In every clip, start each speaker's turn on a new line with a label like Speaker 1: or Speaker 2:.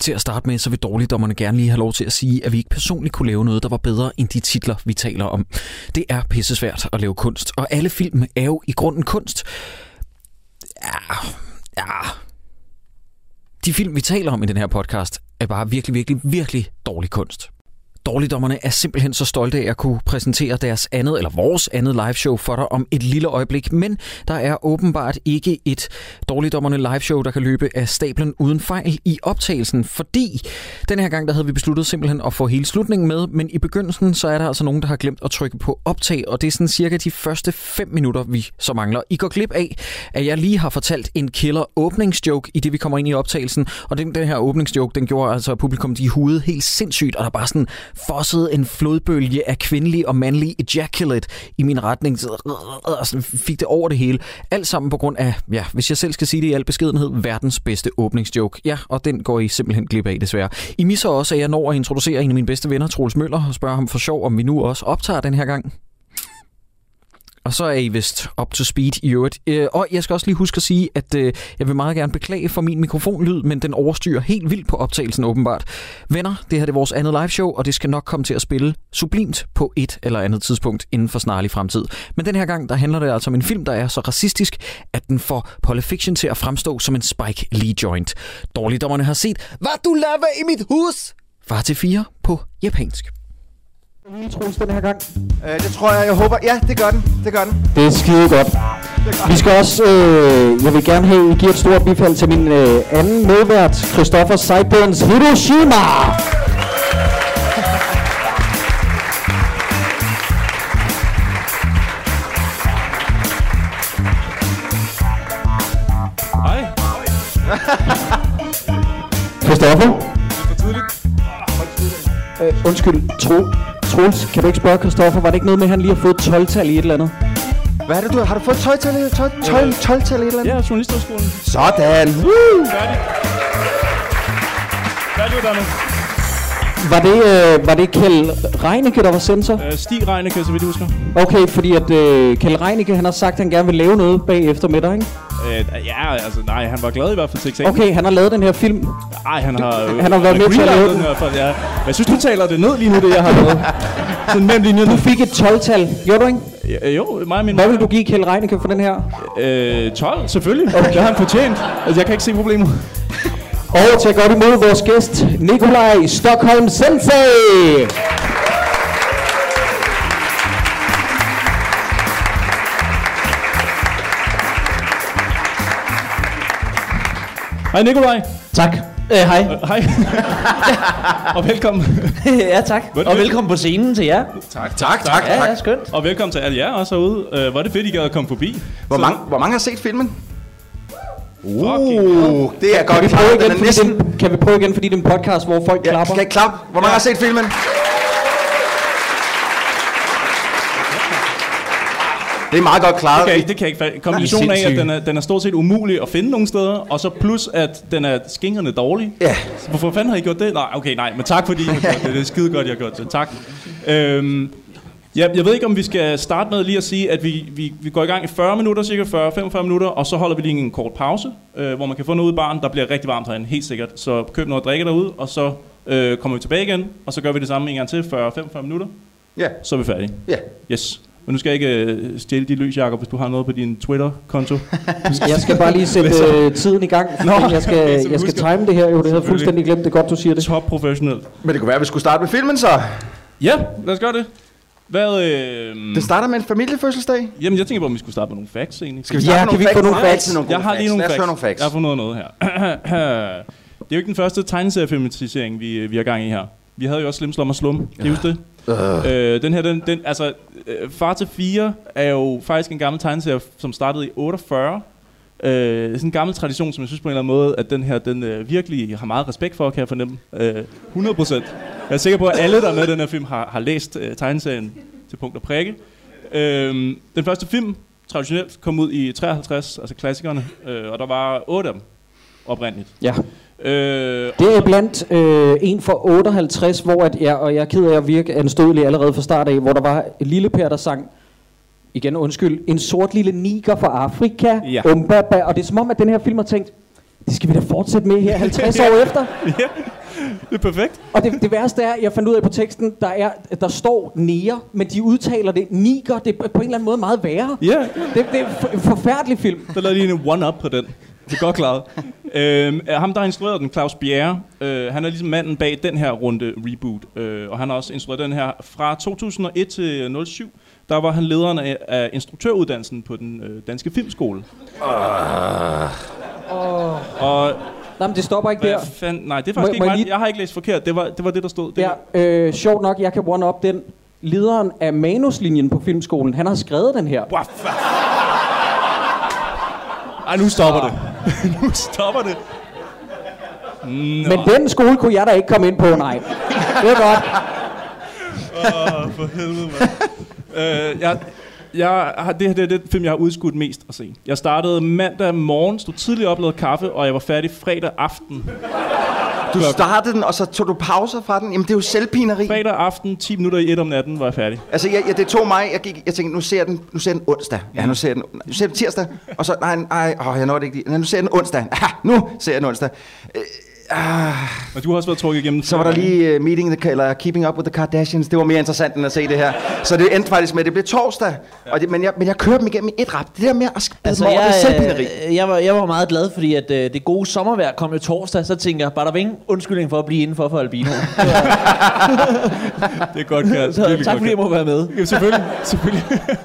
Speaker 1: Til at starte med, så vil dårligdommerne gerne lige have lov til at sige, at vi ikke personligt kunne lave noget, der var bedre end de titler, vi taler om. Det er pissesvært at lave kunst, og alle film er jo i grunden kunst. Ja, ja. De film, vi taler om i den her podcast, er bare virkelig, virkelig, virkelig dårlig kunst. Dårligdommerne er simpelthen så stolte af at kunne præsentere deres andet, eller vores andet liveshow for dig om et lille øjeblik, men der er åbenbart ikke et Dårligdommerne liveshow, der kan løbe af stablen uden fejl i optagelsen, fordi den her gang, der havde vi besluttet simpelthen at få hele slutningen med, men i begyndelsen, så er der altså nogen, der har glemt at trykke på optag, og det er sådan cirka de første 5 minutter, vi så mangler. I går glip af, at jeg lige har fortalt en killer åbningsjoke i det, vi kommer ind i optagelsen, og den, den her åbningsjoke, den gjorde altså publikum de hude helt sindssygt, og der bare sådan fossede en flodbølge af kvindelig og mandlig ejaculate i min retning, og sådan fik det over det hele. Alt sammen på grund af, ja, hvis jeg selv skal sige det i al beskedenhed, verdens bedste åbningsjoke. Ja, og den går I simpelthen glip af, desværre. I misser også, at jeg når at introducere en af mine bedste venner, Troels Møller, og spørger ham for sjov, om vi nu også optager den her gang. Og så er I vist up to speed i øvrigt. Øh, og jeg skal også lige huske at sige, at øh, jeg vil meget gerne beklage for min mikrofonlyd, men den overstyrer helt vildt på optagelsen åbenbart. Venner, det her det er vores andet liveshow, og det skal nok komme til at spille sublimt på et eller andet tidspunkt inden for snarlig fremtid. Men den her gang, der handler det altså om en film, der er så racistisk, at den får Pulp Fiction til at fremstå som en Spike Lee joint. Dårligdommerne har set, hvad du laver i mit hus? Far til 4 på japansk.
Speaker 2: Lille Troels den her gang.
Speaker 3: Øh, det tror jeg, jeg håber. Ja, det gør den. Det gør den.
Speaker 2: Det er skide godt. Vi skal også, øh, jeg vil gerne have, I giver et stort bifald til min øh, anden medvært, Christoffer Seiburns Hiroshima.
Speaker 4: Hej.
Speaker 2: Christoffer,
Speaker 4: For tidligt.
Speaker 2: øh, undskyld, tro, Troels, kan du ikke spørge Christoffer, var det ikke noget med, at han lige har fået 12-tal i et eller andet?
Speaker 3: Hvad er det, du har? Har du fået 12 tal eller 12, 12, 12 tal eller andet?
Speaker 4: Ja, Journalisterskolen.
Speaker 3: Sådan. Woo!
Speaker 4: Færdig. Færdiguddannet.
Speaker 2: Var det, øh, var det Kjell Reinicke, der var censor?
Speaker 4: Øh, Stig Reinicke, så vidt jeg husker.
Speaker 2: Okay, fordi at øh, Kjell Reinicke, han har sagt, at han gerne vil lave noget bagefter med dig, ikke?
Speaker 4: Øh, ja, altså nej, han var glad i hvert fald til eksamen.
Speaker 2: Okay, han har lavet den her film.
Speaker 4: Nej, han har... øh,
Speaker 2: Han har været med til at lave
Speaker 4: greenlightet
Speaker 2: den.
Speaker 4: i hvert fald, ja. Men Jeg synes, du taler det ned lige nu, det jeg har lavet. Sådan mellem linjerne.
Speaker 2: Du fik et 12-tal, gjorde du ikke?
Speaker 4: Øh, Jo, mig og min...
Speaker 2: Hvad vil du give Kjell Reinicke for den her?
Speaker 4: Øh, 12, selvfølgelig. Okay. Det har han fortjent. Altså, jeg kan ikke se problemet.
Speaker 2: Og til godt imod vores gæst, Nikolaj Stockholm Sensei!
Speaker 4: Hej, Nikolaj.
Speaker 5: Tak. Øh, hej.
Speaker 4: Øh, hej. og velkommen.
Speaker 5: ja, tak. Og velkommen på scenen til jer.
Speaker 3: Tak, tak, tak.
Speaker 5: Ja, ja, skønt.
Speaker 4: Og velkommen til alle jer også herude. Øh, var det fedt, I gad at komme forbi.
Speaker 3: Hvor, mange, hvor mange har set filmen?
Speaker 4: Fucking
Speaker 3: Uh, det er godt
Speaker 2: Kan vi,
Speaker 3: klart.
Speaker 2: prøve
Speaker 3: Den
Speaker 2: igen,
Speaker 3: er
Speaker 2: fordi
Speaker 3: næsten...
Speaker 2: det, er en- kan vi prøve igen, fordi det er en podcast, hvor folk
Speaker 3: Ja,
Speaker 2: klapper?
Speaker 3: skal jeg klappe? Hvor mange har set filmen? Det er meget godt klaret.
Speaker 4: Okay, det kan jeg ikke fatte. Kombinationen af, at den er, den er stort set umulig at finde nogle steder, og så plus, at den er skingrende dårlig.
Speaker 3: Ja.
Speaker 4: Så hvorfor fanden har I gjort det? Nej, okay, nej, men tak fordi I har gjort det. Det er skide godt, I har gjort det. Tak. Øhm, ja, jeg ved ikke, om vi skal starte med lige at sige, at vi, vi, vi går i gang i 40 minutter, cirka 40-45 minutter, og så holder vi lige en kort pause, øh, hvor man kan få noget ud i baren. Der bliver rigtig varmt herinde, helt sikkert. Så køb noget at drikke derude, og så øh, kommer vi tilbage igen, og så gør vi det samme en gang til, 40-45 minutter,
Speaker 3: Ja,
Speaker 4: så er vi færdige.
Speaker 3: ja.
Speaker 4: Yes. Men nu skal jeg ikke øh, stjæle de løs, Jacob, hvis du har noget på din Twitter-konto.
Speaker 2: Jeg skal bare lige sætte øh, tiden i gang. Nå, jeg skal,
Speaker 4: okay, så du
Speaker 2: jeg skal
Speaker 4: husker.
Speaker 2: time det her. Jo, det havde jeg
Speaker 4: Selvfølgelig.
Speaker 2: fuldstændig glemt. Det er godt, du siger det.
Speaker 4: Top professionelt.
Speaker 3: Men det kunne være, at vi skulle starte med filmen så.
Speaker 4: Ja, lad os gøre det. Hvad, øh...
Speaker 3: Det starter med en familiefødselsdag.
Speaker 4: Jamen, jeg tænker på, om vi skulle starte med nogle facts, egentlig.
Speaker 3: Skal vi
Speaker 2: Ja,
Speaker 3: starte
Speaker 2: kan
Speaker 3: med
Speaker 2: vi
Speaker 3: nogle
Speaker 2: ikke få
Speaker 3: facts?
Speaker 2: nogle
Speaker 3: Der er
Speaker 2: facts?
Speaker 3: altid gode
Speaker 4: jeg har lige nogle
Speaker 3: Lad os
Speaker 4: facts.
Speaker 3: høre nogle facts.
Speaker 4: Jeg har fundet noget her. det er jo ikke den første tegneseriefilmatisering, vi, vi har gang i her. Vi havde jo også Slim Slum og Slum. Kan I huske det? Øh, den her, den, den, altså, øh, Far til 4 er jo faktisk en gammel tegneserie, som startede i 48. Øh, det er sådan en gammel tradition, som jeg synes på en eller anden måde, at den her, den øh, virkelig har meget respekt for, kan jeg fornemme. Øh, 100 procent. Jeg er sikker på, at alle, der er med i den her film, har, har læst øh, tegneserien til punkt og prikke. Øh, den første film, traditionelt, kom ud i 53, altså klassikerne, øh, og der var otte af dem oprindeligt.
Speaker 2: Ja.
Speaker 4: Øh,
Speaker 2: Det er blandt øh, en for 58, hvor at jeg, og jeg er ked af at virke anstødelig allerede fra start af, hvor der var en lille Per, der sang, igen undskyld, en sort lille niger fra Afrika,
Speaker 4: Ja.
Speaker 2: umbaba, og det er som om, at den her film har tænkt, det skal vi da fortsætte med her 50 år efter.
Speaker 4: Det er perfekt.
Speaker 2: Og det, det værste er, jeg fandt ud af på teksten, der, er, der står nære, men de udtaler det niger. Det er på en eller anden måde meget værre.
Speaker 4: Ja, yeah.
Speaker 2: Det, det er en for- en forfærdelig film.
Speaker 4: der lavede lige en one-up på den. Det er godt klaret. øhm, ham, der har instrueret den, Claus Bjerre, øh, han er ligesom manden bag den her runde reboot. Øh, og han har også instrueret den her fra 2001 til 07. Der var han lederen af, af instruktøruddannelsen på den øh, danske filmskole.
Speaker 2: Ah.
Speaker 4: Uh. Og
Speaker 2: Nej, men det stopper ikke
Speaker 4: Hvad
Speaker 2: der.
Speaker 4: fanden? Nej, det er faktisk
Speaker 2: Må-
Speaker 4: ikke
Speaker 2: må jeg
Speaker 4: mig.
Speaker 2: lige-
Speaker 4: Jeg har ikke læst forkert. Det var det, var det der stod. Det
Speaker 2: Ja, øh, sjovt nok, jeg kan one-up den. Lederen af manuslinjen på filmskolen, han har skrevet den her.
Speaker 4: Wow, Ej, nu stopper det. nu stopper det.
Speaker 2: Men den skole kunne jeg da ikke komme ind på, nej. Det er godt.
Speaker 4: Åh, for helvede, mand. øh, jeg, jeg har, det her det er det film, jeg har udskudt mest at se. Jeg startede mandag morgen, stod tidligt op, lavede kaffe, og jeg var færdig fredag aften.
Speaker 3: Du startede den, og så tog du pauser fra den. Jamen, det er jo selvpineri.
Speaker 4: Fredag aften, 10 minutter i et om natten, var jeg færdig.
Speaker 3: Altså, jeg, jeg, det tog mig. Jeg, gik, jeg tænkte, nu ser jeg den, nu ser jeg den onsdag. Ja, nu ser jeg den, nu ser jeg den tirsdag. Og så, nej, nej, åh, jeg når det ikke lige. Nej, nu ser jeg den onsdag. Ah, nu ser jeg den onsdag.
Speaker 4: Og du har også været trukket igennem.
Speaker 3: Så var der lige uh, meeting, the, eller Keeping Up with the Kardashians. Det var mere interessant end at se det her. Så det endte faktisk med, at det blev torsdag. Og det, men, jeg, men jeg kører dem igennem i et rap. Det der med at spille altså,
Speaker 5: Altså,
Speaker 3: mig over, det er
Speaker 5: jeg,
Speaker 3: selvpineri.
Speaker 5: øh, jeg, var, jeg var meget glad, fordi at, øh, det gode sommervejr kom jo torsdag, så tænker jeg, bare der undskyldning for at blive indenfor for Albino.
Speaker 4: Det er godt, Kjær.
Speaker 5: så, tak fordi jeg må være med.
Speaker 4: Ja, selvfølgelig. selvfølgelig. Det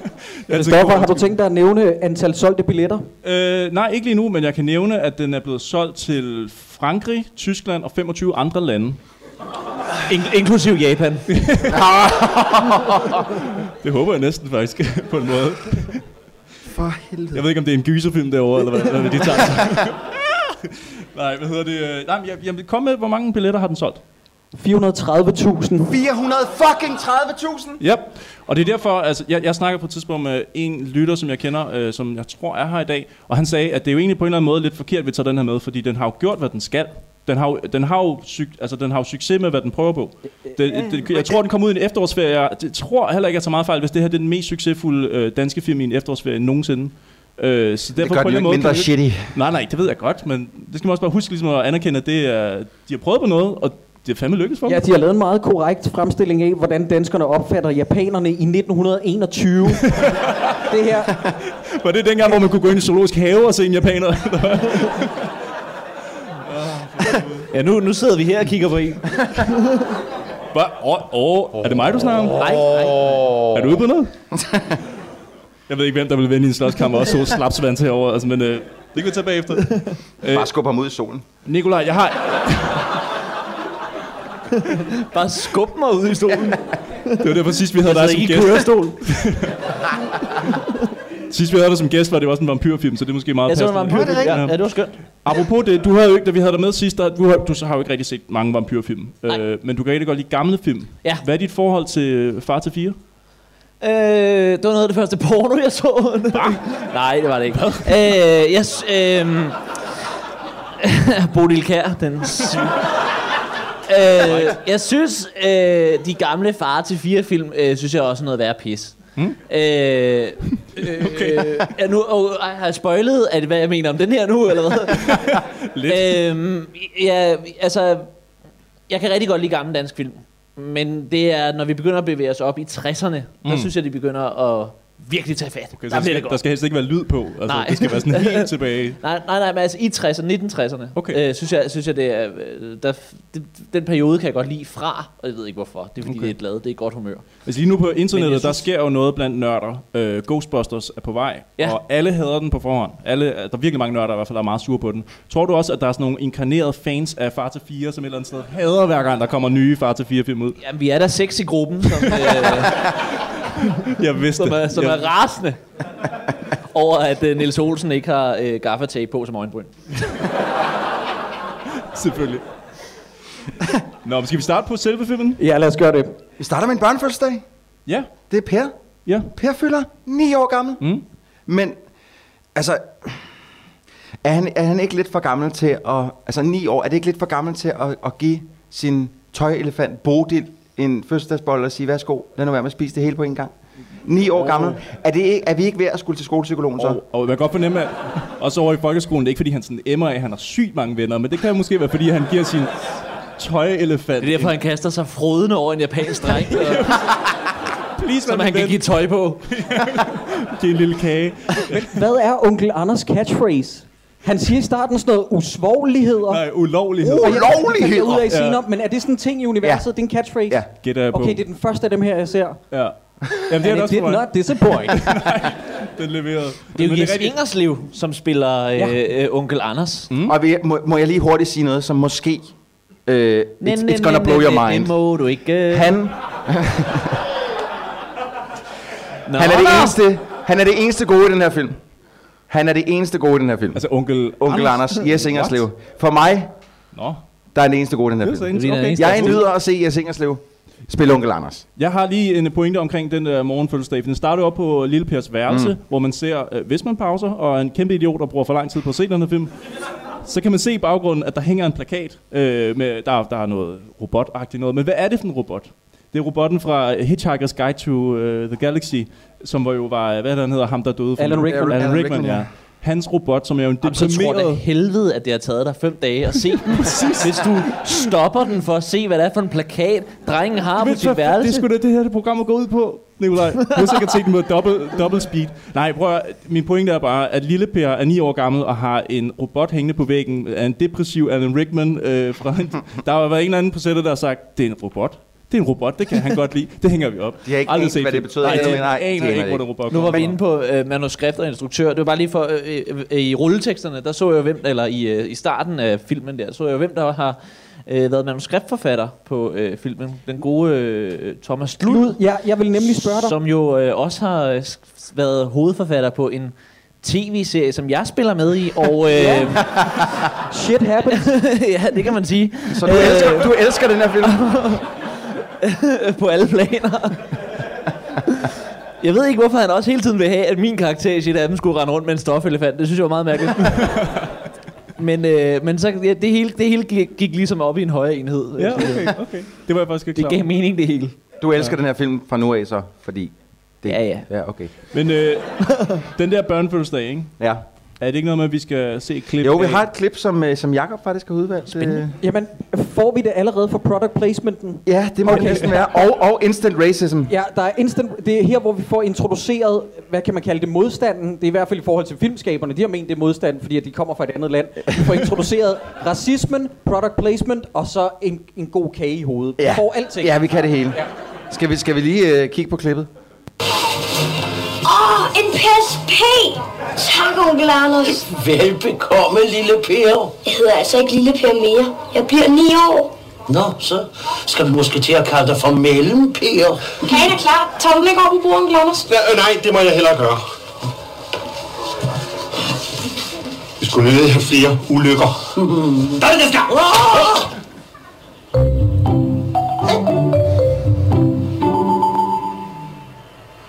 Speaker 4: er altid en god
Speaker 2: Stoffer, har du tænkt dig at nævne antal solgte billetter?
Speaker 4: Øh, nej, ikke lige nu, men jeg kan nævne, at den er blevet solgt til Frankrig, Tyskland og 25 andre lande.
Speaker 5: In- inklusiv Japan.
Speaker 4: Det håber jeg næsten faktisk, på en måde.
Speaker 3: For helvede.
Speaker 4: Jeg ved ikke, om det er en gyserfilm derovre, eller hvad, hvad de tager. nej, hvad hedder det? øh, Nej, men jeg, jeg kom med, hvor mange billetter har den solgt?
Speaker 2: 430.000.
Speaker 3: 400 fucking 30.000!
Speaker 4: Ja, og det er derfor, altså, jeg, jeg snakker på et tidspunkt med en lytter, som jeg kender, øh, som jeg tror er her i dag, og han sagde, at det er jo egentlig på en eller anden måde lidt forkert, at vi tager den her med, fordi den har jo gjort, hvad den skal. Den har, jo, den, har jo syg, altså, den har jo succes med, hvad den prøver på. Det, det, jeg tror, den kom ud i en efterårsferie. Jeg det tror heller ikke, jeg tager meget fejl, hvis det her det er den mest succesfulde øh, danske film i en efterårsferie nogensinde. Øh, så
Speaker 3: Det
Speaker 4: derfor
Speaker 3: gør
Speaker 4: på
Speaker 3: den
Speaker 4: en
Speaker 3: jo
Speaker 4: eller anden
Speaker 3: ikke
Speaker 4: måde,
Speaker 3: mindre
Speaker 4: kan vi-
Speaker 3: shitty.
Speaker 4: Nej, nej, det ved jeg godt, men det skal man også bare huske ligesom at anerkende, at det er, de har prøvet på noget, og det er fandme lykkedes for dem.
Speaker 2: Ja, de har lavet en meget korrekt fremstilling af, hvordan danskerne opfatter japanerne i 1921. det her,
Speaker 4: Var det dengang, hvor man kunne gå ind i zoologisk have og se en japaner?
Speaker 5: Ja, nu, nu sidder vi her og kigger på en.
Speaker 4: Hvad? Åh, oh, oh. er det mig, du snakker om? Nej, nej. Er du ude på noget? Jeg ved ikke, hvem der vil vinde i en slåskamp og så slapsvand herovre, altså, men øh, det kan vi tage bagefter.
Speaker 3: Bare skubbe ham ud i solen.
Speaker 4: Nikolaj, jeg har,
Speaker 5: Bare skub mig ud i stolen.
Speaker 4: Det var derfor sidst, vi havde
Speaker 5: Jeg
Speaker 4: dig
Speaker 5: sidder
Speaker 4: som
Speaker 5: ikke i
Speaker 4: gæst.
Speaker 5: kørestol.
Speaker 4: Sidst, vi havde dig som gæst, var det også en vampyrfilm, så det er måske meget
Speaker 5: Jeg så en
Speaker 4: passende.
Speaker 5: vampyr.
Speaker 3: det rigtigt?
Speaker 5: Ja, det var skønt.
Speaker 4: Apropos det, du havde jo ikke, da vi havde dig med sidst, der, du, har, du har jo ikke rigtig set mange vampyrfilm. Øh, men du kan rigtig godt lide gamle film.
Speaker 5: Ja.
Speaker 4: Hvad er dit forhold til øh, Far til 4?
Speaker 5: Øh, det var noget af det første porno, jeg så. Nej, det var det ikke. Øh, jeg... s- Øh, Bodil Kær, den syge. øh, jeg synes, øh, de gamle far til fire film, øh, synes jeg også er noget værre pis. Mm? Øh, okay. øh, er nu, og, ej, har jeg spoilet, at, hvad jeg mener om den her nu, eller hvad?
Speaker 4: Lidt.
Speaker 5: Øhm, ja, altså, jeg kan rigtig godt lide gamle dansk film. Men det er, når vi begynder at bevæge os op i 60'erne, mm. der synes jeg, de begynder at virkelig tage fat.
Speaker 4: Okay,
Speaker 5: Okay,
Speaker 4: så der,
Speaker 5: der bliver
Speaker 4: skal,
Speaker 5: det
Speaker 4: der
Speaker 5: godt.
Speaker 4: skal helst ikke være lyd på. Altså,
Speaker 5: Nej.
Speaker 4: Det skal være sådan helt tilbage.
Speaker 5: Nej, nej, nej, men altså i 60'erne, 1960'erne,
Speaker 4: Okay.
Speaker 5: øh, synes, jeg, synes jeg, det er, øh, der, det, den periode kan jeg godt lide fra, og jeg ved ikke hvorfor. Det er
Speaker 4: Okay.
Speaker 5: fordi, okay. det er glade, det er godt humør.
Speaker 4: Altså lige nu på
Speaker 5: Men
Speaker 4: internettet,
Speaker 5: jeg
Speaker 4: der
Speaker 5: synes-
Speaker 4: sker jo noget blandt nørder. Øh, Ghostbusters er på vej, ja.
Speaker 5: Ja.
Speaker 4: og alle hader den på forhånd. Alle, der er virkelig mange nørder, i hvert fald, der er meget sure på den. Tror du også, at der er sådan nogle inkarnerede fans af Far til 4, som et eller andet sted hader hver gang, der kommer nye Far til 4-film ud?
Speaker 5: Jamen, vi er der seks i gruppen, som, øh,
Speaker 4: Jeg vidste
Speaker 5: som, er,
Speaker 4: det.
Speaker 5: som
Speaker 4: Jeg-
Speaker 5: er rasende over, at øh, Nils Olsen ikke har øh, gaffatape på som øjenbryn.
Speaker 4: Selvfølgelig. Nå, men skal vi starte på selve filmen?
Speaker 2: ja, lad os gøre det.
Speaker 3: Vi starter med en børnefødselsdag.
Speaker 4: Ja.
Speaker 3: Det er Per.
Speaker 4: Ja.
Speaker 3: Per fylder 9 år gammel.
Speaker 4: Mm.
Speaker 3: Men, altså, er han, er han ikke lidt for gammel til at... Altså, 9 år, er det ikke lidt for gammel til at, at give sin tøjelefant Bodil en fødselsdagsbolle og sige, værsgo, lad nu være med at spise det hele på en gang? Ni år gammel. Er, det ikke, er vi ikke ved at skulle til skolepsykologen så?
Speaker 4: Og, og man kan godt fornemme, at også over i folkeskolen, det er ikke fordi, han sådan emmer af, at han har sygt mange venner, men det kan måske være, fordi han giver sin tøjelefant.
Speaker 5: Det er derfor, han kaster sig frodende over en japansk dreng, og,
Speaker 4: please,
Speaker 5: som han kan give tøj på.
Speaker 4: Det er en lille kage.
Speaker 2: Hvad er onkel Anders catchphrase? Han siger i starten sådan noget usvogeligheder.
Speaker 4: Nej, ulovlighed.
Speaker 2: Og jeg- det fandt Jeg ud af at
Speaker 4: Ja.
Speaker 2: sige ja. men er det sådan en ting i universet? Ja. Det er en catchphrase?
Speaker 3: Ja.
Speaker 4: Gætter jeg på.
Speaker 2: Okay, det er den første af dem her, jeg ser.
Speaker 4: Ja. Jamen, det er
Speaker 2: And
Speaker 4: det
Speaker 2: it
Speaker 4: også
Speaker 2: did
Speaker 4: for mig.
Speaker 2: not disappoint.
Speaker 4: Den leverede.
Speaker 5: Det er jo
Speaker 4: Men
Speaker 5: Jes
Speaker 4: rigtigt.
Speaker 5: Ingerslev, som spiller øh, øh, onkel Anders. Mm.
Speaker 3: Mm. Og vi, må, må jeg lige hurtigt sige noget, som måske... Øh, it's, it's gonna blow your mind.
Speaker 5: Det må du ikke. øh.
Speaker 3: Han,
Speaker 5: Nå,
Speaker 3: han, er det
Speaker 5: nå.
Speaker 3: eneste, han er det eneste gode i den her film. Han er det eneste gode i den her film.
Speaker 4: Altså, onkel...
Speaker 3: Onkel Anders, Anders Jes Ingerslev. For mig,
Speaker 4: Nå,
Speaker 3: der er det eneste gode i den
Speaker 4: det
Speaker 3: her
Speaker 4: er så
Speaker 3: film.
Speaker 5: Det er den
Speaker 4: okay.
Speaker 5: eneste.
Speaker 3: Jeg nyder at se Jes Ingerslev spille Onkel Anders.
Speaker 4: Jeg har lige en pointe omkring den der morgenfødselsdag. for Den starter op på Lille Pers værelse, mm. hvor man ser, øh, hvis man pauser, og er en kæmpe idiot, der bruger for lang tid på at se den her film, så kan man se i baggrunden, at der hænger en plakat. Øh, med, der, der er noget robotagtigt noget. Men hvad er det for en robot? Det er robotten fra Hitchhiker's Guide to uh, the Galaxy, som var jo var, hvad er det, han hedder, ham der døde for
Speaker 2: Alan Rickman.
Speaker 4: Alan, Alan
Speaker 3: Alan
Speaker 4: Rickman,
Speaker 3: Rickman,
Speaker 4: ja.
Speaker 3: ja.
Speaker 4: Hans robot, som er jo en
Speaker 5: Jamen, så tror jeg da
Speaker 4: deprimeret...
Speaker 5: helvede, at det har taget dig fem dage at se den. Hvis du stopper den for at se, hvad det er for en plakat, drengen har på
Speaker 4: Men så-
Speaker 5: sit
Speaker 4: Det er
Speaker 5: værelse.
Speaker 4: sgu da det her, det program er gået ud på, Nikolaj. Du har sikkert set den på double, double speed. Nej, prøv at, Min pointe er bare, at Lille Per er 9 år gammel og har en robot hængende på væggen af en depressiv Alan Rickman. Øh, fra en, der har været en eller anden på sættet, der har sagt, det er en robot. Det er en robot, det kan han godt lide. Det hænger vi op.
Speaker 3: De har ikke
Speaker 4: Aldrig
Speaker 3: ant,
Speaker 4: set
Speaker 3: hvad det
Speaker 4: filmen.
Speaker 3: betød.
Speaker 4: Nej,
Speaker 3: Nej,
Speaker 4: de
Speaker 3: nej, de
Speaker 4: aner
Speaker 3: aner
Speaker 4: ikke,
Speaker 3: det
Speaker 4: hvor
Speaker 3: ikke.
Speaker 4: den robot
Speaker 5: Nu var
Speaker 4: kommer
Speaker 5: vi
Speaker 4: fra.
Speaker 5: inde på øh, manuskript og instruktør. Det var bare lige for, øh, øh, øh, i rulleteksterne, der så jeg jo hvem, eller i, øh, i starten af filmen der, så jeg jo hvem, der har øh, været manuskriptforfatter på øh, filmen. Den gode øh, Thomas Lund,
Speaker 2: Lud, ja, jeg vil nemlig spørge dig.
Speaker 5: som jo øh, også har øh, sk- været hovedforfatter på en tv-serie, som jeg spiller med i, og øh, ja.
Speaker 2: Shit happens.
Speaker 5: ja, det kan man sige.
Speaker 3: Så du, øh. elsker, du elsker den her film.
Speaker 5: på alle planer. Jeg ved ikke, hvorfor han også hele tiden vil have, at min karakter i sit af dem skulle rende rundt med en stofelefant. Det synes jeg var meget mærkeligt. men øh, men så, ja, det hele, det hele gik, gik ligesom op i en højere enhed.
Speaker 4: Ja, okay, okay. Det var jeg faktisk ikke
Speaker 5: Det
Speaker 4: klar over.
Speaker 5: gav mening, det hele.
Speaker 3: Du elsker den her film fra nu af så, fordi... Det,
Speaker 5: Ja, ja.
Speaker 3: Ja, okay.
Speaker 4: Men øh, den der børnefødselsdag, ikke?
Speaker 3: Ja.
Speaker 4: Er det ikke noget med, at vi skal se et klip
Speaker 3: Jo, vi
Speaker 4: af?
Speaker 3: har et klip, som, øh, som Jakob faktisk har udvalgt. øh. Spændende.
Speaker 2: Jamen, får vi det allerede for product placementen?
Speaker 3: Ja, det må okay.
Speaker 2: Okay.
Speaker 3: det næsten være. Og, og instant racism.
Speaker 2: Ja, der er instant, det er her, hvor vi får introduceret, hvad kan man kalde det, modstanden. Det er i hvert fald i forhold til filmskaberne. De har ment, det er modstand, fordi at de kommer fra et andet land. Vi får introduceret racismen, product placement, og så en, en god kage i hovedet. Vi får alting.
Speaker 3: Ja, vi kan det hele. Ja. Skal, vi, skal vi lige øh, kigge på klippet?
Speaker 6: Åh, en PSP! Tak, onkel Anders.
Speaker 7: Velbekomme, lille Per.
Speaker 6: Jeg hedder altså ikke Lille Per mere. Jeg bliver ni år.
Speaker 7: Nå, så skal du måske til at kalde dig for mellem, Per.
Speaker 6: Kagen er klar. Tager du den ikke op i bordet, onkel Anders?
Speaker 8: Ja, øh, nej, det må jeg hellere gøre. Vi skulle nødig have flere ulykker.
Speaker 7: Der er det, der skal.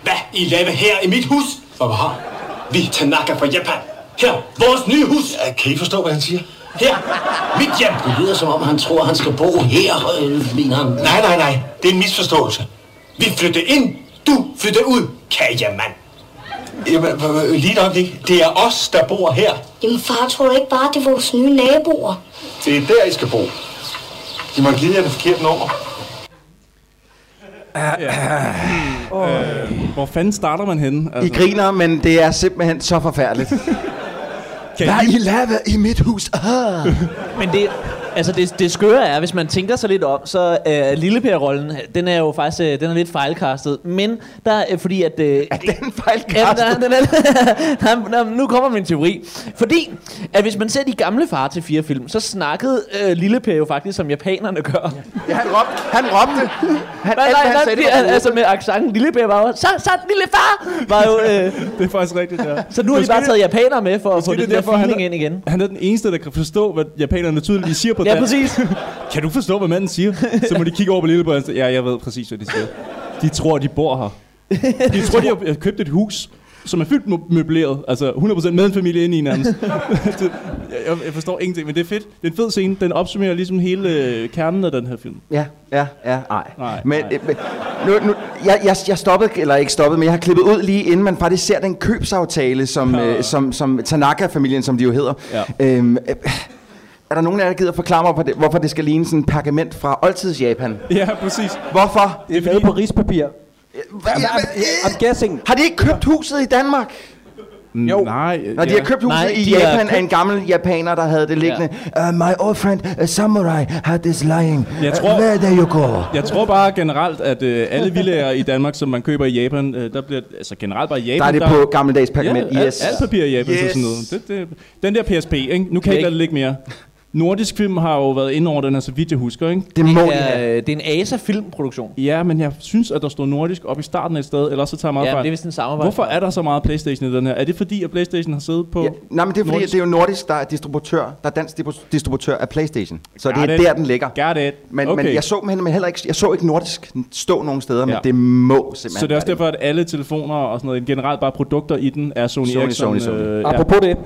Speaker 8: Hvad I laver her i mit hus? Hvad var Vi er Tanaka fra Japan. Her, vores nye hus. Ja, kan I forstå, hvad han siger? Her, mit hjem.
Speaker 7: Det lyder som om, han tror, han skal bo her, øh, mener han.
Speaker 8: Nej, nej, nej. Det er en misforståelse. Vi flytter ind, du flytter ud, kagemand. Jamen, lige nok ikke. Det er os, der bor her.
Speaker 6: Jamen, far tror du ikke bare, det er vores nye naboer.
Speaker 8: Det er der, I skal bo. I må give jer det forkerte nummer.
Speaker 4: Hvor fanden starter man henne? Altså,
Speaker 3: I griner, men det er simpelthen så forfærdeligt.
Speaker 4: Kan
Speaker 3: Hvad
Speaker 4: I-
Speaker 3: I laver i mit hus? Ah.
Speaker 5: Men det, altså det, det skøre er, hvis man tænker sig lidt om, så er øh, Lille Per-rollen, den er jo faktisk øh, den er lidt fejlkastet. Men der er, øh, fordi at... Øh,
Speaker 3: Er den
Speaker 5: Ja, men
Speaker 3: fejlkastet?
Speaker 5: der, den er, nej, nej, nu kommer min teori. Fordi, at hvis man ser de gamle far til fire film, så snakkede øh, Lille Per jo faktisk, som japanerne gør.
Speaker 3: Ja, han råbte. Han råbte. Han,
Speaker 5: Nej,
Speaker 3: alt,
Speaker 5: nej,
Speaker 3: hvad
Speaker 5: nej,
Speaker 3: sagde,
Speaker 5: det,
Speaker 3: det var
Speaker 5: altså med accenten. Lille Per var jo, så, så lille far, var jo, øh,
Speaker 4: Det er faktisk rigtigt, ja.
Speaker 5: så nu har de
Speaker 4: Måske
Speaker 5: bare
Speaker 4: det-
Speaker 5: taget japanere med for at få
Speaker 4: måske
Speaker 5: det der
Speaker 4: derfor,
Speaker 5: feeling
Speaker 4: er-
Speaker 5: ind igen.
Speaker 4: Han er den eneste, der kan forstå, hvad japanerne tydeligvis siger på
Speaker 5: Ja,
Speaker 4: dansk.
Speaker 5: præcis.
Speaker 4: Kan du forstå, hvad manden siger? Så må de kigge over på lille og sige, ja, jeg ved præcis, hvad de siger. De tror, de bor her. De tror, de har købt et hus. som er fyldt mø- møbleret. Altså 100% med en familie inde i nærmest. Det- jeg, jeg forstår ingenting, men det er fedt. Det er en fed scene. Den opsummerer ligesom hele øh, kernen af den her film.
Speaker 3: Ja, ja, ja, nej.
Speaker 4: Nej,
Speaker 3: men
Speaker 4: nej.
Speaker 3: øh, men nu, nu, jeg, jeg, jeg stoppede, eller ikke stoppede, men jeg har klippet ud lige inden man faktisk ser den købsaftale, som, øh, som, som Tanaka-familien, som de jo hedder.
Speaker 4: Ja.
Speaker 3: Øhm, øh, er der nogen af jer, der gider forklare mig, hvorfor det, hvorfor det skal ligne sådan en pergament fra oldtids Japan?
Speaker 4: Ja, præcis.
Speaker 3: Hvorfor?
Speaker 2: Det er lavet på rispapir.
Speaker 3: Hva- ja,
Speaker 2: I'm,
Speaker 3: hva-
Speaker 2: I'm guessing.
Speaker 3: Har de ikke købt huset i Danmark? Mm,
Speaker 2: Jo.
Speaker 4: Nej. øh,
Speaker 3: Når de har købt huset
Speaker 5: Nej,
Speaker 3: i
Speaker 5: de har
Speaker 3: Japan
Speaker 5: købt-
Speaker 3: af en gammel japaner, der havde det liggende. Uh, my old friend, a samurai, had this lying.
Speaker 4: Jeg
Speaker 3: Uh,
Speaker 4: tror-
Speaker 3: where do you go?
Speaker 4: Jeg tror bare generelt, at øh, alle villager i Danmark, som man køber i Japan, øh, der bliver... Altså generelt bare i Japan...
Speaker 3: Der er det på gammeldags
Speaker 4: Ja,
Speaker 3: pergament,
Speaker 4: al-
Speaker 3: yes.
Speaker 4: alt papir i Japan yes. og sådan noget.
Speaker 3: Yes.
Speaker 4: Det, det, den der PSP, ikke? Nu kan jeg
Speaker 5: Væk.
Speaker 4: ikke lade det ligge mere. Nordisk film har jo været inde over den her, så vidt jeg husker, ikke?
Speaker 3: Det må de
Speaker 5: er,
Speaker 3: have.
Speaker 5: øh, det er en ASA filmproduktion.
Speaker 4: Ja, men jeg synes, at der står nordisk op i starten af et sted, eller så tager jeg meget
Speaker 5: Ja,
Speaker 4: fejl.
Speaker 5: men det er vist en samarbejde.
Speaker 4: Hvorfor er der så meget Playstation i den her? Er det fordi, at Playstation har siddet på...
Speaker 3: Ja, nej, men det er fordi,
Speaker 4: nordisk-
Speaker 3: at det er jo nordisk, der er distributør, der er dansk distribu- distributør af Playstation. Så det
Speaker 4: Got
Speaker 3: er
Speaker 4: it.
Speaker 3: der, den ligger.
Speaker 4: Got it.
Speaker 3: Men,
Speaker 4: okay.
Speaker 3: men jeg så dem hen, men heller ikke, jeg så ikke nordisk stå nogen steder, men
Speaker 4: Ja.
Speaker 3: det må simpelthen
Speaker 4: så det er også
Speaker 3: være
Speaker 4: derfor, at alle telefoner og sådan noget, generelt bare produkter i den, er Sony,
Speaker 3: Sony,
Speaker 4: Ericsson.
Speaker 3: Sony, Sony.
Speaker 4: Øh, ja.
Speaker 2: Apropos det.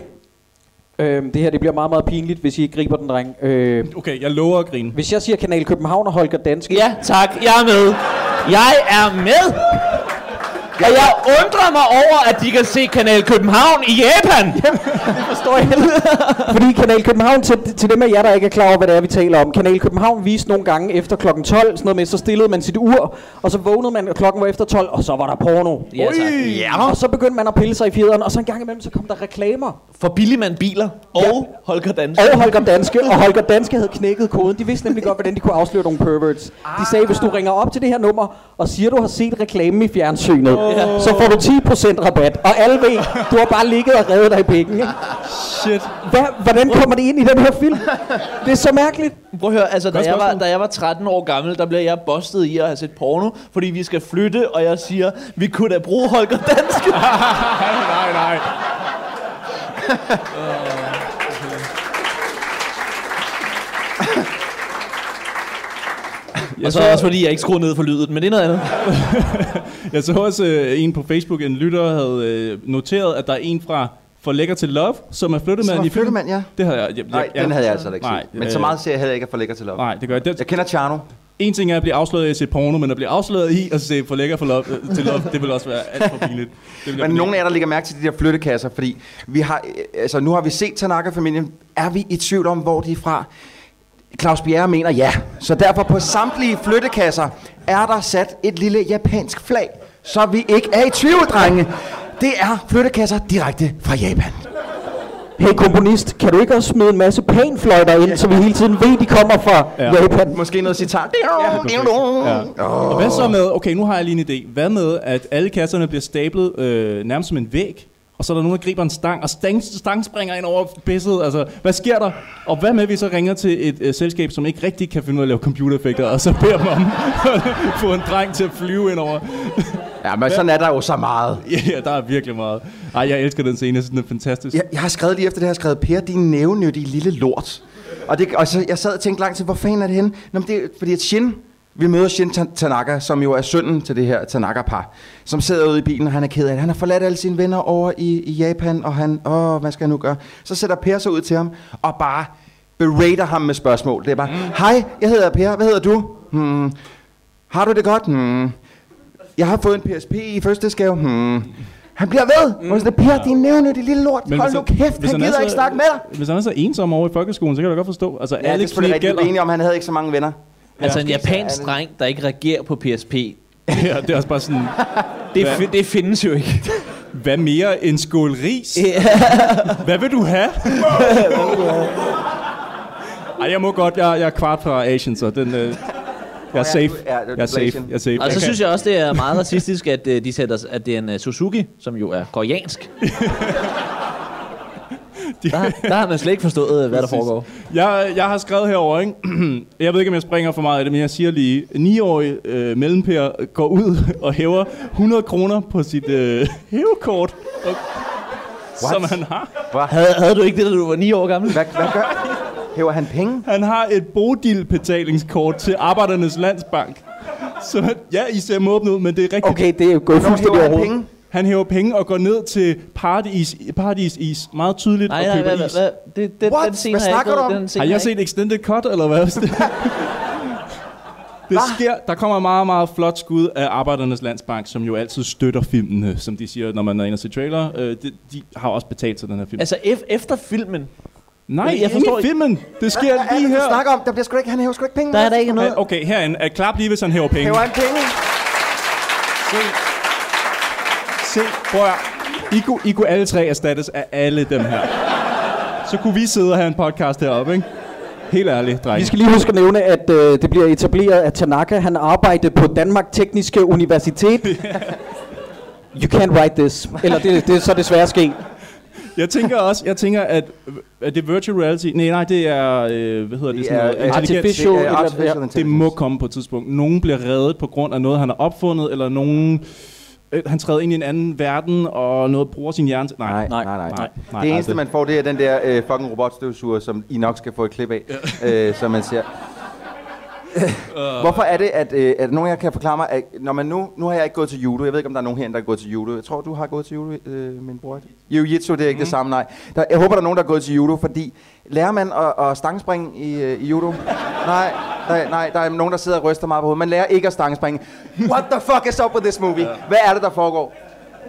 Speaker 2: Øhm, det her det bliver meget, meget pinligt, hvis I ikke griber den, dreng. Øh,
Speaker 4: Okay, jeg lover at grine.
Speaker 2: hvis jeg siger Kanal København og Holger Danske,
Speaker 5: Ja, tak. Jeg er med. Jeg er med. Og jeg undrer mig over, at de kan se Kanal København i Japan.
Speaker 2: forstår jeg heller. Fordi Kanal København, til, til dem af jer, der ikke er klar over, hvad det er, vi taler om. Kanal København viste nogle gange efter kl. 12, sådan noget med, så stillede man sit ur, og så vågnede man, og klokken var efter 12, og så var der porno.
Speaker 5: Altså, Ja, tak.
Speaker 2: Ja. Og så begyndte man at pille sig i fjederen, og så en gang imellem, så kom der reklamer.
Speaker 5: For Billigman Biler og ja. Holger Danske.
Speaker 2: Og Holger Danske, og Holger Danske havde knækket koden. De vidste nemlig godt, hvordan de kunne afsløre nogle perverts. De sagde, hvis du
Speaker 5: Ah.
Speaker 2: ringer op til det her nummer, og siger, du har set reklamen i fjernsynet, så får du 10% rabat. Og alle ved, du har bare ligget og reddet dig i pikken. ikke?
Speaker 4: Shit.
Speaker 2: Hvad, hvordan kommer det ind i den her film? Det er så mærkeligt.
Speaker 5: Prøv at høre, altså, da
Speaker 4: Godt
Speaker 5: jeg, var,
Speaker 4: spørgsmål.
Speaker 5: da jeg var 13 år gammel, der blev jeg bustet i at have set porno, fordi vi skal flytte, og jeg siger, vi kunne da bruge Holger Danske.
Speaker 4: nej, nej, nej.
Speaker 5: og så også fordi jeg ikke skruede ned for lydet, men det er noget andet.
Speaker 4: Jeg så også øh, en på Facebook, en lytter havde øh, noteret, at der er en fra For Lækker til Love, som er flyttemand
Speaker 3: Som er
Speaker 4: i filmen.
Speaker 3: flyttemand, ja.
Speaker 4: Det havde jeg. jeg,
Speaker 3: Nej,
Speaker 4: jeg, jeg
Speaker 3: den havde jeg altså ikke
Speaker 4: Nej,
Speaker 3: set. Men så
Speaker 4: øh,
Speaker 3: meget ser jeg heller ikke at få lækker til lov.
Speaker 4: Nej, det gør jeg.
Speaker 3: Jeg
Speaker 4: Det,
Speaker 3: kender Tjerno.
Speaker 4: en ting er at blive afsløret i at se porno, men at blive afsløret i at se For Lækker for love, øh, til Love, det vil også være alt for pinligt. Det vil jeg
Speaker 3: Men nogen af
Speaker 4: fornemme.
Speaker 3: jer, der lægger mærke til de der flyttekasser, fordi vi har, øh, altså, nu har vi set Tanaka-familien. Er vi i tvivl om, hvor de er fra? Claus Bjerre mener ja. Så derfor på samtlige flyttekasser er der sat et lille japansk flag, så vi ikke er i tvivl, drenge. Det er flyttekasser direkte fra Japan.
Speaker 2: Hey komponist, kan du ikke også smide en masse panfløjter ind, så vi hele tiden ved, de kommer fra
Speaker 4: Ja.
Speaker 2: Japan?
Speaker 3: Måske noget citat.
Speaker 4: Ja. Og hvad så med, okay, nu har jeg lige en idé. Hvad med, at alle kasserne bliver stablet øh, nærmest som en væg, og så er der nogen, der griber en stang, og stang, stang springer ind over pisset. Altså, hvad sker der? Og hvad med, at vi så ringer til et øh, selskab, som ikke rigtig kan finde ud af at lave computereffekter, og så beder dem om at få en dreng til at flyve ind over?
Speaker 3: Ja, men sådan er der jo så meget.
Speaker 4: ja, der er virkelig meget. Ej, jeg elsker den scene. Jeg synes, den er fantastisk.
Speaker 3: Jeg, jeg har skrevet lige efter det, jeg har skrevet, Per, din nævnyttige lille lort. Og, det, og så, jeg sad og tænkte langt til, hvor fanden er det henne? Nå, men det, er- fordi at Shin, vi møder Shin Tan- Tanaka, som jo er sønnen til det her Tanaka-par, som sidder ude i bilen, og han er ked af det. Han har forladt alle sine venner over i, i Japan, og han, åh, hvad skal jeg nu gøre? Så sætter Per sig ud til ham, og bare berater ham med spørgsmål. Det er bare, hej, jeg hedder Per, hvad hedder du? Hmm. Har du det godt? Hmm. Jeg har fået en PSP i fødselsdagsgave. Hmm. Han bliver ved. Mm. Sådan, per, din nævne, det lille lort. Men Hold
Speaker 4: hvis
Speaker 3: nu
Speaker 4: han-
Speaker 3: kæft,
Speaker 4: hvis
Speaker 3: han
Speaker 4: er
Speaker 3: gider
Speaker 4: så-
Speaker 3: ikke snakke med dig.
Speaker 4: Hvis han er så ensom over i folkeskolen, så kan jeg da godt forstå. Altså,
Speaker 3: Ja, det
Speaker 4: alle
Speaker 3: er selvfølgelig
Speaker 4: knep
Speaker 3: rigtigt. Vi er
Speaker 4: gælder.
Speaker 3: enige om, at han havde ikke så mange venner.
Speaker 5: Altså en
Speaker 3: Ja.
Speaker 5: japansk dreng, der ikke reagerer på PSP,
Speaker 4: ja, det er også bare sådan,
Speaker 5: det,
Speaker 4: Hvad?
Speaker 5: fi- det findes jo ikke.
Speaker 4: hvad mere end skål ris? Hvad vil du have? Ej, jeg må godt. Jeg, jeg er kvart fra Asian, så den... Øh, jeg er safe.
Speaker 3: du- ja,
Speaker 4: Jeg
Speaker 3: du
Speaker 4: er
Speaker 3: er
Speaker 4: safe.
Speaker 3: Asian.
Speaker 4: Jeg er safe.
Speaker 5: Og så
Speaker 4: kan-
Speaker 5: synes jeg også, det er meget racistisk, at øh, de sætter, at det er en øh, Suzuki, som jo er koreansk. der, der har man slet ikke forstået, øh, hvad der
Speaker 4: Præcis.
Speaker 5: foregår.
Speaker 4: Jeg, jeg har skrevet herover, ikke? jeg ved ikke, om jeg springer for meget af det, men jeg siger lige, 9-årig øh, mellempær går ud og hæver 100 kroner på sit øh, hævekort, og, som han har.
Speaker 5: Havde, havde du ikke det, da du var 9 år gammel?
Speaker 3: Hvad, hvad gør Hæver han penge?
Speaker 4: Han har et bodilbetalingskort til Arbejdernes Landsbank. Så ja, I ser måbne ud, men det er rigtigt.
Speaker 2: Okay, det er jo gået
Speaker 3: Hvorfor hæver
Speaker 2: fuldstændig
Speaker 3: han
Speaker 2: overhovedet.
Speaker 3: penge?
Speaker 4: Han hæver penge og går ned til Paradis, Paradis Is meget tydeligt
Speaker 5: Nej,
Speaker 4: og
Speaker 5: nej,
Speaker 4: køber
Speaker 5: hvad, hvad,
Speaker 4: is.
Speaker 5: hvad? Det, det,
Speaker 3: What?
Speaker 5: den scene
Speaker 3: Hvad
Speaker 5: har jeg ikke
Speaker 3: snakker du
Speaker 5: gået-
Speaker 3: om?
Speaker 5: Den scene
Speaker 4: Har
Speaker 5: jeg
Speaker 4: jeg
Speaker 5: ikke-
Speaker 4: set Extended Cut, eller hvad? Det sker. Der kommer et meget, meget flot skud af Arbejdernes Landsbank, som jo altid støtter filmene, som de siger, når man er inde og se trailer. Øh, de, de har også betalt til den her film. Altså,
Speaker 5: Altså, ef- efter filmen,
Speaker 4: Nej,
Speaker 5: jeg
Speaker 4: jeg
Speaker 5: forstår
Speaker 4: forstår i filmen. Det sker
Speaker 3: Hvad er
Speaker 4: lige
Speaker 3: det, du
Speaker 4: her.
Speaker 3: snakker om? Der bliver sgu da ikke, han hæver sgu da ikke penge.
Speaker 5: der er der ikke noget.
Speaker 4: Ah, Okay, herinde. Ah, Klap lige, hvis han hæver penge.
Speaker 3: Hæver han penge?
Speaker 4: Se, prøv at høre. I kunne, I kunne alle tre erstattes af alle dem her. Så kunne vi sidde og have en podcast heroppe, ikke? Helt ærligt, drenge.
Speaker 2: Vi skal lige huske at nævne, at øh, det bliver etableret, at Tanaka han arbejdede på Danmark Tekniske Universitet. You can't write this. Eller det, det er så desværre sket.
Speaker 4: Jeg tænker også, jeg tænker, at, at det er virtual reality... Nej, nej, det er... Øh, hvad hedder det?
Speaker 3: er,
Speaker 4: Sådan
Speaker 3: øh,
Speaker 4: noget, intelligens.
Speaker 2: artificial-
Speaker 3: Det er
Speaker 2: et eller
Speaker 3: artificial
Speaker 4: Det må komme på et tidspunkt. Nogen bliver reddet på grund af noget, han har opfundet, eller nogen... Øh, han træder ind i en anden verden, og noget bruger sin hjerne til...
Speaker 3: Nej,
Speaker 4: Nej, nej.
Speaker 3: nej, nej. nej.
Speaker 4: nej,
Speaker 3: Det eneste,
Speaker 4: det-
Speaker 3: man får, det er den der øh, fucking robotstøvsuger, som I nok skal få et klip af, øh, som man ser. Hvorfor er det, at, øh, at nogen af jer kan forklare mig, at når man nu, nu har jeg ikke gået til judo, jeg ved ikke, om der er nogen herinde, der er gået til judo. Jeg tror, du har gået til judo, øh, min bror. Jiu-jitsu, det er ikke mm.
Speaker 5: Mhm.
Speaker 3: det samme, nej. Der, jeg håber, der er nogen, der er gået til judo, fordi lærer man at, at stangspringe i, øh, i judo? nej, nej, nej, der er nogen, der sidder og ryster meget på hovedet. Man lærer ikke at stangspringe. What the fuck is up with this movie? Hvad er det, der foregår?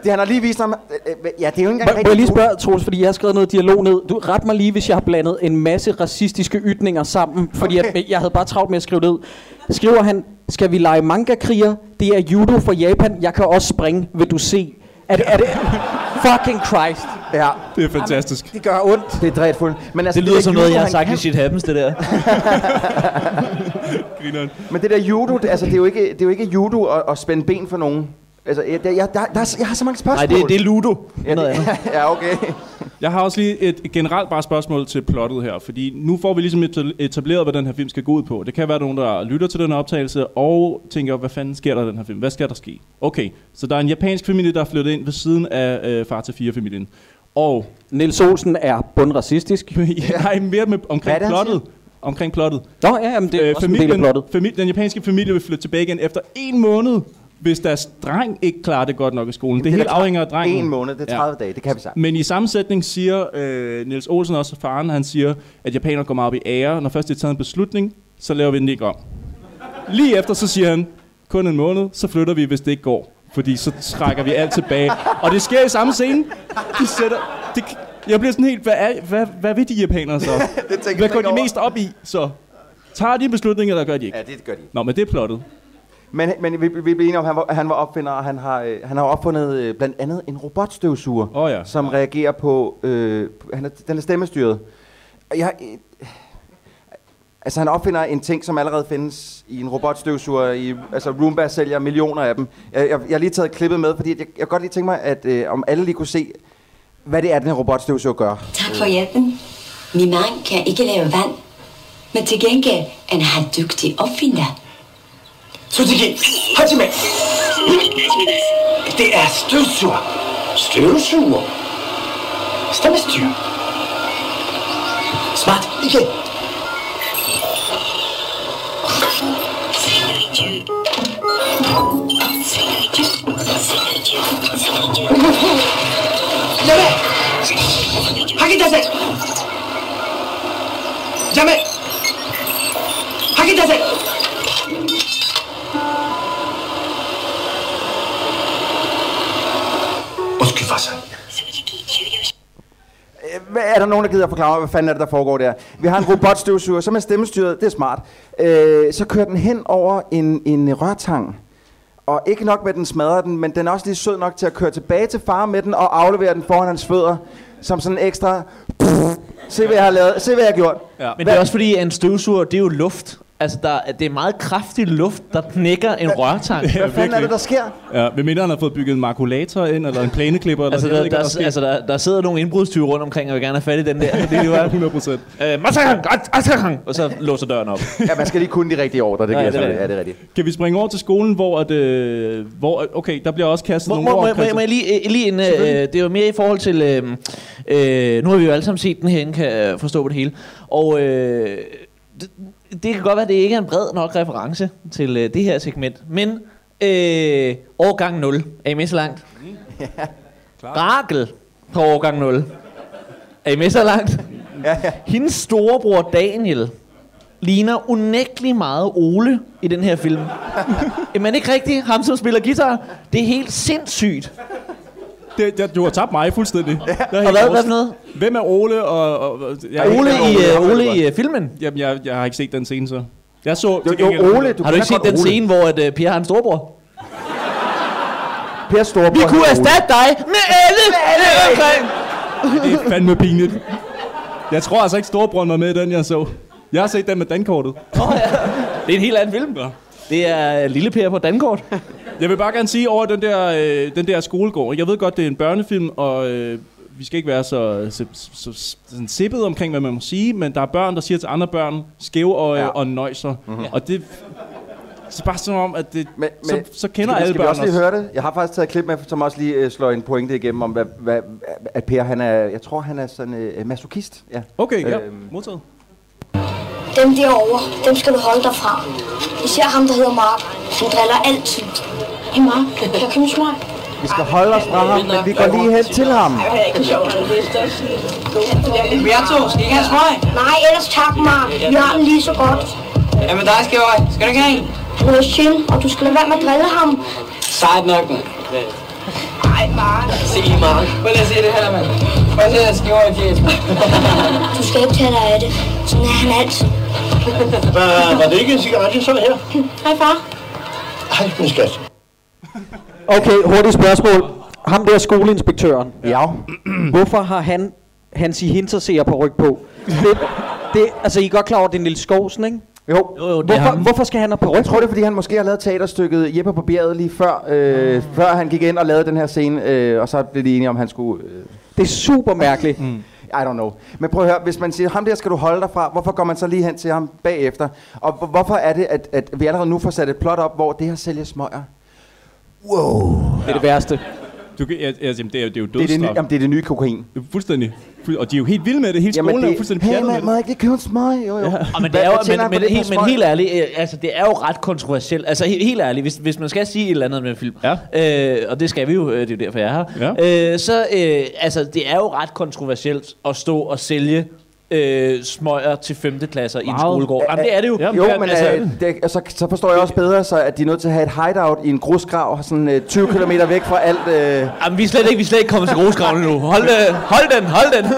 Speaker 3: Det, han har lige vist ham... øh, øh, Ja, det er jo ikke engang
Speaker 2: Må, må jeg
Speaker 3: rigtig
Speaker 2: lige
Speaker 3: judo.
Speaker 2: spørge, Troels, fordi jeg har skrevet noget dialog ned. Du ret mig lige, hvis jeg har blandet en masse racistiske ytninger sammen, fordi okay. jeg, jeg havde bare travlt med at skrive det ud. Skriver han, skal vi lege manga-kriger? Det er judo fra Japan. Jeg kan også springe, vil du se. Er det, er det fucking Christ.
Speaker 3: Ja,
Speaker 4: Det er fantastisk.
Speaker 2: Det gør ondt.
Speaker 3: det er drætfuldt. Men altså,
Speaker 5: Det lyder
Speaker 3: der
Speaker 5: som
Speaker 3: judo,
Speaker 5: noget, jeg har
Speaker 3: han
Speaker 5: sagt i
Speaker 3: kan-
Speaker 5: Shit Happens, det der.
Speaker 4: Grineren.
Speaker 3: Men det der judo, det, altså, det, er jo ikke, det er jo ikke judo at, at spænde ben for nogen. Altså, jeg, jeg, der, der, er, jeg har så mange
Speaker 5: Nej,
Speaker 3: spørgsmål.
Speaker 5: det, det er Ludo.
Speaker 3: ja,
Speaker 5: Noget andet.
Speaker 3: det, ja, okay.
Speaker 4: Jeg har også lige et generelt bare spørgsmål til plottet her, fordi nu får vi ligesom etab- etableret, hvad den her film skal gå ud på. Det kan være, at nogen, der lytter til den her optagelse og tænker, hvad fanden sker der i den her film? Hvad skal der ske? Okay, så der er en japansk familie, der er flyttet ind ved siden af øh, far til fire familien. Og
Speaker 2: Niels Olsen er bundracistisk.
Speaker 4: jeg har mere med, omkring
Speaker 3: Hvad er det, han
Speaker 4: plottet. Omkring plottet.
Speaker 2: Nå ja, jamen, det er øh,
Speaker 4: Øh,
Speaker 2: også en del af
Speaker 4: familien,
Speaker 2: plottet.
Speaker 4: familien, den japanske familie vil flytte tilbage igen efter en måned, hvis deres dreng ikke klarer det godt nok i skolen. Det, det er helt
Speaker 3: der
Speaker 4: afhænger af drengen.
Speaker 3: En måned, det er 30 ja. dage, det kan vi sagt.
Speaker 4: Men i sammensætning siger øh, Niels Olsen også, faren, han siger, at japanere går meget op i ære. Når først de har taget en beslutning, så laver vi den ikke om. Lige efter, så siger han, kun en måned, så flytter vi, hvis det ikke går. Fordi så trækker vi alt tilbage. Og det sker i samme scene. De sætter... Det, jeg bliver sådan helt, hvad, er, hvad, hvad vil de japanere så?
Speaker 3: tænker
Speaker 4: hvad
Speaker 3: man
Speaker 4: går
Speaker 3: ikke
Speaker 4: de
Speaker 3: over.
Speaker 4: mest op i? Så tager de beslutninger, eller gør de ikke?
Speaker 3: Ja, det gør de.
Speaker 4: Nå, men det er plottet.
Speaker 3: Men, men vi, vi blev enige om, at han var, han var opfinder, og han har, øh, han har opfundet øh, blandt andet en robotstøvsuger,
Speaker 4: Åh ja.
Speaker 3: som reagerer på... Øh, han er, den er stemmestyret. Og Jeg, øh, altså, han opfinder en ting, som allerede findes i en robotstøvsuger. I, altså, Roomba sælger millioner af dem. Jeg, jeg, jeg har lige taget klippet med, fordi jeg, jeg kan godt lige tænke mig, at øh, om alle lige kunne se, hvad det er, den her robotstøvsuger gør.
Speaker 6: Tak for hjælpen. Min mand kan ikke lave vand, men til gengæld er han dygtig opfinder.
Speaker 8: Sutiki, Hajime. Det er støvsuger. Støvsuger? Stemmestyr. Smart, ikke? Jamen! Hakidase! Jamen! Hakidase! Undskyld, farsan.
Speaker 3: Hvad- Er der nogen, der gider at forklare mig, hvad fanden er det, der foregår der? Vi har en robotstøvsuger, som er stemmestyret. Det er smart. Øh, så kører den hen over en, en rørtang. Og ikke nok med, at den smadrer den, men den er også lige sød nok til at køre tilbage til far med den og aflevere den foran hans fødder. Som sådan en ekstra... Se, hvad jeg har lavet. Se, hvad jeg har gjort.
Speaker 4: Ja.
Speaker 5: Men det er også fordi, at en støvsuger, det er jo luft. Altså, der, er- det er meget kraftig luft, der knækker en rørtang.
Speaker 3: Hvad fanden er det, der sker?
Speaker 4: Ja, hvad mindre han har fået bygget en makulator ind, eller en plæneklipper, eller
Speaker 5: Altså,
Speaker 4: jeg ved
Speaker 5: der,
Speaker 4: ikke,
Speaker 5: der,
Speaker 4: hvad der,
Speaker 5: der, altså, der, der sidder nogle indbrudstyve rundt omkring, og vil gerne have fat i den der. Det er jo
Speaker 4: sker. 100 procent.
Speaker 5: øh, "Masakang, at- asakang," og så låser døren op.
Speaker 3: Ja, man skal lige kunne de rigtige ordre. Det,
Speaker 5: Nej,
Speaker 3: kan
Speaker 5: det er
Speaker 3: jeg, det, ja, det
Speaker 5: det.
Speaker 3: er rigtigt.
Speaker 4: Kan vi springe over til skolen, hvor at, øh, hvor, at- okay, der bliver også kastet
Speaker 5: Må,
Speaker 4: nogle
Speaker 5: må,
Speaker 4: ord
Speaker 5: må, må,
Speaker 4: Christian.
Speaker 5: må jeg lige, øh, lige en, øh, det er jo mere i forhold til, øh, øh, nu har vi jo alle sammen set den herinde, kan jeg forstå på det hele, og øh, det, det kan godt være, at det ikke er en bred nok reference til øh, det her segment, men Øh, årgang 0. Er I med så langt? Ja. Rakel på årgang 0. Er I med så langt?
Speaker 3: Ja, ja.
Speaker 5: Hendes storebror Daniel ligner unægtelig meget Ole i den her film. Men ikke rigtigt? Ham, som spiller guitar. Det er helt sindssygt.
Speaker 4: Det, det, du har tabt mig fuldstændig. Ja.
Speaker 5: Og hvad, hvad for noget?
Speaker 4: Hvem er Ole og... og, og jeg,
Speaker 5: Ole i,
Speaker 3: Ole,
Speaker 5: øh,
Speaker 3: Ole,
Speaker 5: Ole i øh, filmen.
Speaker 4: Jamen, jeg, jeg har ikke set den scene, så... Jeg så...
Speaker 3: Jo,
Speaker 4: til
Speaker 3: jo,
Speaker 4: gengæld-
Speaker 3: Ole, du
Speaker 5: Har du ikke set den scene, hvor at, øh, Pia har en storebror?
Speaker 3: Per Storbror.
Speaker 5: Vi kunne erstatte dig med alle! omkring.
Speaker 4: Det er fandme pinligt. Jeg tror altså ikke, Storebror var med i den, jeg så. Jeg har set den med dankortet.
Speaker 5: Det er en helt anden film.
Speaker 4: Ja.
Speaker 5: Det er øh, Lille Per på Dankort.
Speaker 4: Jeg vil bare gerne sige over den der, øh, den der skolegård. ikke? Jeg ved godt, det er en børnefilm, og øh, vi skal ikke være så, så, så, så sådan sippet omkring, hvad man må sige, men der er børn, der siger til andre børn, skæve og, ja.
Speaker 3: Ja. Mhm.
Speaker 4: og nøjser. Mm-hmm. Og det... Så er bare som om, at det,
Speaker 3: Men, men,
Speaker 4: så, så kender
Speaker 3: skal,
Speaker 4: alle
Speaker 3: skal vi
Speaker 4: børn
Speaker 3: også lige høre det? Jeg har faktisk taget et klip med, som også lige øh, slår en pointe igennem om, hvad, hvad, at Per, han er, jeg tror, han er sådan øh, masochist. Ja.
Speaker 4: Okay, ja.
Speaker 3: Øhm.
Speaker 4: Modtaget.
Speaker 6: Dem derovre, dem skal du holde dig fra. Især ham, der hedder Mark. Han driller altid. Hey Mark, kan jeg kysse mig?
Speaker 3: Vi skal holde os fra ham, men vi går lige hen til ham.
Speaker 9: Umberto, skal I ikke have smøg?
Speaker 6: Nej, ellers tak, Mark. Vi har den lige så godt.
Speaker 9: Ja, med dig, Skævøj. Skal du ikke have en?
Speaker 6: Han er chill, og du skal lade være med at drille ham.
Speaker 9: Sejt nok, mand.
Speaker 6: Nej, Mark.
Speaker 9: Se, Mark. Prøv lige at se det her, mand. Prøv lige at skævøj i fjes.
Speaker 6: Du skal ikke tage dig af det. Sådan er han altid.
Speaker 8: Var, var det ikke en cigaret, jeg så her?
Speaker 6: Hej, far.
Speaker 8: Ej, min skat.
Speaker 2: Okay, hurtigt spørgsmål. Ham der skoleinspektøren.
Speaker 3: Ja.
Speaker 2: Hvorfor har han hans i hinterseer på ryg på? Det, det, altså, I er godt klar over, at det er Niels Skovsen, ikke?
Speaker 3: Jo.
Speaker 5: Jo, jo, det er
Speaker 2: Hvorfor,
Speaker 5: ham.
Speaker 2: hvorfor skal han have på ryg?
Speaker 3: Jeg tror, det er, fordi han måske har lavet teaterstykket Jeppe på bjerget lige før,
Speaker 4: Ah.
Speaker 3: øh, før han gik ind og lavede den her scene, øh, og så blev de enige om, han skulle... Øh,
Speaker 2: Det er super mærkeligt. Mm.
Speaker 3: I don't know. Men prøv at høre, hvis man siger, ham der skal du holde dig fra, hvorfor går man så lige hen til ham bagefter? Og hvor- hvorfor er det, at, at vi allerede nu får sat et plot op, hvor det her sælger smøger?
Speaker 2: Det er det værste.
Speaker 4: Du, kan- jeg, jeg, jamen, det, er, det er jo
Speaker 3: Det er det,
Speaker 4: dødsstraf.
Speaker 3: nye, jamen, det er det nye kokain.
Speaker 4: Fuldstændig. Fuld- Og de er jo helt vilde med det. Hele skolen
Speaker 3: Jamen,
Speaker 4: er jo
Speaker 3: det,
Speaker 4: fuldstændig
Speaker 3: hey,
Speaker 4: pjattet med
Speaker 3: man,
Speaker 4: det.
Speaker 3: må jeg ikke lige købe en smøg? Jo, jo. Ja.
Speaker 5: Og Ah, men, det er jo, men, men, helt, men helt ærligt, øh, altså, det er jo ret kontroversielt. Altså helt, helt ærligt, hvis, hvis man skal sige et eller andet med en film, ja. øh, og det skal vi jo, øh, det er jo derfor, jeg er her, ja. øh, så øh, altså, det er jo ret kontroversielt at stå og sælge øh, smøger til 5. klasser i en skolegård. Jamen, det er det jo.
Speaker 3: Jamen, jo, men altså, øh, det, altså, så forstår jeg også bedre, så, at de er nødt til at have et hideout i en grusgrav, sådan øh, 20 km væk fra alt. Øh,
Speaker 5: Jamen, vi er slet ikke, vi er slet ikke kommet til grusgraven nu. Hold, øh, hold den, hold den.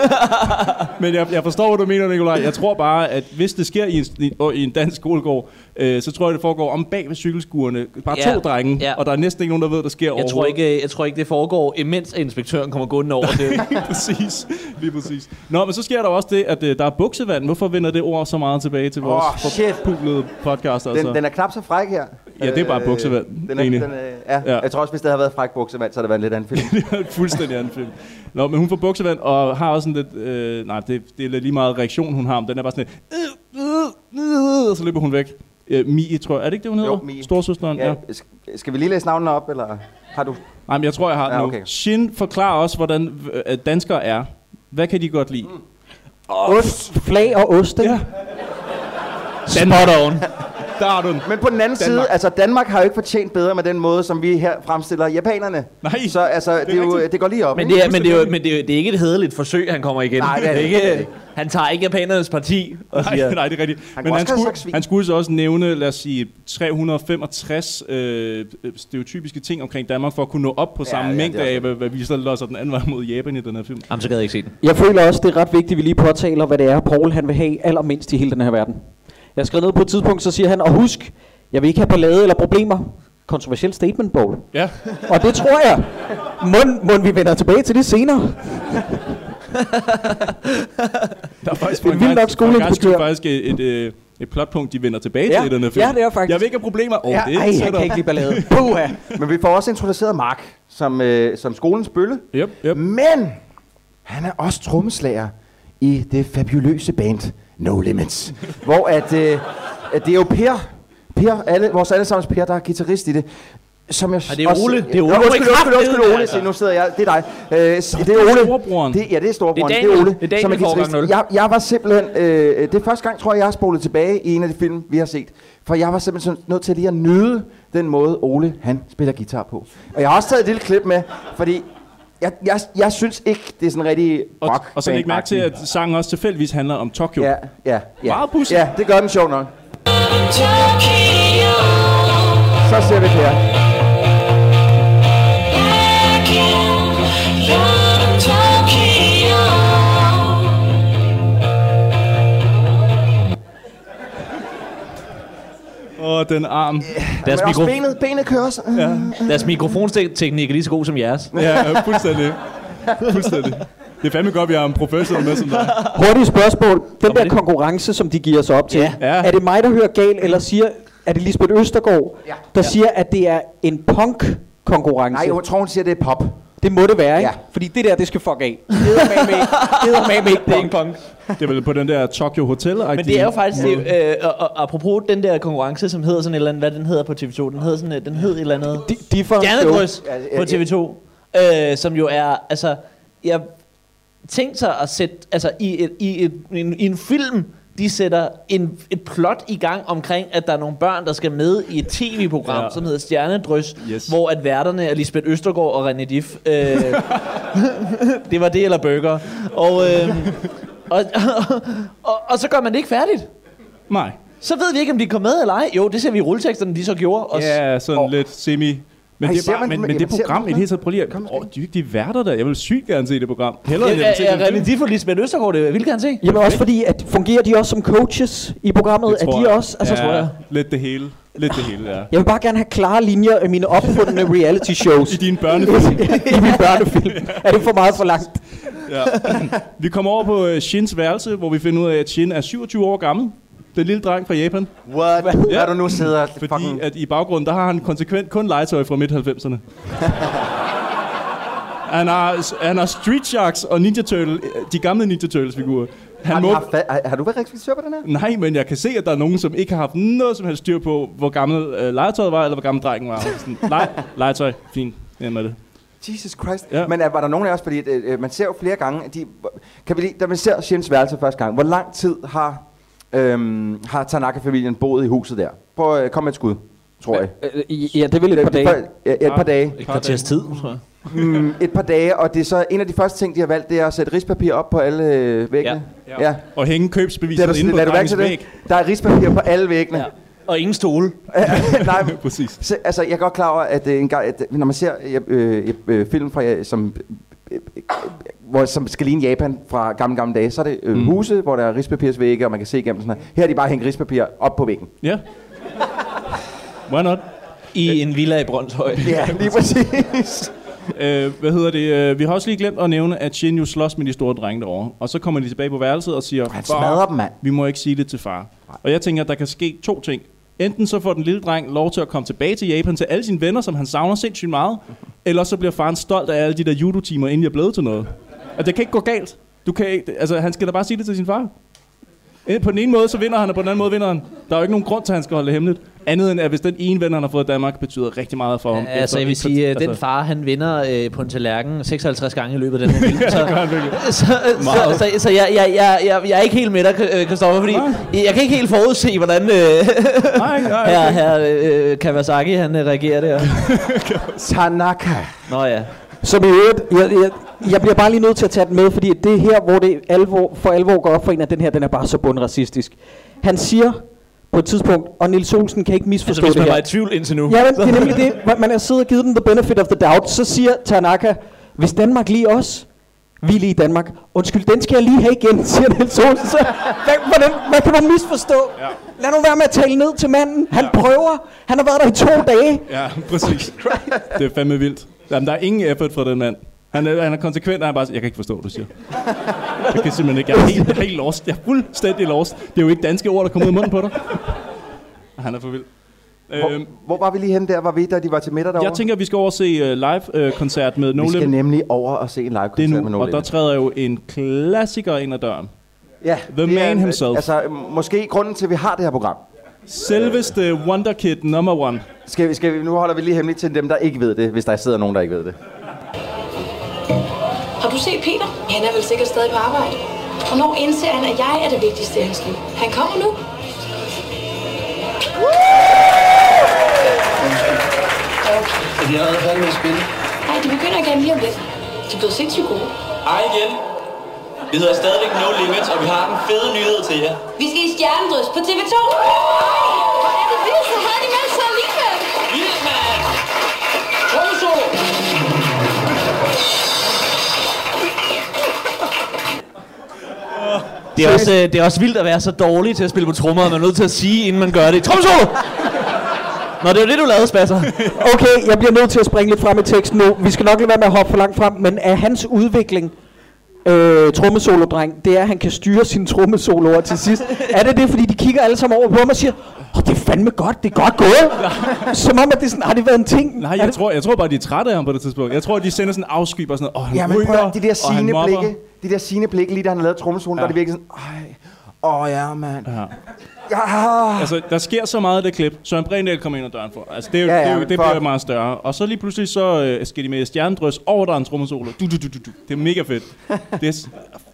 Speaker 4: Men jeg, jeg forstår, hvad du mener, Nikolaj. Jeg tror bare, at hvis det sker i en, i, i en dansk skolegård, øh, så tror jeg, det foregår om bag ved cykelskuerne. Bare
Speaker 5: Ja.
Speaker 4: to drenge,
Speaker 5: Ja.
Speaker 4: og der er næsten ikke nogen, der ved, der sker
Speaker 5: Jeg tror,
Speaker 4: overhovedet.
Speaker 5: ikke, øh, jeg tror ikke, det foregår, imens inspektøren kommer gående over det.
Speaker 4: Lige præcis. Lige præcis. Nå, men så sker der jo også det, at øh, der er buksevand. Hvorfor vender det ord så meget tilbage til vores
Speaker 3: Åh, shit.
Speaker 4: forpuglede podcast? Altså?
Speaker 3: den, den er knap så fræk her. Øh,
Speaker 4: Ja, det er bare buksevand,
Speaker 3: Den er,
Speaker 4: egentlig.
Speaker 3: den, øh, ja.
Speaker 4: Ja.
Speaker 3: ja. Jeg tror også, hvis det havde været fræk buksevand, så havde det været en lidt anden film.
Speaker 4: det er en fuldstændig anden film. Nå, men hun får buksevand, og har også en lidt... Øh, nej, det, det er lidt lige meget reaktion, hun har. Men den er bare sådan lidt... Øh, øh, øh, og så løber hun væk. Øh, Mie, tror jeg. Er det ikke det, hun hedder?
Speaker 3: Mie.
Speaker 4: Storsøsteren, ja.
Speaker 3: ja. sk- Skal vi lige læse navnene op, eller har du...
Speaker 4: Nej, men jeg tror, jeg har den
Speaker 3: Ja,
Speaker 4: nu.
Speaker 3: okay.
Speaker 4: Shin forklarer os, hvordan øh, danskere er. Hvad kan de godt lide? Mm.
Speaker 2: Ost, flag og ost, ikke?
Speaker 4: Ja.
Speaker 5: Spot on.
Speaker 4: Der har du den.
Speaker 3: Men på den anden
Speaker 4: Danmark.
Speaker 3: side, altså Danmark har jo ikke fortjent bedre med den måde, som vi her fremstiller japanerne.
Speaker 4: Nej,
Speaker 3: Så altså, det, er jo,
Speaker 4: rigtigt.
Speaker 3: det går lige op.
Speaker 5: Men
Speaker 3: ikke?
Speaker 5: det er, men det er, jo, men det er, jo- det er ikke et hederligt forsøg, han kommer igen.
Speaker 3: Nej, det er det ikke.
Speaker 5: ikke. Han tager ikke japanernes parti og siger...
Speaker 4: Nej, nej, det er rigtigt.
Speaker 3: Han
Speaker 4: men
Speaker 3: kunne
Speaker 4: han
Speaker 3: også have
Speaker 4: skulle,
Speaker 3: sagt svin.
Speaker 4: han skulle så også nævne, lad os sige, 365 øh, øh, stereotypiske ting omkring Danmark, for at kunne nå op på ja, samme
Speaker 3: ja,
Speaker 4: mængde
Speaker 3: det er
Speaker 4: af,
Speaker 3: også
Speaker 4: hvad, hvad vi så losser den anden vej mod Japan i den her film.
Speaker 5: Jamen, så gad jeg ikke se den.
Speaker 2: Jeg føler også, det er ret vigtigt, at vi lige påtaler, hvad det er, Paul han vil have allermindst i hele den her verden. Jeg skrev ned på et tidspunkt, så siger han, og husk, jeg vil ikke have ballade eller problemer. Kontroversiel statement, Paul.
Speaker 4: Ja,
Speaker 2: Og det tror jeg. Mund, mund vi vender tilbage til det senere.
Speaker 4: der er faktisk
Speaker 2: Det er
Speaker 4: for en
Speaker 2: vildt nok
Speaker 4: gang- for en gangs skyld
Speaker 2: skoleinspektør.
Speaker 4: faktisk et, et, øh, et plotpunkt, de vender tilbage
Speaker 2: Ja.
Speaker 4: til i den her film.
Speaker 2: Ja, det er faktisk.
Speaker 4: Jeg vil ikke have problemer. Oh,
Speaker 2: Ja,
Speaker 4: det er
Speaker 2: ej, jeg
Speaker 4: setup.
Speaker 2: kan ikke lide ballade. Puha.
Speaker 3: Men vi får også introduceret Mark som, øh, som skolens bølle.
Speaker 4: Yep, yep.
Speaker 3: Men han er også trommeslager i det fabuløse band No Limits. hvor at, øh, at det er jo Per, per alle, vores allesammens Per, der er guitarist i det. som jeg...
Speaker 4: det er Ole.
Speaker 3: Også,
Speaker 4: Det er Ole.
Speaker 3: Nå, Undskyld, undskyld, undskyld, Ole.
Speaker 4: Altså.
Speaker 3: Se, nu sidder jeg. Det er dig. Øh, s- det
Speaker 4: er
Speaker 3: er Ole.
Speaker 4: storebroren.
Speaker 3: Det, ja, det er storebroren.
Speaker 5: Det er
Speaker 3: Det er
Speaker 5: Daniel.
Speaker 3: Ole.
Speaker 5: Det er Daniel
Speaker 3: som er
Speaker 5: fra
Speaker 3: guitarist.
Speaker 5: Årgang nul.
Speaker 3: Jeg, jeg var simpelthen... Øh, det er første gang, tror jeg, jeg har spolet tilbage i en af de film, vi har set. For jeg var simpelthen nødt til lige at nyde den måde, Ole, han spiller guitar på. Og jeg har også taget et lille klip med, fordi... Jeg, jeg, jeg synes ikke, det er sådan rigtig
Speaker 4: Og,
Speaker 3: rock
Speaker 4: og så læg mærke til, at sangen også tilfældigvis handler om Tokyo.
Speaker 3: Ja, ja, ja.
Speaker 4: Meget pudsigt.
Speaker 3: Ja, det gør den sjov nok. Så ser vi det her.
Speaker 4: Og den arm.
Speaker 5: Deres,
Speaker 3: Men også
Speaker 5: mikro,
Speaker 3: benet, benet kører også. Ja.
Speaker 5: deres mikrofonsteknik er lige så god som jeres.
Speaker 4: Ja, ja, fuldstændig. fuldstændig. Det er fandme godt, vi har en professor med som dig.
Speaker 2: Hurtigt spørgsmål. Den der
Speaker 5: det.
Speaker 2: konkurrence, som de giver sig op til.
Speaker 5: Ja.
Speaker 4: Ja.
Speaker 2: Er det mig, der hører galt, eller siger, er det Lisbeth Østergaard, ja. der siger, at det er en punk-konkurrence?
Speaker 3: Nej, jeg tror, hun siger, det er pop.
Speaker 2: Det må det være, ikke?
Speaker 3: Ja.
Speaker 2: Fordi det der, det skal fuck af. Det hedder med ikke. Det hedder med ikke. Det er ikke punk.
Speaker 4: Det er vel på den der Tokyo Hotel.
Speaker 5: Men det er jo faktisk, det, er jo, øh, og, og, apropos den der konkurrence, som hedder sådan et eller andet, hvad den hedder på TV2, den hedder sådan, øh, den hed et eller andet...
Speaker 2: De, de er for
Speaker 5: Stjernedrys
Speaker 3: Ja, ja,
Speaker 5: på
Speaker 3: ja.
Speaker 5: TV2, øh, som jo er, altså, jeg tænkte sig at sætte, altså i, et, i, et, i, en, i en film, de sætter en, et plot i gang omkring, at der er nogle børn, der skal med i et tv-program,
Speaker 4: Ja.
Speaker 5: ja. som hedder Stjernedrys,
Speaker 4: Yes.
Speaker 5: yes. hvor at værterne er Lisbeth Østergaard og René Diff. Øh, det var det, eller burger. Og, øh, og, og, og, og så gør man det ikke færdigt.
Speaker 4: Nej.
Speaker 5: Så ved vi ikke, om de kom med eller ej. Jo, det ser vi i rulleteksterne, de så gjorde. Og
Speaker 4: Ja, sådan
Speaker 3: Og-
Speaker 4: lidt semi... Men,
Speaker 3: Ej,
Speaker 4: det, er
Speaker 3: ser
Speaker 4: bare,
Speaker 3: man
Speaker 4: men,
Speaker 3: den-
Speaker 4: men det
Speaker 3: ser man
Speaker 4: program,
Speaker 3: den
Speaker 4: i det hele taget, prøv lige
Speaker 3: Kom,
Speaker 4: at...
Speaker 3: kom.
Speaker 4: Åh, de, de værter der. Jeg vil sygt gerne se det program. Hellere end jeg vil se
Speaker 5: Ja,
Speaker 4: den
Speaker 5: ja,
Speaker 4: film.
Speaker 5: René Diff og Lisbeth Østergaard, det vil jeg gerne se.
Speaker 2: Jamen også fordi, at fungerer de også som coaches i programmet?
Speaker 4: Det
Speaker 2: Er
Speaker 4: tror
Speaker 2: de
Speaker 4: jeg.
Speaker 2: også? Altså,
Speaker 4: ja,
Speaker 2: tror jeg.
Speaker 4: Lidt det hele. Lidt det hele, ja.
Speaker 2: Jeg vil bare gerne have klare linjer af mine opfundne reality shows
Speaker 4: I dine børnefilm.
Speaker 2: i min børnefilm. Er det for meget for langt?
Speaker 4: Ja. Vi kommer over på øh, Shins værelse, hvor vi finder ud af, at Shin er 27 år gammel. Den lille dreng fra Japan.
Speaker 3: What?
Speaker 4: Ja.
Speaker 3: Ja. Hvad du nu sidder
Speaker 4: Fordi
Speaker 3: fucking...
Speaker 4: at i baggrunden, der har han konsekvent kun legetøj fra midt-90'erne. han, har, han har Street Sharks og Ninja Turtle, øh, de gamle Ninja Turtles-figurer. Han
Speaker 3: Har,
Speaker 4: må,
Speaker 3: du haft, fa- har, har, du været respektør på den her?
Speaker 4: nej, men jeg kan se, at der er nogen, som ikke har haft noget som helst styr på, hvor gammel øh, legetøjet var, eller hvor gammel drengen var. Sådan, nej, legetøj, fint. Ja, med det.
Speaker 3: Jesus Christ.
Speaker 4: Ja.
Speaker 3: Ja. Men er, var der nogen af os, fordi øh, øh, man ser jo flere gange, at de, hvor- kan vi lige, da man ser Shins værelse første gang, hvor lang tid har, øhm, har Tanaka-familien boet i huset der? Prøv at øh, komme med et skud, tror jeg.
Speaker 2: Ja, det vil et par
Speaker 3: Øh,
Speaker 2: dage.
Speaker 3: for- Ja, ja, et par dage.
Speaker 5: Et kvarters tid, tror jeg.
Speaker 3: Mm, et par dage, og det er så en af de første ting, de har valgt, det er at sætte rispapir op på alle øh, væggene.
Speaker 4: Ja. Og hænge
Speaker 3: Det er
Speaker 4: købsbeviset
Speaker 3: der,
Speaker 4: inde på
Speaker 3: lad du mærke
Speaker 4: drengens
Speaker 3: til
Speaker 4: væg.
Speaker 3: det? Der er rispapir på alle væggene.
Speaker 5: Ja. Og ingen stole.
Speaker 3: Nej, men-
Speaker 4: Præcis.
Speaker 3: Så, altså, jeg er godt klar over, at øh, en gang, at, når man ser øh, øh, øh, film fra, øh, som, øh, øh, hvor, som skal ligne Japan fra gamle, gamle dage, så er det øh,
Speaker 4: Mm.
Speaker 3: huse, hvor der er rispapirsvægge, og man kan se igennem sådan her. Her er de bare hængt rispapir op på væggen.
Speaker 4: Ja. Why not?
Speaker 5: I en villa i Brøndshøj.
Speaker 3: Ja, lige præcis.
Speaker 4: Øh, hvad hedder det? Øh, vi har også lige glemt at nævne, at Shin jo slås med de store drenge derovre. Og så kommer de tilbage på værelset og siger,
Speaker 3: Han
Speaker 4: "Far,
Speaker 3: smadrer dem, mand.
Speaker 4: vi må ikke sige det til far. Og jeg tænker, at der kan ske to ting. Enten så får den lille dreng lov til at komme tilbage til Japan til alle sine venner, som han savner sindssygt meget. Eller så bliver faren stolt af alle de der judo-timer, inden jeg er blevet til noget. Og det kan ikke gå galt. Du kan ikke, altså, han skal da bare sige det til sin far. Eh, På den ene måde, så vinder han, og på den anden måde vinder han. Der er jo ikke nogen grund til, at han skal holde det hemmeligt. Andet end, at hvis den ene ven, han har fået i Danmark, betyder rigtig meget for ham.
Speaker 5: Altså,
Speaker 4: efter-
Speaker 5: jeg vil sige, at
Speaker 4: altså-
Speaker 5: den far, han vinder øh, på en tallerken 56 gange i løbet af den her film. Så,
Speaker 4: gør han virkelig.
Speaker 5: så, så, så, så jeg, jeg, jeg, jeg, jeg er ikke helt med dig, øh, Christoffer, fordi
Speaker 4: Nej.
Speaker 5: jeg kan ikke helt forudse, hvordan øh,
Speaker 4: Nej, nej,
Speaker 5: her,
Speaker 4: okay.
Speaker 5: her øh, Kawasaki, han øh, reagerer der.
Speaker 3: Tanaka.
Speaker 5: Nå ja.
Speaker 2: Som i øvrigt, jeg, jeg, jeg bliver bare lige nødt til at tage den med, fordi det er her, hvor det alvor, for alvor går op for en, at den her, den er bare så bundracistisk. Han siger på et tidspunkt, og Nils Olsen kan ikke
Speaker 5: Altså,
Speaker 2: misforstå
Speaker 5: hvis
Speaker 2: det
Speaker 5: man
Speaker 2: her.
Speaker 5: var i tvivl indtil nu.
Speaker 2: Ja, men det er nemlig det. Man- Man har siddet og givet dem the benefit of the doubt. Så siger Tanaka, hvis Danmark lige os, vi lige i Danmark. Undskyld, den skal jeg lige have igen, siger Niels Olsen. Så, hvad, hvordan, hvad kan man misforstå? Ja. Lad nu være med at tale ned til manden. Han ja. prøver. Han har været der i to dage.
Speaker 4: Ja, præcis. det er fandme vildt. Jamen, der er ingen effort fra den mand. Han er, han er konsekvent, og han er bare sådan, jeg kan ikke forstå, hvad du siger. Jeg kan simpelthen ikke. Jeg er helt, jeg er helt lost. Jeg er fuldstændig lost. Det er jo ikke danske ord, der kommer ud af munden på dig. Han er for vild. Øhm,
Speaker 3: Hvor, hvor var vi lige henne der? Var vi, da de var til middag derovre?
Speaker 4: jeg tænker, at vi skal over og se uh, live-koncert med No
Speaker 3: vi skal
Speaker 4: Limit.
Speaker 3: nemlig over og se en live-koncert
Speaker 4: Det er
Speaker 3: med
Speaker 4: nu, og
Speaker 3: Nordlem.
Speaker 4: der træder jo en klassiker ind ad døren.
Speaker 3: Ja,
Speaker 4: The
Speaker 3: det er
Speaker 4: man
Speaker 3: en-
Speaker 4: himself.
Speaker 3: Altså, øh, måske grunden til, at vi har det her program.
Speaker 4: Selveste Wonderkid number one.
Speaker 3: Skal vi, skal vi, nu holder vi lige hemmeligt til dem, der ikke ved det, hvis der sidder nogen, der ikke ved det.
Speaker 6: Har du set Peter? Han er vel sikkert stadig på arbejde. Hvornår indser han, at jeg er det vigtigste i hans liv? Han kommer nu.
Speaker 7: Er de allerede færdige med at spille?
Speaker 6: Nej, det begynder igen lige om lidt. De er blevet sindssygt gode.
Speaker 8: Hej igen. Vi hedder stadigvæk No Limits, og vi har en fed nyhed til jer.
Speaker 6: Vi skal i Stjernedrys på TV2. Hvor er det vildt, så havde de meldt sig alligevel.
Speaker 8: Vildt, mand! Tromsø!
Speaker 5: Det er, også, øh, det er også vildt at være så dårlig til at spille på trommer, at man er nødt til at sige, inden man gør det. Tromsø! Nå, det var det, du lavede, Spasser.
Speaker 2: Okay, jeg bliver nødt til at springe lidt frem i teksten nu. Vi skal nok lade være med at hoppe for langt frem, men er hans udvikling øh, trommesolo-dreng, det er, at han kan styre sine trommesoloer til sidst. Er det det, fordi de kigger alle sammen over på ham og siger, åh, det er fandme godt, det er godt gået. Som om, at det er sådan, har det været en ting?
Speaker 4: Nej, jeg tror, jeg tror bare, de er trætte af ham på det tidspunkt. Jeg tror, de sender sådan en afskyb og sådan noget. Åh, han
Speaker 3: Ja, men
Speaker 4: ryger,
Speaker 3: prøv, at- de der
Speaker 4: og han
Speaker 3: sine
Speaker 4: mobber."
Speaker 3: blikke, de der sine blikke, lige da han lavede trommesolen, ja. var det virkelig sådan, ej, åh ja, mand.
Speaker 4: Ja.
Speaker 3: Ja.
Speaker 4: Altså, der sker så meget af det klip. Søren Brændal kommer ind ad døren for. Altså, det, er jo,
Speaker 3: Ja,
Speaker 4: ja,
Speaker 3: ja,
Speaker 4: ja, det, er jo,
Speaker 3: men
Speaker 4: det
Speaker 3: fuck.
Speaker 4: bliver meget større. Og så lige pludselig, så øh, skal de med stjernedrøs over, der er en trommesolo. Du, du, du, du, du. Det er mega fedt. Det er, s-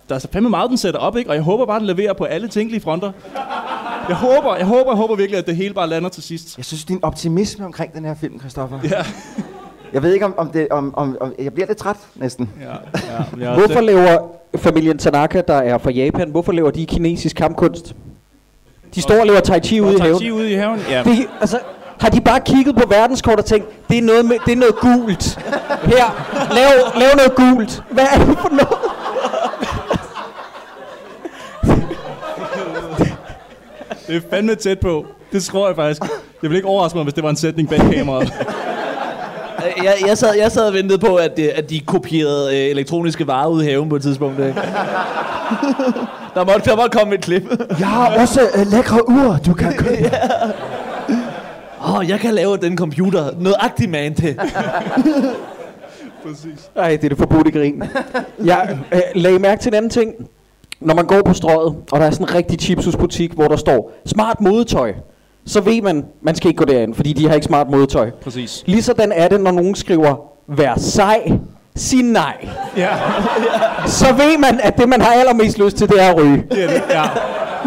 Speaker 4: der er så fandme meget, den sætter op, ikke? Og jeg håber bare, den leverer på alle tænkelige fronter. Jeg håber, jeg håber, jeg håber virkelig, at det hele bare lander til sidst.
Speaker 3: Jeg synes, din optimisme omkring den her film, Christoffer. Ja. Jeg ved ikke, om, om, det, om, om, om jeg bliver lidt træt, næsten.
Speaker 4: Ja, ja, men jeg,
Speaker 2: Hvorfor lever familien Tanaka, der er fra Japan, hvorfor lever de kinesisk kampkunst? De står og lever tai chi ude i haven.
Speaker 4: Ude, ude i haven? Ja.
Speaker 2: Det, altså, har de bare kigget på verdenskort og tænkt, det er noget, med, det er noget gult. Her, lav, lav noget gult. Hvad er det for noget?
Speaker 4: Det er fandme tæt på. Det tror jeg faktisk. Jeg vil ikke overraske mig, hvis det var en sætning bag kameraet.
Speaker 5: Øh, Jeg, jeg, sad, jeg sad og ventede på, at, det- at de kopierede øh, elektroniske varer ud i haven på et tidspunkt. Øh. Der måtte, der måtte komme et klip.
Speaker 3: Jeg har også øh, lækre ur, du kan købe.
Speaker 5: Åh, oh, jeg kan lave den computer. Nøjagtig man til.
Speaker 4: Præcis.
Speaker 2: Nej, det er det forbudte grin. Jeg øh, lagde mærke til en anden ting. Når man går på strøget, og der er sådan en rigtig chipsusbutik, hvor der står smart modetøj, så ved man, man skal ikke gå derind, fordi de har ikke smart modetøj.
Speaker 4: Præcis.
Speaker 2: Ligesådan er det, når nogen skriver, vær sej, sig nej.
Speaker 4: Ja.
Speaker 2: Så ved man, at det, man har allermest lyst til, det er at ryge.
Speaker 4: Det er det. Ja.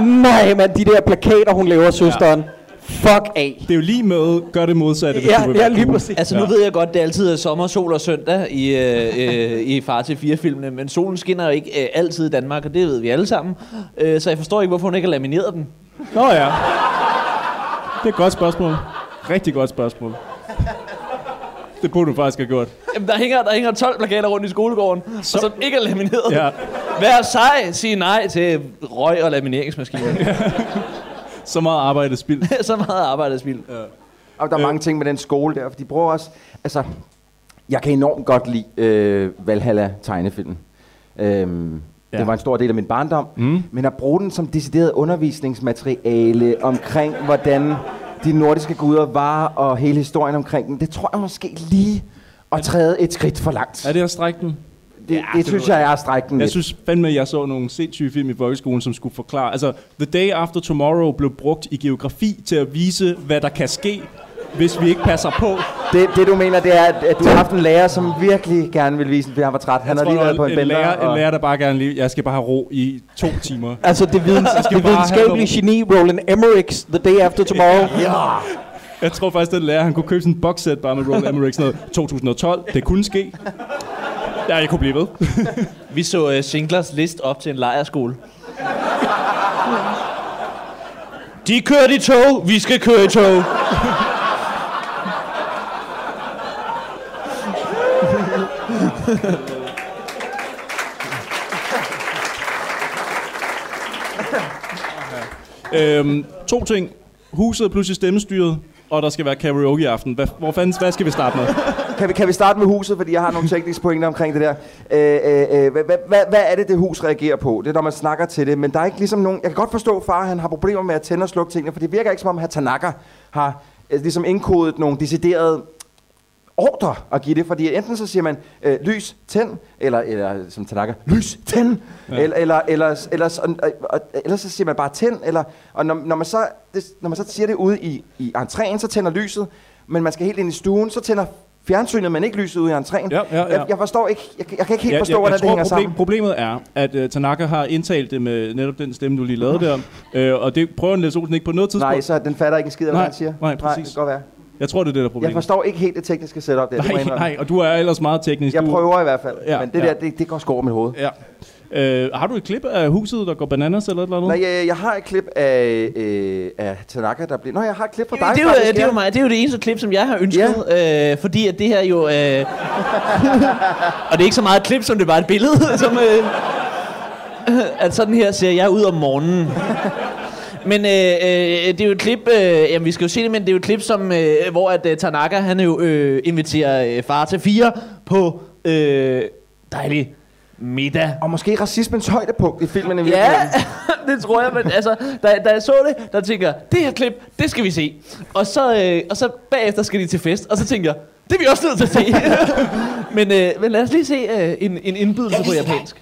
Speaker 2: Nej, mand, de der plakater, hun laver, søsteren. Ja. Fuck af.
Speaker 4: Det er jo lige med, gør det modsatte. hvis du
Speaker 2: Ja,
Speaker 4: vil
Speaker 2: ja,
Speaker 4: være
Speaker 2: lige
Speaker 4: cool.
Speaker 2: præcis.
Speaker 5: Altså, nu
Speaker 4: Ja.
Speaker 5: ved jeg godt, det altid er sommer, sol og søndag i, øh, øh, i Far til 4-filmene, men solen skinner jo ikke øh, altid i Danmark, og det ved vi alle sammen. Øh, så jeg forstår ikke, hvorfor hun ikke har lamineret dem.
Speaker 4: Nå ja. Det er et godt spørgsmål. Rigtig godt spørgsmål. Det burde du faktisk have gjort.
Speaker 5: Jamen, der hænger, der hænger 12 plakater rundt i skolegården, så... og som ikke er lamineret.
Speaker 4: Ja.
Speaker 5: Vær sej, sig nej til røg- og lamineringsmaskiner.
Speaker 4: Så meget arbejde spildt.
Speaker 5: så meget arbejde er spildt.
Speaker 3: Og der er
Speaker 4: Øh.
Speaker 3: mange ting med den skole der, for de bruger også... Altså, jeg kan enormt godt lide øh, Valhalla tegnefilmen. Øhm, ja.
Speaker 4: Ja.
Speaker 3: Det var en stor del af min barndom. Mm. Men at bruge den som decideret undervisningsmateriale omkring, hvordan de nordiske guder var, og hele historien omkring dem, det tror jeg måske lige at træde et skridt for langt.
Speaker 4: Er
Speaker 3: Det,
Speaker 4: det at strække den?
Speaker 3: det, det synes jeg er at strække den
Speaker 4: Jeg
Speaker 3: lidt.
Speaker 4: synes fandme, at jeg så nogle sindssyge film i folkeskolen, som skulle forklare... Altså, The Day After Tomorrow blev brugt i geografi til at vise, hvad der kan ske, hvis vi ikke passer på.
Speaker 3: Det, det du mener, det er, at, at du har haft en lærer, som virkelig gerne ville vise, at han var træt. Han har
Speaker 4: Jeg tror,
Speaker 3: lige
Speaker 4: der var
Speaker 3: været på en, bender.
Speaker 4: lærer,
Speaker 3: og-
Speaker 4: en lærer, der bare gerne lige... Jeg skal bare have ro i to timer.
Speaker 2: Altså det, videns,
Speaker 4: skal
Speaker 2: det
Speaker 4: bare have
Speaker 2: videnskabelige geni Roland Emmerichs The Day After Tomorrow. ja.
Speaker 4: Jeg tror faktisk, den lærer, han kunne købe sådan en boxset bare med Roland Emmerich. Sådan noget. 2012, det kunne ske. Ja, jeg kunne blive ved.
Speaker 5: Vi så uh, Schindlers list op til en lejerskole. De kørte i tog, vi skal køre i tog.
Speaker 4: Øhm, to ting. Huset er pludselig stemmestyret, og der skal være karaoke i aften. Hvad, hvor fanden, hvad skal vi starte med?
Speaker 3: Kan vi, kan vi starte med huset, fordi jeg har nogle tekniske pointer omkring det der. Øh, øh, øh, hvad, hvad, hvad, hvad er det, det hus reagerer på? Det er, når man snakker til det, men der er ikke ligesom nogen... Jeg kan godt forstå, at far han har problemer med at tænde og slukke tingene, for det virker ikke som om, at Tanaka har øh, ligesom indkodet nogle deciderede ordre at give det, fordi enten så siger man, øh, lys, tænd, eller, eller som Tanaka, lys, tænd, ja. eller, eller, eller, eller, sådan, og, og, eller så siger man bare tænd, eller, og når, når, man så, det, når man så siger det ude i, i entréen, så tænder lyset, men man skal helt ind i stuen, så tænder fjernsynet, men ikke lyset ude i entréen.
Speaker 4: Ja, ja, ja.
Speaker 3: Jeg, jeg forstår ikke, jeg, jeg kan ikke helt ja, forstå, hvordan
Speaker 4: jeg
Speaker 3: det
Speaker 4: tror,
Speaker 3: hænger sammen.
Speaker 4: Problemet er, at uh, Tanaka har indtalt det med netop den stemme, du lige lavede der. Uh, og det prøver Niels Olsen ikke på noget tidspunkt.
Speaker 3: Nej, så den fatter ikke en skid af, hvad
Speaker 4: Nej,
Speaker 3: han siger.
Speaker 4: nej,
Speaker 3: det
Speaker 4: præcis.
Speaker 3: kan godt være.
Speaker 4: Jeg tror, det er det, der er problemet.
Speaker 3: Jeg forstår ikke helt det tekniske setup der. det må jeg
Speaker 4: Nej,
Speaker 3: indrømme.
Speaker 4: nej, og du er ellers meget teknisk.
Speaker 3: Jeg
Speaker 4: Du-
Speaker 3: prøver i hvert fald,
Speaker 4: Ja,
Speaker 3: ja, men det
Speaker 4: ja.
Speaker 3: der, det, det går skår over mit hoved.
Speaker 4: Ja. Øh, har du et klip af huset, der går bananas eller et eller andet?
Speaker 3: Nej, jeg, jeg har et klip af, øh, af Tanaka, der bliver... Nå, jeg har et klip fra dig.
Speaker 5: det, er jo,
Speaker 3: faktisk,
Speaker 5: det, er
Speaker 3: ja.
Speaker 5: jo mig, det er jo det eneste klip, som jeg har ønsket, øh, fordi at det her jo... Øh, og det er ikke så meget et klip, som det var et billede, som, øh, at sådan her ser jeg ud om morgenen. Men øh, øh, det er jo et klip, øh, jamen vi skal jo se det, men det er jo et klip, som, øh, hvor at, øh, Tanaka han jo øh, inviterer øh, far til fire på øh, dejlig middag.
Speaker 3: Og måske racismens højdepunkt i filmen. i
Speaker 5: Ja,
Speaker 3: virkeligheden.
Speaker 5: det tror jeg, men altså, da, da jeg så det, der tænker jeg, det her klip, det skal vi se. Og så, øh, og så bagefter skal de til fest, og så tænker jeg, det er vi også nødt til at se. men, øh, men lad os lige se øh, en, en indbydelse på japansk.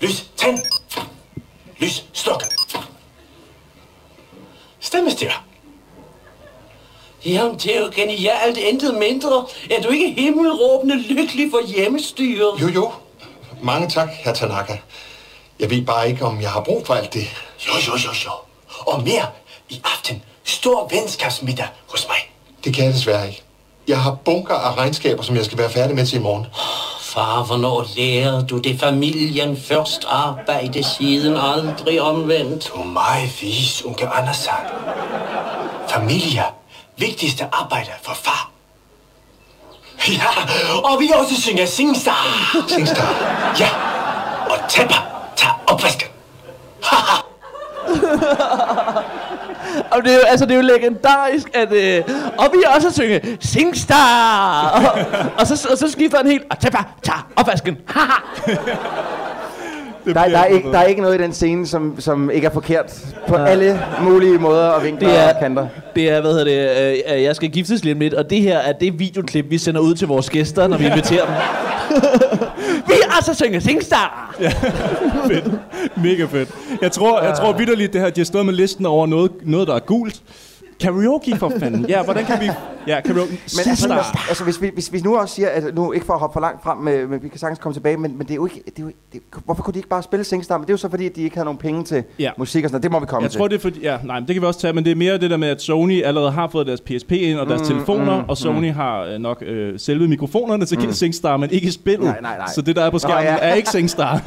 Speaker 8: Lys, tænd. Lys, sluk. Stemmestyr.
Speaker 7: Jamen, det er jo genialt. Intet mindre. Er du ikke himmelråbende lykkelig for hjemmestyret?
Speaker 8: Jo, jo. Mange tak, herr Tanaka. Jeg ved bare ikke, om jeg har brug for alt det.
Speaker 7: Jo, jo, jo, jo. Og mere i aften. Stor venskabsmiddag hos mig.
Speaker 8: Det kan jeg desværre ikke. Jeg har bunker af regnskaber, som jeg skal være færdig med til i morgen.
Speaker 7: Far, hvornår lærer du det? Familien først arbejde, siden aldrig omvendt.
Speaker 8: Du er meget vis, unge Andersen. Familie. Vigtigste arbejde for far. Ja, og vi også synger Singstar. Singstar. Ja, og tæpper tager opvasken.
Speaker 5: Og det er jo, altså, det er jo legendarisk, at... Øh, og vi er også at synge Singstar! og, og, så, og så skifter han helt, og tæpper, tager opvasken. Haha.
Speaker 3: Der, der, er ikke, der er ikke noget i den scene, som, som ikke er forkert på ja. alle mulige måder og vinkler
Speaker 5: Det er-
Speaker 3: og kanter.
Speaker 5: Det er, hvad hedder det, øh, øh, jeg skal giftes lige om lidt, og det her er det videoklip, vi sender ud til vores gæster, når vi inviterer dem. vi er altså synge Singstar!
Speaker 4: Mega fedt. Jeg tror, jeg
Speaker 3: Ah.
Speaker 4: tror vidderligt, det her, de har stået med listen over noget, noget der er gult. Karaoke for fanden. Ja, hvordan kan vi... Ja, karaoke.
Speaker 3: Men altså,
Speaker 4: Sister.
Speaker 3: hvis- altså hvis, vi, hvis vi nu også siger, at nu ikke for at hoppe for langt frem, med, men vi kan sagtens komme tilbage, men, men det er jo ikke... Det er jo, det, hvorfor kunne de ikke bare spille Singstar? Men det er jo så fordi, at de ikke havde nogen penge til
Speaker 4: Ja.
Speaker 3: ja. musik og sådan noget. Det må vi komme
Speaker 4: Jeg
Speaker 3: til.
Speaker 4: tror, det er fordi... Ja, nej, men det kan vi også tage, men det er mere det der med, at Sony allerede har fået deres PSP ind og
Speaker 3: Mm,
Speaker 4: deres telefoner, og Sony har øh, nok øh, selve mikrofonerne til mm. SingStar, men ikke spillet.
Speaker 3: Nej, nej, nej.
Speaker 4: Så det, der er på skærmen,
Speaker 3: ja.
Speaker 4: er ikke SingStar.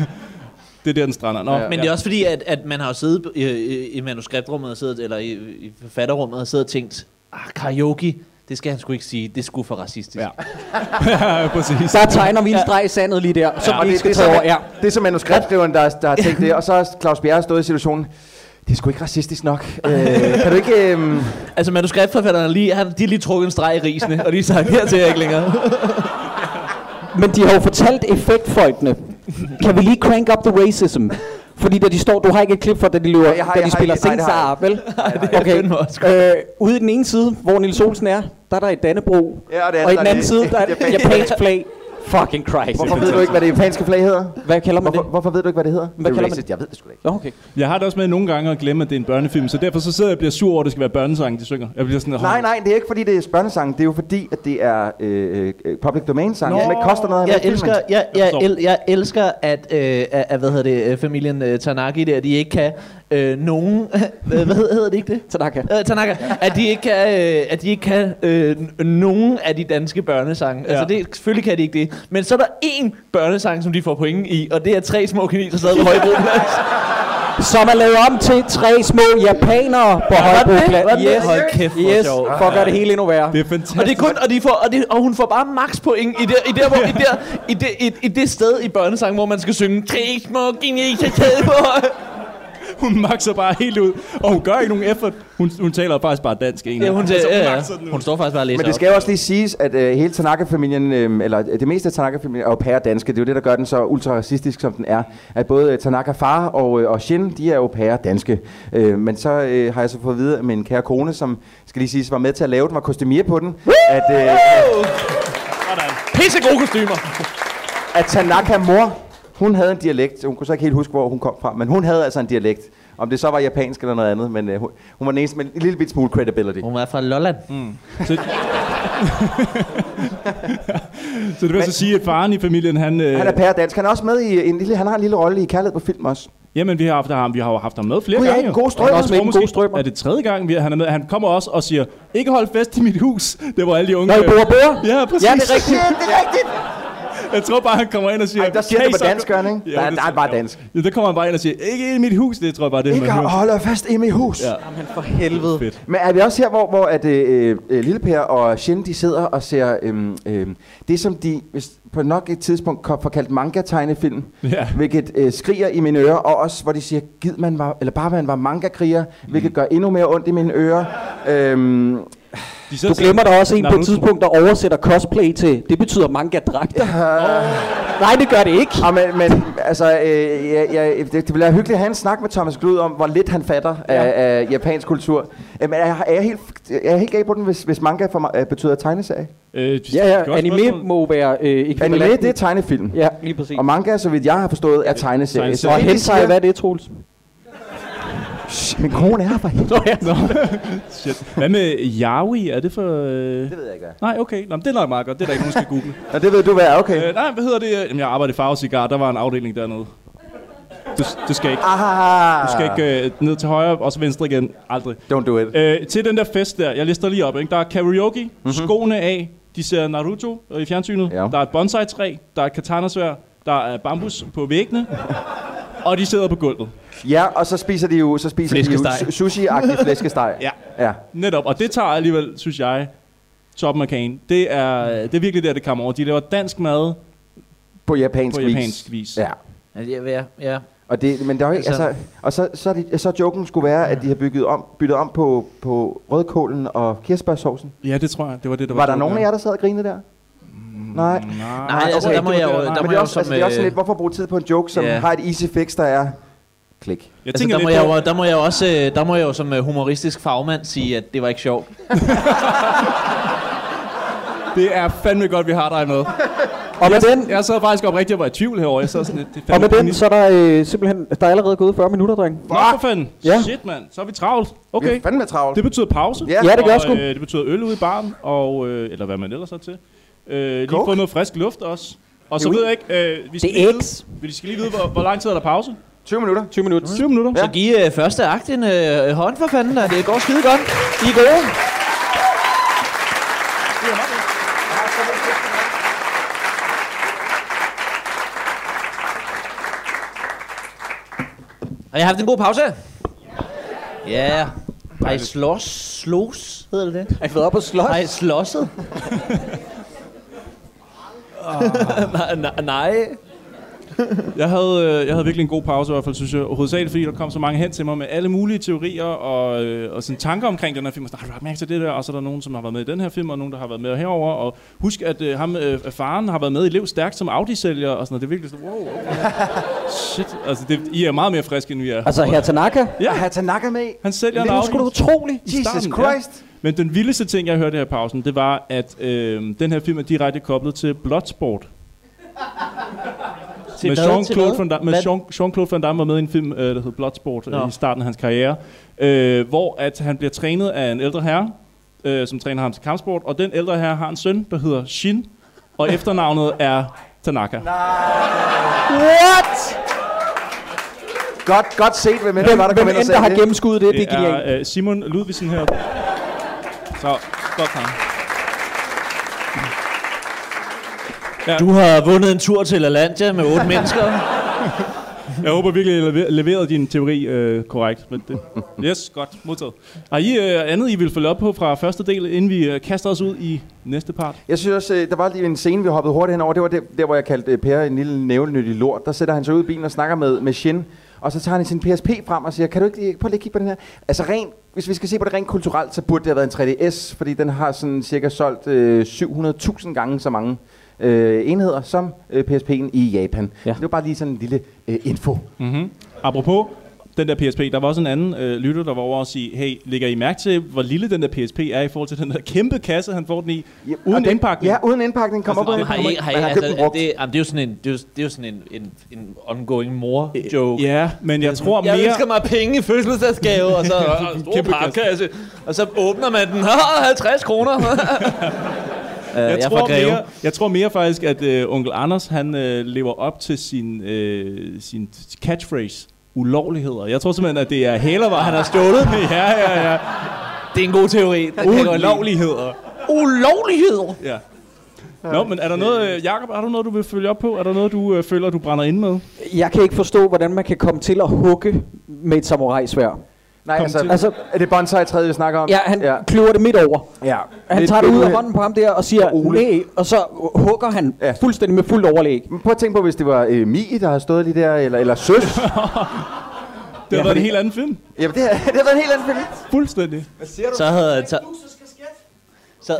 Speaker 4: det er der, den strander. Nå, ja,
Speaker 5: Men det er også fordi, at, at man har jo siddet i, i, i manuskriptrummet, og siddet, eller i, i forfatterrummet, og siddet og tænkt, ah, karaoke, det skal han sgu ikke sige, det skulle for racistisk.
Speaker 4: Ja. ja, præcis.
Speaker 2: Der tegner vi en streg i sandet lige der, som
Speaker 4: Ja,
Speaker 2: ja,
Speaker 4: og
Speaker 2: vi
Speaker 3: det,
Speaker 2: ikke
Speaker 3: det,
Speaker 2: skal tage
Speaker 3: det,
Speaker 2: over. Ja.
Speaker 3: er så, det er så manuskriptskriveren, der, der har tænkt det, og så har Claus Bjerre stået i situationen. Det er sgu ikke racistisk nok. Øh, kan du ikke... Øh,
Speaker 5: Altså manuskriptforfatterne, har lige, han, de har lige trukket en streg i risene, og de har sagt, her til jeg ikke længere.
Speaker 2: Men de har jo fortalt effektfolkene. Kan vi lige crank up the racism? Fordi da de står, du har ikke et klip for, da de, løber,
Speaker 3: jeg har-
Speaker 2: da
Speaker 3: jeg
Speaker 2: de
Speaker 3: har
Speaker 2: spiller
Speaker 3: ikke- nej, det har
Speaker 2: Singstar, vel?
Speaker 5: fandme også
Speaker 2: Okay. Øh, ude i den ene side, hvor Nils Olsen er, der er der et Dannebro.
Speaker 3: Ja, og det er
Speaker 2: og i
Speaker 3: der
Speaker 2: den anden
Speaker 3: et-
Speaker 2: side, der er
Speaker 3: et
Speaker 2: et
Speaker 3: japansk-
Speaker 2: japansk flag. Fucking Christ.
Speaker 3: hvorfor ved du ikke, hvad det japanske flag hedder?
Speaker 2: Hvad kalder man
Speaker 3: Hvorfor,
Speaker 2: det?
Speaker 3: hvorfor ved du ikke, hvad det hedder? Hvad
Speaker 2: kalder man
Speaker 3: racist.
Speaker 2: det?
Speaker 3: Jeg ved det sgu da ikke.
Speaker 2: Nå, okay.
Speaker 4: Jeg har det også med nogle gange at glemme, at det er en børnefilm, så derfor så sidder jeg og bliver sur over, at det skal være børnesange, de synger. Jeg bliver sådan,
Speaker 3: Nej, nej, det er ikke fordi, det er børnesang. Det er jo fordi, at det er øh, øh, public domain sang, som ikke koster noget. at
Speaker 5: jeg
Speaker 3: lave filmen.
Speaker 5: elsker, jeg, jeg,
Speaker 4: forstår.
Speaker 5: el, jeg elsker at, øh, at, at, hvad hedder det, øh, familien øh, Tanaki der, de ikke kan øh, nogen, hvad hedder, hedder det ikke det?
Speaker 2: Så der kan.
Speaker 5: Øh, Tanaka, at de ikke kan, øh, at de ikke kan øh, n- nogen af de danske børnesange. Ja.
Speaker 4: Ja.
Speaker 5: Altså det, selvfølgelig kan de ikke det. Men så er der én børnesang, som de får point i, og det er tre små kineser stadig på Højbroplads.
Speaker 2: Som er lavet om til tre små japanere på
Speaker 5: det? Var
Speaker 2: Højbroplads.
Speaker 5: det det? Hold kæft, hvor
Speaker 2: yes.
Speaker 5: sjovt.
Speaker 2: For at gøre det hele endnu værre.
Speaker 4: Det er fantastisk.
Speaker 5: Og det er kun, og, de får, og, det, og hun får bare max point i, der, i, der, hvor, i, der, i, det, i, i det sted i børnesangen, hvor man skal synge Tre små kineser stadig på Højbroplads."
Speaker 4: Hun makser bare helt ud, og hun gør ikke nogen effort. Hun, hun taler faktisk bare dansk egentlig.
Speaker 5: Ja, hun, altså,
Speaker 4: hun
Speaker 5: ja,
Speaker 4: makser den
Speaker 5: ja.
Speaker 4: ud.
Speaker 5: hun står faktisk bare Altså, og læser
Speaker 3: Men det skal jo også lige siges, at øh, hele Tanaka-familien, øh, eller det meste af Tanaka-familien, er jo pæredanske. Det er jo det, der gør den så ultraracistisk, som den er. At både øh, Tanaka far og, øh, og Shin, de er jo pæredanske. Øh, men så øh, har jeg så fået at vide, at min kære kone, som skal lige siges, var med til at lave den, var kostumier på den. At, øh, at,
Speaker 5: pisse gode kostymer.
Speaker 3: at Tanaka mor, hun havde en dialekt. Hun kunne så ikke helt huske, hvor hun kom fra, men hun havde altså en dialekt. Om det så var japansk eller noget andet, men øh, hun, hun var den eneste med en lille bit smule credibility.
Speaker 5: Hun var fra Lolland.
Speaker 4: Så, så det vil så sige, at faren i familien, han... Øh,
Speaker 3: Han er pæredansk. Han er også med i en lille, han har en lille rolle i Kærlighed på film også.
Speaker 4: Jamen, vi har haft ham, vi har jo haft ham med flere
Speaker 3: Gud, jeg er
Speaker 4: gange.
Speaker 3: ikke en god strømmer.
Speaker 4: Jeg
Speaker 3: Han er også med i Den Gode
Speaker 4: tror måske,
Speaker 3: Strømmer.
Speaker 4: Er det tredje gang, vi, han er med? Han kommer også og siger, ikke hold fast i mit hus. Det var alle de unge... øh,
Speaker 3: Nå, i Bora Bora?
Speaker 4: Ja, præcis.
Speaker 3: Ja, det er rigtigt. Shit, det er rigtigt.
Speaker 4: Jeg tror bare, han kommer ind og siger...
Speaker 3: Ej, der siger det
Speaker 4: "Hey,
Speaker 3: på
Speaker 4: så-
Speaker 3: dansk, gør han, ikke? Der er-
Speaker 4: det
Speaker 3: der er
Speaker 4: tror-
Speaker 3: bare
Speaker 4: ja.
Speaker 3: dansk.
Speaker 4: Ja, der kommer han bare ind og siger, ikke ind i mit hus, det tror jeg bare, det er,
Speaker 3: Ikke
Speaker 4: man hører.
Speaker 3: holder fast i mit hus. Ja.
Speaker 2: Jamen for helvede.
Speaker 4: Fedt.
Speaker 3: Men er vi også her, hvor, hvor at, øh, øh, Lille Per og Shin, de sidder og ser øhm, øhm, det, som de hvis, på nok et tidspunkt kom- får kaldt manga-tegnefilm,
Speaker 4: Ja.
Speaker 3: hvilket øh, skriger i mine ører, og også hvor de siger, gid man var, eller bare man var manga-kriger, hvilket
Speaker 4: Mhm.
Speaker 3: gør endnu mere ondt i mine ører. Øhm,
Speaker 4: De sidder
Speaker 2: Du
Speaker 4: og siger-
Speaker 2: glemmer der også en
Speaker 4: Nå,
Speaker 2: på
Speaker 4: nu-
Speaker 2: et tidspunkt, der oversætter cosplay til, det betyder manga-dragter. Nej, det gør det ikke.
Speaker 3: og Ah, men, men altså, øh, jeg, jeg, det, det ville være hyggeligt at have en snak med Thomas Glud om, hvor lidt han fatter ja. af, af japansk kultur. Øh, men er, jeg- er, jeg helt, er jeg helt gav på den, hvis, hvis manga for, mig- øh, betyder tegneserie?
Speaker 2: Ja,
Speaker 4: Øh, godt
Speaker 2: ja,
Speaker 4: spørgsmål.
Speaker 2: anime må være øh, ekvivalenten.
Speaker 3: Anime, det er tegnefilm.
Speaker 2: Ja, lige præcis.
Speaker 3: Og manga, så vidt jeg har forstået, er tegneserie. Så
Speaker 4: tegneserie.
Speaker 2: Og
Speaker 3: det, de
Speaker 2: hentai,
Speaker 3: siger-
Speaker 2: hvad er det, Troels?
Speaker 3: Shh, Min kone er her for helvede.
Speaker 4: Shit. Hvad med Yaoi? Er det for... Øh...
Speaker 3: Det ved jeg ikke, hvad.
Speaker 4: Nej, okay. Nå, men det er nok meget godt. Det er der ikke nogen, der skal google.
Speaker 3: Nå, det ved du, hvad er okay.
Speaker 4: øh, nej, hvad hedder det? Jamen, jeg arbejder i Farve Cigar. Der var en afdeling dernede. Du, du skal ikke,
Speaker 3: Ah,
Speaker 4: du skal ikke øh, ned til højre og så venstre igen. Aldrig.
Speaker 3: Don't do it.
Speaker 4: Øh, til den der fest der, jeg lister lige op, ikke? der er karaoke, mm-hmm. skoene af, de ser Naruto øh, i fjernsynet,
Speaker 3: Ja.
Speaker 4: der er et bonsai-træ, der er et katanasvær, der er bambus på væggene, og de sidder på gulvet.
Speaker 3: Ja, og så spiser de jo, så spiser de jo
Speaker 5: Flæskesteg.
Speaker 3: su- sushi-agtig flæskesteg.
Speaker 4: Ja.
Speaker 3: ja.
Speaker 4: Netop, og det tager alligevel, synes jeg, toppen af kagen. Det er, det er virkelig der, det kommer over. De laver dansk mad
Speaker 3: På japansk
Speaker 4: på
Speaker 3: vis.
Speaker 4: japansk vis.
Speaker 3: Ja.
Speaker 5: Ja, ja, ja.
Speaker 3: Og det, men der er jo ikke,
Speaker 5: Altså-
Speaker 3: altså, og så, så, er de, så joken skulle være, at de har bygget om, byttet om på, på rødkålen og kirsebærsovsen.
Speaker 4: ja, det tror jeg. Det var det, der var.
Speaker 3: Var der nogen af jer, der sad og grinede der? Nej. Men
Speaker 4: Nej.
Speaker 5: Nej, altså,
Speaker 3: okay,
Speaker 5: der må
Speaker 4: det
Speaker 5: jeg
Speaker 4: var
Speaker 5: jo,
Speaker 4: der.
Speaker 5: der
Speaker 3: det
Speaker 5: må
Speaker 3: er,
Speaker 5: jeg jo
Speaker 3: også,
Speaker 5: som...
Speaker 3: altså, det er også sådan
Speaker 5: øh,
Speaker 3: lidt, hvorfor bruge tid på en joke, som
Speaker 5: ja.
Speaker 3: har et easy fix, der er... Klik.
Speaker 4: Jeg
Speaker 5: Altså,
Speaker 4: tænker
Speaker 5: der, må
Speaker 4: lidt
Speaker 5: jeg
Speaker 4: på,
Speaker 5: jo, der, må jeg jo også, øh, der må jeg jo som øh, humoristisk fagmand sige, at det var ikke sjovt.
Speaker 4: det er fandme godt, vi har dig med.
Speaker 2: Og med den,
Speaker 4: Jeg sad faktisk oprigtigt og var i tvivl herovre. Jeg sad sådan lidt, det er
Speaker 2: og
Speaker 4: fandme
Speaker 2: med den
Speaker 4: pinligt.
Speaker 2: så er der øh, simpelthen, der er allerede gået 40 minutter, dreng.
Speaker 4: Nå, for fanden.
Speaker 2: Ja.
Speaker 4: Shit, mand. Så er vi travlt.
Speaker 3: Vi er
Speaker 4: Okay.
Speaker 3: fandme travlt.
Speaker 4: Det betyder pause.
Speaker 3: Ja. Ja,
Speaker 2: det gør
Speaker 4: og,
Speaker 2: sgu.
Speaker 4: Øh, det betyder øl ude i baren, og, øh, eller hvad man ellers har til. Øh, lige
Speaker 3: Coke.
Speaker 4: få noget frisk luft også. Og så
Speaker 2: Jo.
Speaker 4: ved jeg ikke, øh, vi, skal
Speaker 2: Det er
Speaker 4: lige
Speaker 2: X.
Speaker 4: vide, vi skal lige vide, hvor, hvor lang tid er der pause?
Speaker 3: 20 minutter. Mm.
Speaker 4: 20 minutter. 20 minutter.
Speaker 5: Så giv øh, første akt en øh, hånd for fanden, der. Det går skide godt. I er gode. Har jeg haft en god pause? Ja. Yeah. Har I slås? Slås, hedder det det?
Speaker 2: Har I været op og slås?
Speaker 5: Har I slåsset?
Speaker 2: Ah.
Speaker 5: nej, nej, nej.
Speaker 4: Jeg havde, øh, jeg havde virkelig en god pause i hvert fald, synes jeg. Hovedsageligt, fordi der kom så mange hen til mig med alle mulige teorier og, øh, og sådan tanker omkring den her film. Og sådan, har du lagt mærke til det der? Og så er der nogen, som har været med i den her film, og nogen, der har været med herover. Og husk, at øh, ham, øh, faren har været med i Lev Stærkt som Audi-sælger. Og sådan noget. Det er virkelig sådan, wow, okay. Shit, altså det, I er meget mere friske, end vi er.
Speaker 2: Altså, her Tanaka,
Speaker 4: Ja.
Speaker 3: Ja. At have Tanaka med.
Speaker 4: Han sælger en
Speaker 2: det er
Speaker 4: Audi.
Speaker 2: sgu da utroligt.
Speaker 4: I
Speaker 3: Jesus
Speaker 4: starten,
Speaker 3: Christ.
Speaker 4: Ja. Men den vildeste ting, jeg hørte her i pausen, det var, at øh, den her film er direkte koblet til Bloodsport. med
Speaker 5: hvad? Til
Speaker 4: Jean-Claude
Speaker 5: hvad?
Speaker 4: Van Damme, med
Speaker 5: Hvad?
Speaker 4: Jean, Jean-Claude Van Damme var med i en film, øh, der hed Bloodsport,
Speaker 5: Nå.
Speaker 4: øh, i starten af hans karriere, øh, hvor at han bliver trænet af en ældre herre, øh, som træner ham til kampsport, og den ældre herre har en søn, der hedder Shin, og efternavnet er Tanaka.
Speaker 2: What?
Speaker 3: Godt, godt set, hvem end det
Speaker 2: Hvem,
Speaker 3: var, der kom
Speaker 2: hvem
Speaker 3: ind og
Speaker 2: end der
Speaker 3: sagde
Speaker 2: har
Speaker 3: det.
Speaker 2: gennemskuddet det, det er
Speaker 4: Det
Speaker 2: genialt.
Speaker 4: er øh, Simon Ludvigsen her. Så, godt ham.
Speaker 5: Du har vundet en tur til LaLandia med otte mennesker.
Speaker 4: Jeg håber virkelig, at jeg lever- leverede din teori øh, korrekt. Men det. Yes, godt. Modtaget. Har I øh, andet, I vil følge op på fra første del, inden vi øh, kaster os ud i næste part?
Speaker 3: Jeg synes også, øh, der var lige en scene, vi hoppede hurtigt hen over. Det var der, der hvor jeg kaldte øh, Per en lille nævlenyttig lort. Der sætter han sig ud i bilen og snakker med, med Shin. Og så tager han sin PSP frem og siger, kan du ikke lige, prøv lige at kigge på den her. Altså rent, hvis vi skal se på det rent kulturelt, så burde det have været en 3DS, fordi den har sådan cirka solgt øh, 700.000 gange så mange øh, enheder som øh, PSP'en i Japan. Ja. Det var bare lige sådan en lille øh, info.
Speaker 4: Mm-hmm. Apropos, den der PSP. Der var også en anden øh, lytter, der var over og sige, hey, lægger I mærke til, hvor lille den der PSP er i forhold til den der kæmpe kasse, han får den i?
Speaker 3: Ja, og
Speaker 4: uden
Speaker 3: den-
Speaker 4: indpakning.
Speaker 3: Ja, uden indpakning. Kom op
Speaker 4: Altså,
Speaker 3: og
Speaker 4: nej,
Speaker 3: den kommer
Speaker 5: Har I,
Speaker 3: ind.
Speaker 5: har I,
Speaker 3: Man har købt den
Speaker 5: altså,
Speaker 3: brugt.
Speaker 5: det, jamen, det er jo sådan en, det er jo, det er jo sådan en, en, en ongoing mor-joke.
Speaker 4: Ja, men jeg tror
Speaker 5: Jeg
Speaker 4: mere...
Speaker 5: ønsker mig penge i fødselsdagsgave, og så og en stor
Speaker 4: Kæmpe kasse.
Speaker 5: papkasse. Og så åbner man den. Ah, 50 kroner. Øh, jeg,
Speaker 4: jeg,
Speaker 5: er
Speaker 4: tror
Speaker 5: fra Greve.
Speaker 4: mere, jeg tror mere faktisk, at øh, onkel Anders han øh, lever op til sin, øh, sin catchphrase ulovligheder. Jeg tror simpelthen, at det er hælervarer, han har stjålet med. Ja, ja, ja.
Speaker 5: Det er en god teori. Den kan jeg godt lide.
Speaker 4: Ulovligheder.
Speaker 5: Ulovlighed.
Speaker 4: Ja. Nå, men er der noget, øh, Jacob, er der noget, du vil følge op på? Er der noget, du øh, føler, du brænder ind med?
Speaker 2: Jeg kan ikke forstå, hvordan man kan komme til at hugge med et samurai-svær.
Speaker 3: Nej,
Speaker 4: Kom
Speaker 3: altså,
Speaker 4: til.
Speaker 3: altså, er det bonsai træet, vi snakker om?
Speaker 2: Ja, han
Speaker 3: ja.
Speaker 2: ja. kløver det midt over.
Speaker 3: ja.
Speaker 2: Han
Speaker 3: Lidt
Speaker 2: tager det ud af
Speaker 3: uheld.
Speaker 2: hånden på ham der og siger,
Speaker 3: Og Ole.
Speaker 2: nej, og så hugger han
Speaker 3: Ja.
Speaker 2: ja. fuldstændig med fuldt overlæg.
Speaker 3: Men Prøv at tænke på, hvis det var øh, Mie, der har stået lige der, eller, eller Søs.
Speaker 4: Det har været
Speaker 3: fordi-
Speaker 4: en helt anden film.
Speaker 3: Jamen, det, er- det har været en helt anden film.
Speaker 4: Fuldstændig.
Speaker 5: Så havde jeg taget... Så,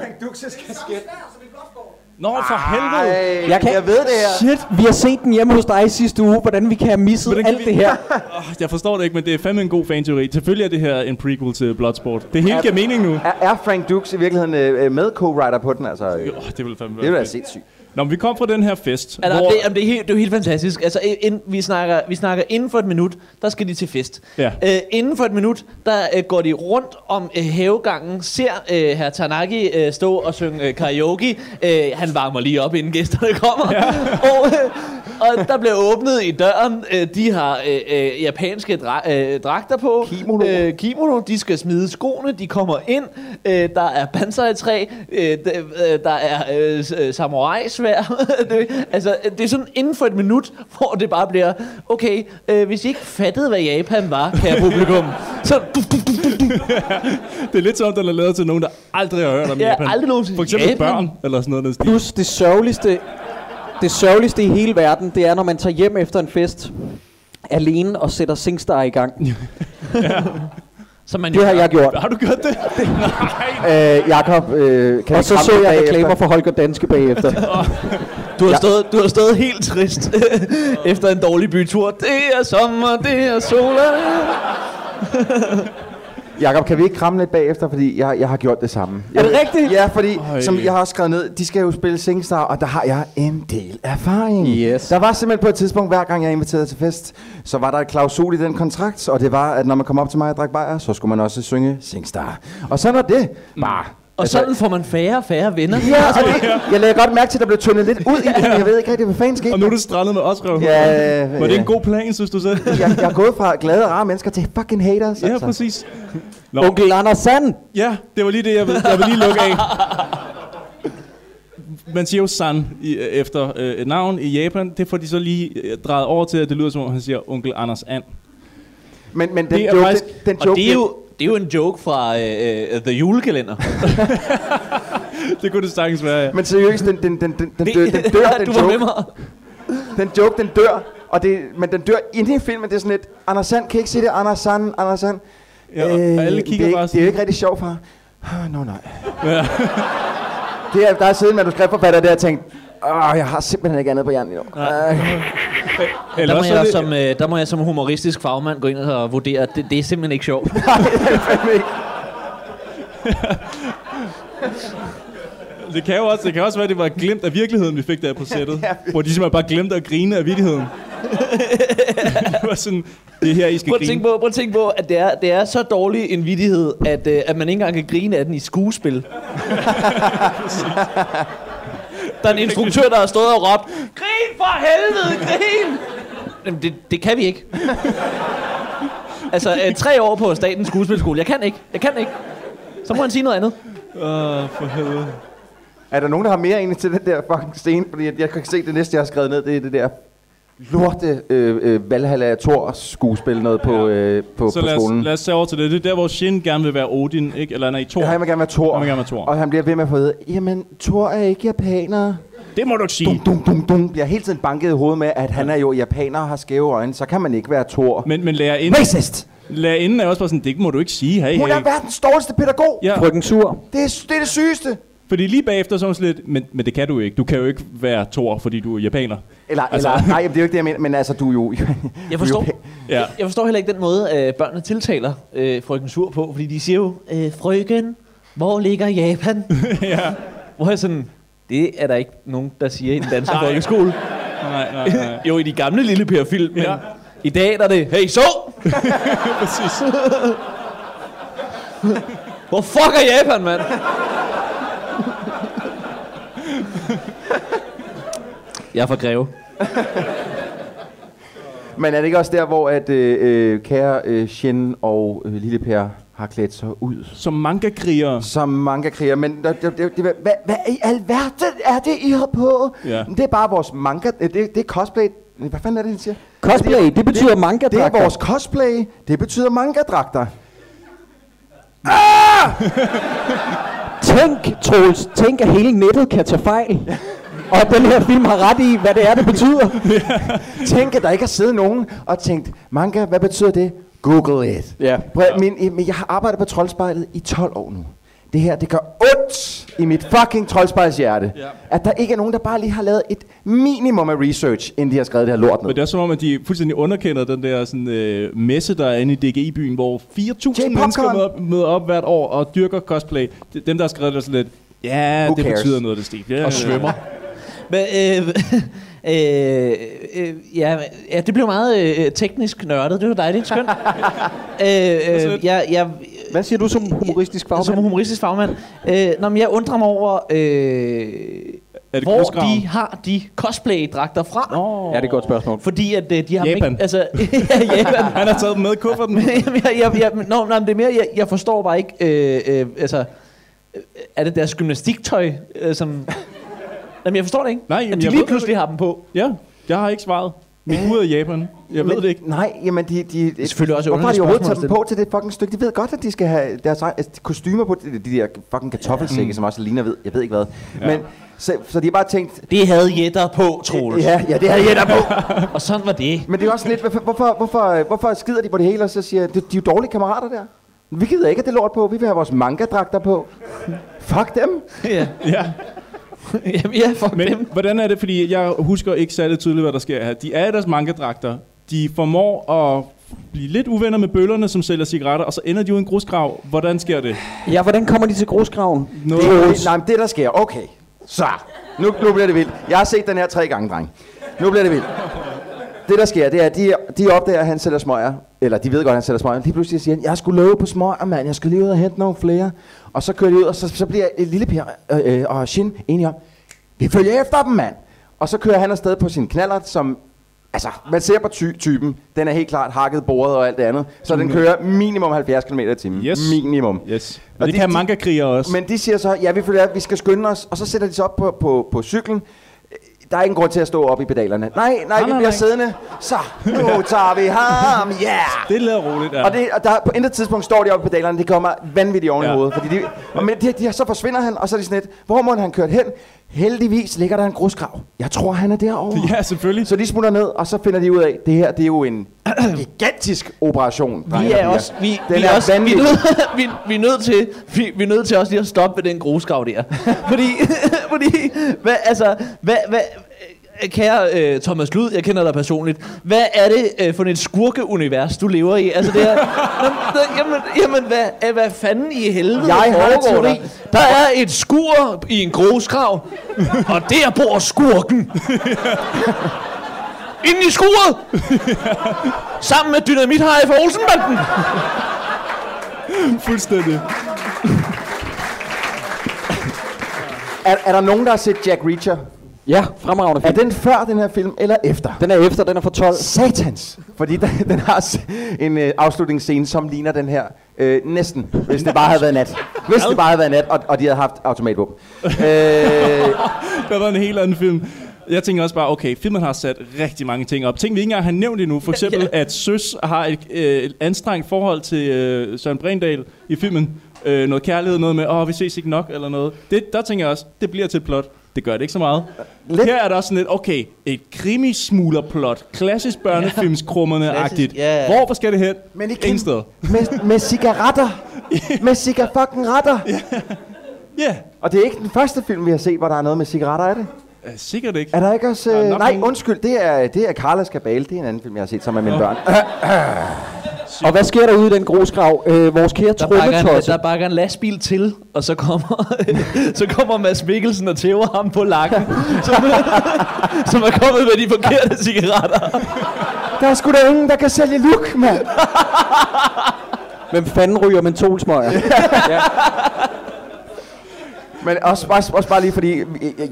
Speaker 4: Nå, for helvede.
Speaker 3: Ej,
Speaker 2: Jeg kan-
Speaker 3: Øh, jeg ved det her.
Speaker 2: Shit, vi har set den hjemme hos dig i sidste uge, hvordan vi kan have misset
Speaker 4: Hvordan kan
Speaker 2: alt
Speaker 4: vi-
Speaker 2: det her.
Speaker 4: Oh, jeg forstår det ikke, men det er fandme en god fanteori. Selvfølgelig er det her en prequel til Bloodsport. Det hele giver mening nu.
Speaker 3: Er, er Frank Dukes i virkeligheden øh, øh, med co-writer på den? Altså, øh,
Speaker 4: Oh, det vil fandme
Speaker 3: det er da
Speaker 4: være fedt.
Speaker 3: sindssygt.
Speaker 4: Nå, men vi kom fra den her fest.
Speaker 5: altså,
Speaker 4: hvor-
Speaker 5: det, jamen, det, er helt, det er jo helt fantastisk. Altså, ind, vi, snakker, vi snakker inden for et minut, der skal de til fest.
Speaker 4: Ja.
Speaker 5: Øh, inden for et minut, der øh, går de rundt om øh, havegangen, ser øh, herr Tanaki øh, stå og synge øh, karaoke. Øh, han varmer lige op, inden gæsterne kommer. Ja. og, øh, og der bliver åbnet i døren. Øh, de har øh, øh, japanske dra- øh, dragter på.
Speaker 3: Kimono.
Speaker 5: Øh, kimono. De skal smide skoene. De kommer ind. Øh, der er banzai-træ. Øh, d- øh, der er øh, s- øh, samurai-svær. det, altså, øh, det er sådan inden for et minut, hvor det bare bliver... Okay, øh, hvis I ikke fattede, hvad Japan var, kære publikum, så... Du, du, du, du, du.
Speaker 4: Det er lidt som, om, den er lavet til nogen, der aldrig har hørt om
Speaker 5: Ja,
Speaker 4: Japan.
Speaker 5: aldrig nogensinde.
Speaker 4: For eksempel
Speaker 5: Japan.
Speaker 4: børn, eller sådan noget. Den stil.
Speaker 2: Plus det sørgeligste, det sørgeligste i hele verden, det er, når man tager hjem efter en fest alene og sætter Singstar i gang.
Speaker 5: Som man
Speaker 2: Det har jeg gjort.
Speaker 4: Har du gjort det? Nej.
Speaker 3: Øh, Jakob, øh, kan
Speaker 2: Og så
Speaker 3: ikke
Speaker 2: så
Speaker 3: ramme
Speaker 2: jeg
Speaker 3: bagefter?
Speaker 2: reklamer for Holger Danske bagefter.
Speaker 5: Du har,
Speaker 2: Ja.
Speaker 5: stået, du har stået helt trist efter en dårlig bytur. Det er sommer, det er sol.
Speaker 3: Jakob, kan vi ikke kramme lidt bagefter, fordi jeg, jeg har gjort det samme.
Speaker 2: Er det
Speaker 3: Jeg-
Speaker 2: rigtigt?
Speaker 3: Ja, fordi
Speaker 4: Øj.
Speaker 3: som jeg har også skrevet ned, de skal jo spille Singstar, og der har jeg en del erfaring.
Speaker 2: Yes.
Speaker 3: Der var simpelthen på et tidspunkt, hver gang jeg inviterede til fest, så var der et klausul i den kontrakt, og det var, at når man kom op til mig og drak bajer, så skulle man også synge Singstar. Og sådan var det bare.
Speaker 5: Og
Speaker 2: Altså-
Speaker 5: sådan får man færre og færre venner.
Speaker 3: Ja, og det, jeg lagde godt mærke til, at der blev tundet lidt ud i det, men jeg ved ikke rigtig, hvad fanden skete.
Speaker 4: Og nu er du strandet med os, Røv.
Speaker 3: Ja, ja,
Speaker 4: Var det
Speaker 3: ja.
Speaker 4: en god plan, synes du selv?
Speaker 3: jeg, jeg er gået fra glade og rare mennesker til fucking haters.
Speaker 5: altså.
Speaker 3: altså.
Speaker 4: ja, præcis. Nå,
Speaker 2: Onkel Anders Sand!
Speaker 4: ja, det var lige det, jeg vil, jeg vil lige lukke af. Man siger jo san i, efter øh, et navn i Japan. Det får de så lige øh, drejet over til, at det lyder som om, han siger onkel Anders And.
Speaker 3: Men, men den,
Speaker 4: Det er
Speaker 3: joke,
Speaker 4: faktisk-
Speaker 3: den, den joke,
Speaker 5: Og det er jo, det er jo en joke fra øh, øh, The Julekalender.
Speaker 4: Det kunne det sagtens være, ja.
Speaker 3: Men seriøst, den, den, den, den, den, dør, den dør, den
Speaker 5: du var med
Speaker 3: joke.
Speaker 5: mig.
Speaker 3: Den joke, den dør. Og det, men den dør inde i filmen, det er sådan lidt, Anders Sand, kan I ikke se det? Anders Sand, Anders Sand. Øh,
Speaker 4: ja og alle
Speaker 3: det, er
Speaker 4: kigger
Speaker 3: ikke,
Speaker 4: bare
Speaker 3: det er jo
Speaker 4: sådan.
Speaker 3: ikke rigtig sjovt, far. Ah, Nå, no, nej.
Speaker 4: Ja.
Speaker 3: Det er, der er siden manuskriptforfatter der og tænkt, Åh, jeg har simpelthen ikke andet på hjernen endnu. Øh,
Speaker 4: Eller
Speaker 5: Der må,
Speaker 4: også er
Speaker 5: jeg
Speaker 4: det-
Speaker 5: som, øh, der må jeg som humoristisk fagmand gå ind og vurdere, at det, det er simpelthen ikke sjovt.
Speaker 3: fandme ikke.
Speaker 4: Det kan jo også, det kan også være, at det var glemt af virkeligheden, vi fik der på sættet. Hvor de simpelthen bare glemte at grine af virkeligheden. det var sådan, det er her, I skal
Speaker 5: Prøv at
Speaker 4: grine.
Speaker 5: tænke på, prøv at tænke på at det er, det er så dårlig en vidighed, at, øh, at man ikke engang kan grine af den i skuespil. der er en instruktør, der har stået og råbt, Grin for helvede, grin! Jamen, det, det kan vi ikke. altså, øh, tre år på Statens Skuespilskole. Jeg kan ikke, jeg kan ikke. Så må han sige noget andet.
Speaker 4: Åh, for helvede.
Speaker 3: Er der nogen, der har mere egentlig til den der fucking scene? Fordi jeg, jeg kan se, det næste, jeg har skrevet ned, det er det der lorte øh, øh, Valhalla Thor skuespil noget på, øh, på,
Speaker 4: Så
Speaker 3: på
Speaker 4: lad
Speaker 3: skolen.
Speaker 4: os, lad os tage over til det. Det er der, hvor Shin gerne vil være Odin, ikke? Eller nej, Thor.
Speaker 3: Ja, han vil gerne være Thor.
Speaker 4: Han vil gerne være Thor.
Speaker 3: Og han bliver ved med at få at vide, jamen, Thor er ikke japaner.
Speaker 4: Det må du ikke
Speaker 3: Dum,
Speaker 4: sige.
Speaker 3: dum, dum, dum. Bliver hele tiden banket i hovedet med, at han er jo japaner og har skæve øjne, så kan man ikke være Thor.
Speaker 4: Men, men lærer inden,
Speaker 3: Racist!
Speaker 4: lærer inden er også bare sådan, det må du ikke sige. Hey,
Speaker 3: Hun
Speaker 4: hey.
Speaker 3: er verdens dårligste pædagog!
Speaker 4: Ja.
Speaker 2: Frygten sur.
Speaker 3: Det, er, det er det sygeste!
Speaker 4: Fordi lige bagefter så var hun sådan lidt, men, men det kan du ikke. Du kan jo ikke være Thor, fordi du er japaner.
Speaker 3: Eller,
Speaker 4: Altså-
Speaker 3: altså. eller, nej, det er jo ikke det, jeg mener, men altså, du er jo...
Speaker 5: Jeg forstår,
Speaker 3: Du er jo
Speaker 4: Ja.
Speaker 5: jeg forstår heller ikke den måde, øh, børnene tiltaler øh, frøken Sur på, fordi de siger jo, øh, frøken, hvor ligger Japan?
Speaker 4: ja.
Speaker 5: Hvor jeg sådan, det er der ikke nogen, der siger i den danske folkeskole.
Speaker 4: Nej, nej, nej.
Speaker 5: jo, i de gamle lille Per-film, men
Speaker 4: Ja.
Speaker 5: ja. i dag der er det, hey, så!
Speaker 4: Præcis.
Speaker 5: Hvor fuck er Japan, mand? jeg er fra Greve.
Speaker 3: Men er det ikke også der, hvor at, øh, øh, kære øh, Shen og øh, Lille Per har klædt sig ud
Speaker 4: Som manga-krigere.
Speaker 3: som manga-kriger? Men der, der, der, der, hvad, hvad i alverden er det, I har på?
Speaker 4: Ja.
Speaker 3: Det er bare vores manga... øh, Det, det er cosplay... Hvad fanden er det, han siger?
Speaker 2: Cosplay, det betyder
Speaker 3: Det
Speaker 2: manga-dragter.
Speaker 3: er vores cosplay. Det betyder manga-dragter.
Speaker 2: Tænk, Troels, tænk at hele nettet kan tage fejl. Og at den her film har ret i, hvad det er, det betyder.
Speaker 3: Tænk, at der ikke har siddet nogen og tænkt, manga, hvad betyder det? Google it.
Speaker 2: Ja.
Speaker 3: Prøv, at- men, øh, men jeg har arbejdet på Troldspejlet i 12 år nu. Det her, det gør ondt i mit fucking troldspejlshjerte. Ja. At der ikke er nogen, der bare lige har lavet et minimum af research, inden de har skrevet det her lort
Speaker 4: Men
Speaker 3: ned.
Speaker 4: det er også som om, at de fuldstændig underkender den der sådan, øh, messe, der er inde i DGI-byen, hvor 4.000
Speaker 3: Til
Speaker 4: mennesker
Speaker 3: popcorn.
Speaker 4: møder, møder op hvert år og dyrker cosplay. De- Dem, der har skrevet det, er sådan lidt, ja,
Speaker 3: Who
Speaker 4: det
Speaker 3: cares?
Speaker 4: betyder noget, det stik. Ja, og svømmer.
Speaker 5: Men, øh, øh, øh, ja, ja, det blev meget øh, teknisk nørdet. Det var dejligt. Skønt. øh, øh, jeg, jeg,
Speaker 2: Hvad siger du som humoristisk fagmand?
Speaker 5: Som humoristisk fagmand. Øh, når jeg undrer mig over, øh,
Speaker 4: Er det
Speaker 5: hvor
Speaker 4: kunstgraven?
Speaker 5: de har de cosplay-dragter fra.
Speaker 2: Ja, det er et godt spørgsmål.
Speaker 5: Fordi at øh, de har dem
Speaker 4: Japan.
Speaker 5: Ikke, altså, ja, Japan.
Speaker 4: Han har taget dem med i kufferten.
Speaker 5: Jamen, jeg, jeg, jeg, no, no, det er mere, jeg, jeg forstår bare ikke, øh, øh, altså, øh, er det deres gymnastiktøj, øh, som... Jamen, jeg forstår det ikke.
Speaker 4: Nej, jamen,
Speaker 5: at de
Speaker 4: jeg
Speaker 5: lige
Speaker 4: ved-
Speaker 5: pludselig har dem på.
Speaker 4: Ja, jeg har ikke svaret. Vi er ude af Japan. Jeg ved
Speaker 3: Men-
Speaker 4: det ikke.
Speaker 3: Nej, jamen de... de det
Speaker 5: er selvfølgelig også
Speaker 3: Hvorfor har de
Speaker 5: underligt
Speaker 3: overhovedet
Speaker 5: spørgsmål
Speaker 3: taget dem på til det fucking stykke? De ved godt, at de skal have deres egen- altså, de kostymer på, de, de der fucking kartoffelsække, som også ligner ved, jeg ved ikke hvad. Ja. Men, så, så de har bare tænkt...
Speaker 5: Det havde jætter på, Troels.
Speaker 3: Ja, ja, det havde jeg da på.
Speaker 5: Og sådan var det.
Speaker 3: Men det er også lidt, hvorfor, hvorfor, hvorfor, hvorfor skider de på det hele, og så siger jeg, de, de er jo dårlige kammerater der. Vi gider ikke, at det lort på. Vi vil have vores manga-dragter på. Fuck dem.
Speaker 5: ja.
Speaker 4: Ja.
Speaker 5: Jamen, ja, fuck Men...
Speaker 4: Men
Speaker 5: dem.
Speaker 4: hvordan er det? Fordi jeg husker ikke særlig tydeligt, hvad der sker her. De er i deres mangadragter. De formår at blive lidt uvenner med bøllerne, som sælger cigaretter, og så ender de jo i en grusgrav. Hvordan sker det?
Speaker 2: Ja, hvordan kommer de til grusgraven?
Speaker 3: Det er jo, nej, men det der sker. Okay. Så. Nu, nu bliver det vildt. Jeg har set den her tre gange, dreng. Nu bliver det vildt. Det der sker, det er, at de, de opdager, at han sælger smøger. Eller de ved godt, at han sælger smøger. Lige pludselig siger han, jeg skulle love på smøger, mand. Jeg skulle lige ud og hente nogle flere. Og så kører de ud, og så, så bliver øh, Lille Per øh, øh, og Shin enige om, vi følger efter dem, mand. Og så kører han afsted på sin knallert, som Altså, man ser på ty- typen. Den er helt klart hakket bordet og alt det andet. Så den kører minimum 70 km i timen.
Speaker 4: Mm. Yes.
Speaker 3: Minimum.
Speaker 4: Yes.
Speaker 3: Og
Speaker 4: Men det
Speaker 3: de-
Speaker 4: kan
Speaker 3: de-
Speaker 4: manga også.
Speaker 3: Men de siger så, ja, vi følger, vi skal skynde os, og så sætter de sig op på, på, på cyklen. Der er ingen grund til at stå op i pedalerne. Nej, nej, vi
Speaker 4: nej,
Speaker 3: bliver
Speaker 4: nej.
Speaker 3: siddende. Så, nu tager vi ham, yeah!
Speaker 4: Det lader roligt, ja.
Speaker 3: Og, det, og der, på intet tidspunkt står de oppe i pedalerne, det kommer vanvittigt oven i
Speaker 4: Ja.
Speaker 3: hovedet. Fordi de, og men de, de, så forsvinder han, og så er de sådan lidt, hvor må han kørt hen? Heldigvis ligger der en grusgrav. Jeg tror, han er derovre.
Speaker 4: Ja, selvfølgelig.
Speaker 3: Så de smutter ned, og så finder de ud af, det her det er jo en gigantisk operation.
Speaker 5: Vi
Speaker 3: drenge og
Speaker 5: er
Speaker 3: piger.
Speaker 5: også, vi,
Speaker 3: Den
Speaker 5: vi er,
Speaker 3: er
Speaker 5: også, vi, er
Speaker 3: vanvittig.
Speaker 5: nødt, vi, vi er nødt til, vi, vi er nødt til også lige at stoppe ved den grusgrav der. fordi, fordi, hvad, altså, hvad, hvad, øh, kære øh, Thomas Lud, jeg kender dig personligt. Hvad er det øh, for et skurkeunivers, du lever i? Altså det her, jamen, der- jamen, jamen hvad, øh, hvad fanden i helvede
Speaker 3: Jeg har en
Speaker 5: foregår der?
Speaker 3: teori.
Speaker 5: Der er et skur i en grusgrav, og der bor skurken. Inden i skuret! Sammen med Dynamithaj fra Olsenbanden!
Speaker 4: fuldstændig.
Speaker 3: Er, er der nogen, der har set Jack Reacher?
Speaker 2: Ja, fremragende
Speaker 3: Er
Speaker 2: film.
Speaker 3: den før den her film, eller efter?
Speaker 2: Den er efter, den er for 12.
Speaker 3: Satans! Fordi den, den har s- en øh, afslutningsscene, som ligner den her. Øh, næsten, hvis det bare havde været nat. Hvis det bare havde været nat, og, og de havde haft automatvåben. Øh,
Speaker 4: Det var en helt anden film. Jeg tænker også bare, okay, filmen har sat rigtig mange ting op. Ting, vi ikke engang har nævnt endnu. For eksempel,
Speaker 5: Ja.
Speaker 4: at Søs har et, øh, et anstrengt forhold til øh, Søren Brindal i filmen. Øh, noget kærlighed, noget med, åh, vi ses ikke nok, eller noget. Det, der tænker jeg også, det bliver til et plot. Det gør det ikke så meget. Lidt.
Speaker 3: Lidt.
Speaker 4: Her er der også sådan lidt, okay, et krimismuglerplot. Klassisk børnefilmskrummerne-agtigt.
Speaker 5: Klassisk, ja.
Speaker 4: Hvor skal det hen?
Speaker 3: Men ikke-
Speaker 4: Ingen sted.
Speaker 3: med, med cigaretter. Med cigaretter.
Speaker 4: Ja,
Speaker 3: Og det er ikke den første film, vi har set, hvor der er noget med cigaretter, er det?
Speaker 4: øh, sikkert ikke.
Speaker 3: Er der ikke også...
Speaker 4: Der er
Speaker 3: Øh,
Speaker 4: nok
Speaker 3: nej,
Speaker 4: nogen-
Speaker 3: undskyld, det er, det er Carlas Kabale. Det er en anden film, jeg har set sammen med mine børn.
Speaker 2: Og hvad sker der ude i den grusgrav? Øh, vores kære
Speaker 5: Der bakker, en,
Speaker 2: trommetosse.
Speaker 5: der bakker en lastbil til, og så kommer, så kommer Mads Mikkelsen og tæver ham på lakken, som, som er kommet med de forkerte cigaretter.
Speaker 3: Der er sgu da ingen, der kan sælge luk, mand.
Speaker 2: Hvem fanden ryger mentolsmøger?
Speaker 3: Men også, også, også bare lige fordi, øh,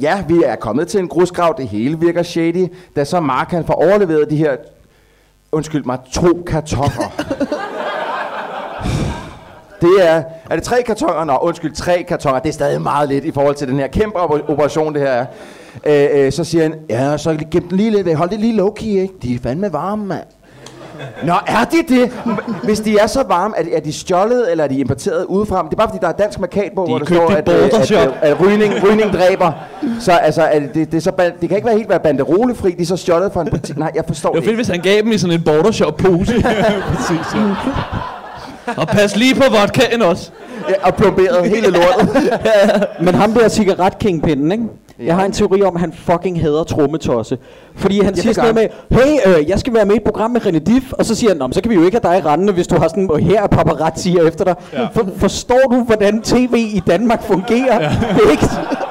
Speaker 3: ja, vi er kommet til en grusgrav, det hele virker shady. Da så Mark han får overleveret de her, undskyld mig, to kartoffer. Det er, er det tre kartonger? Nå, undskyld, tre kartonger. Det er stadig meget lidt i forhold til den her kæmpe oper- operation, det her er. Øh, øh, så siger han, ja, så gem den lige lidt væk. Hold det lige low-key, ikke? De er fandme varme, mand. Nå, er de det? Hvis de er så varme, er de, er de stjålet, eller er de importeret udefra? Men Det er bare, fordi der er dansk markat på, hvor der
Speaker 5: købt
Speaker 3: står,
Speaker 5: i
Speaker 3: at, øh, at,
Speaker 5: Bordershop.
Speaker 3: at, at rygning, rygning dræber. Så altså, er det, det, det, er så, ban- det kan ikke være helt være banderolefri, de er så stjålet fra en butik. Nej, jeg forstår
Speaker 5: Det var fedt, hvis han gav dem i sådan en bordershop-pose.
Speaker 4: Præcis, ja.
Speaker 5: og pas lige på vodkaen også.
Speaker 3: Ja, og plomberet hele lortet.
Speaker 2: Men ham der cigaretkingpinden, ikke? Jeg har en teori om, at han fucking hader trommetosse. Fordi han
Speaker 3: det
Speaker 2: siger sådan
Speaker 3: gør
Speaker 2: noget med, hey, øh, jeg skal være med i et program med René Diff, og så siger han, "Nå, men så kan vi jo ikke have dig rendende, hvis du har sådan, og her er paparazzier efter dig. Ja. For, forstår du, hvordan tv i Danmark fungerer? Ja. Det, er ikke,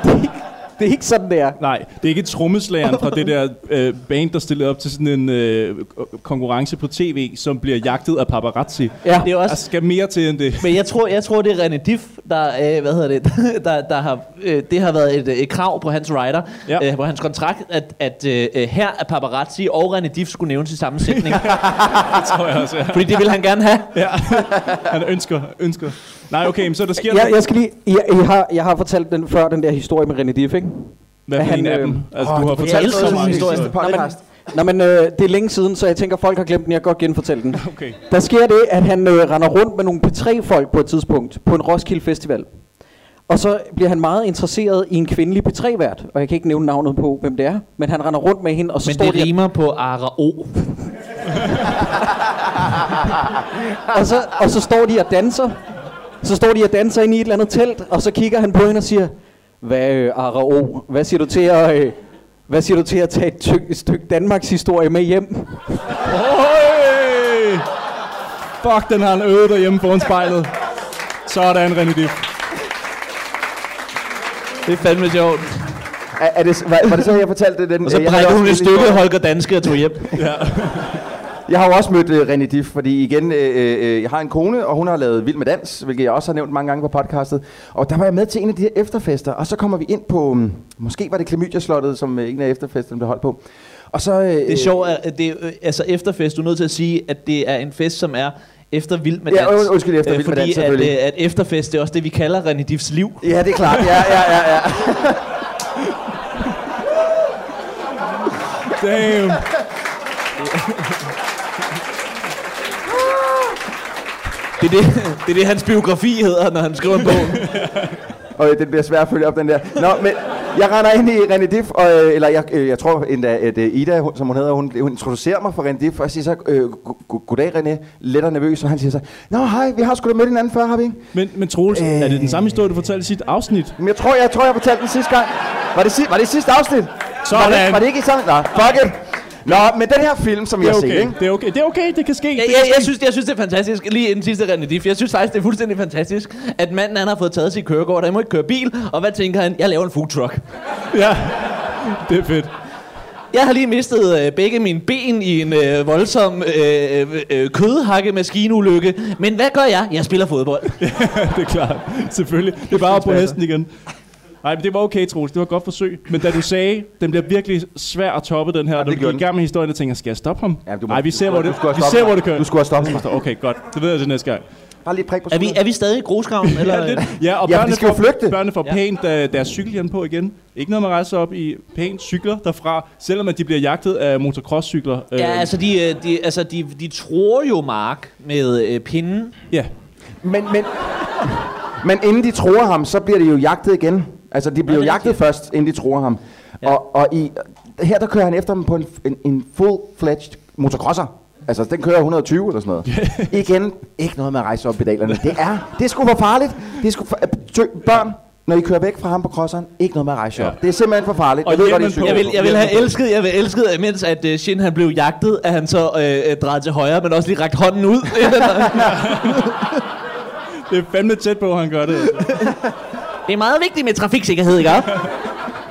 Speaker 2: det, er ikke, det er ikke sådan, det er.
Speaker 4: Nej, det er ikke trommeslageren fra det der øh, band, der stillede op til sådan en øh, konkurrence på tv, som bliver jagtet af paparazzi.
Speaker 2: Ja.
Speaker 5: Det er
Speaker 4: Der
Speaker 5: også,
Speaker 4: skal mere til end det.
Speaker 5: men jeg tror, jeg tror, det er René Diff, der, øh, hvad hedder det, der, der har, øh, det har været et, øh, et krav på hans rider,
Speaker 4: Ja.
Speaker 5: ja. øh, på hans kontrakt, at, at øh, her er paparazzi og René Diff skulle nævnes i samme sætning.
Speaker 4: Det tror jeg også, ja.
Speaker 5: Fordi det vil han gerne have.
Speaker 4: ja. Han ønsker, ønsker. Nej, okay, men så der sker
Speaker 2: Jeg, jeg, skal lige, jeg, jeg, har, jeg har fortalt den før, den der historie med René Diff, ikke?
Speaker 4: Hvad for
Speaker 2: han,
Speaker 4: en af
Speaker 2: øh,
Speaker 4: dem? Altså, du har
Speaker 3: øhm, det
Speaker 4: fortalt
Speaker 5: elsker
Speaker 4: så
Speaker 5: den
Speaker 4: mange
Speaker 5: historie.
Speaker 4: historier.
Speaker 3: podcast.
Speaker 2: Nå, men øh, det er længe siden, så jeg tænker, folk har glemt den. Jeg kan godt genfortælle den.
Speaker 4: Okay.
Speaker 2: Der sker det, at han øh, render rundt med nogle P3-folk på et tidspunkt på en Roskilde Festival. Og så bliver han meget interesseret i en kvindelig P3-vært. Og jeg kan ikke nævne navnet på, hvem det er. Men han render rundt med hende, og så
Speaker 5: Men
Speaker 2: står
Speaker 5: det
Speaker 2: de...
Speaker 5: rimer på Ara O.
Speaker 2: Og så, og så står de og danser. Så står de og danser inde i et eller andet telt, og så kigger han på hende og siger, hvad øh, Arao, hvad siger du til at... Øh, hvad siger du til at tage et, tyk, et stykke Danmarks historie med hjem?
Speaker 4: Hey! Fuck, den har han øvet derhjemme foran spejlet. Sådan, René Diff.
Speaker 5: Det er fandme sjovt.
Speaker 3: Er, er det, var, var det så, jeg fortalte den?
Speaker 5: Og så
Speaker 3: Øh, jeg har
Speaker 5: brækkede
Speaker 3: også
Speaker 5: hun et
Speaker 3: en
Speaker 5: stykke
Speaker 3: historie.
Speaker 5: Holger Danske og tog hjem.
Speaker 3: Jeg har jo også mødt uh, René Diff, fordi igen, øh, øh, jeg har en kone, og hun har lavet Vild med Dans, hvilket jeg også har nævnt mange gange på podcastet. Og der var jeg med til en af de her efterfester, og så kommer vi ind på, um, måske var det Klamydia-slottet, som øh, en af efterfesterne blev holdt på. Og så, øh,
Speaker 5: Det er sjovt, at det, øh, altså efterfest, du er nødt til at sige, at det er en fest, som er efter Vild med
Speaker 3: Ja,
Speaker 5: Dans.
Speaker 3: und- undskyld, efter
Speaker 5: Øh,
Speaker 3: Vild med
Speaker 5: fordi
Speaker 3: Dans, selvfølgelig.
Speaker 5: At, øh, at efterfest, det er også det, vi kalder René Diffs liv.
Speaker 3: Ja, det er klart. Ja, ja, ja, ja.
Speaker 4: Damn.
Speaker 5: Det er det, det, er det hans biografi hedder, når han skriver en bog.
Speaker 3: Og øh, den bliver svær at følge op, den der. Nå, men jeg render ind i René Diff, og, øh, eller jeg, øh, jeg tror endda, at øh, Ida, hun, som hun hedder, hun, hun introducerer mig for René Diff, og jeg siger så, øh, gu- gu- goddag René, lidt og nervøs, og han siger så, Nå hej, vi har sgu da mødt hinanden før, har vi ikke?
Speaker 4: Men, men Troels,
Speaker 3: Øh.
Speaker 4: er det den samme historie, du fortalte i sit afsnit?
Speaker 3: Men jeg tror, jeg, tror, jeg fortalte den sidste gang. Var det, si- var det i sidste afsnit?
Speaker 4: Sådan.
Speaker 3: Var det, var det ikke i samme? Nå, fuck it. Nå, men den her film, som
Speaker 4: Det
Speaker 3: jeg
Speaker 4: er
Speaker 3: har set,
Speaker 4: okay,
Speaker 3: ikke?
Speaker 4: det er okay, det er okay, det kan ske.
Speaker 5: Jeg,
Speaker 4: det
Speaker 5: jeg,
Speaker 4: kan
Speaker 5: jeg,
Speaker 4: ske.
Speaker 5: synes, jeg synes, det er fantastisk. Lige inden sidste René Diff. Jeg synes faktisk, det er fuldstændig fantastisk, at manden han har fået taget sit kørekort. Han må ikke køre bil. Og hvad tænker han? Jeg laver en food truck.
Speaker 4: Ja, det er fedt.
Speaker 5: Jeg har lige mistet øh, begge mine ben i en øh, voldsom øh, øh, øh, kødhakkemaskinulykke. Men hvad gør jeg? Jeg spiller fodbold.
Speaker 4: det er klart. Selvfølgelig. Det er bare op på hesten igen. Nej, men det var okay, Troels. Det var et godt forsøg. Men da du sagde, den bliver virkelig svær at toppe, den her, ja,
Speaker 3: det
Speaker 4: du gik
Speaker 3: gjorde
Speaker 4: i
Speaker 3: den.
Speaker 4: gang med historien, og tænker, skal jeg stoppe ham?
Speaker 3: Ja, du må-
Speaker 4: Nej, vi
Speaker 3: du
Speaker 4: ser,
Speaker 3: skulle-
Speaker 4: hvor det,
Speaker 3: du skulle have
Speaker 4: vi
Speaker 3: stoppet
Speaker 4: ser,
Speaker 3: mig.
Speaker 4: hvor det kører.
Speaker 3: Du skulle have stoppet mig.
Speaker 4: Okay, godt. Det ved jeg til næste gang.
Speaker 3: Bare lige prik på
Speaker 5: Er vi, er vi stadig i grusgraven? Eller?
Speaker 4: Ja, lidt. ja og
Speaker 3: Ja,
Speaker 4: børnene,
Speaker 3: de skal jo
Speaker 4: får,
Speaker 3: flygte.
Speaker 4: børnene får
Speaker 5: Ja.
Speaker 4: pænt ja. deres cykelhjelm på igen. Ikke noget med at rejse sig op i pænt cykler derfra, selvom at de bliver jagtet af motocrosscykler.
Speaker 5: Ja, altså, de, øh, de, altså de, de tror jo Mark med øh, pinden.
Speaker 4: ja.
Speaker 3: Men, men, men inden de tror ham, så bliver de jo jagtet igen. Altså, de bliver
Speaker 5: det
Speaker 3: jo
Speaker 5: er
Speaker 3: jagtet
Speaker 5: rigtigt.
Speaker 3: først, inden de tror ham. Ja. Og, og i, her der kører han efter dem på en, en, en full-fledged motocrosser. Altså, den kører 120 eller sådan noget. Igen, ikke noget med at rejse op i pedalerne. Det er, det er sgu for farligt. Det er sgu for, øh, tø- børn, når I kører væk fra ham på crosseren, ikke noget med at rejse jer
Speaker 4: Ja.
Speaker 3: op. Det er simpelthen for farligt.
Speaker 4: Og
Speaker 3: jeg ved godt, I
Speaker 4: hjelmen
Speaker 3: synes,
Speaker 4: på.
Speaker 3: det
Speaker 5: Jeg
Speaker 3: er
Speaker 5: vil, jeg vil
Speaker 3: dumt.
Speaker 5: have elsket, jeg vil elsket, at mens at uh, Shin han blev jagtet, at han så øh, øh, drejede til højre, men også lige rakte hånden ud.
Speaker 4: Det er fandme tæt på, at han gør det.
Speaker 5: det er meget vigtigt med trafiksikkerhed, ikke?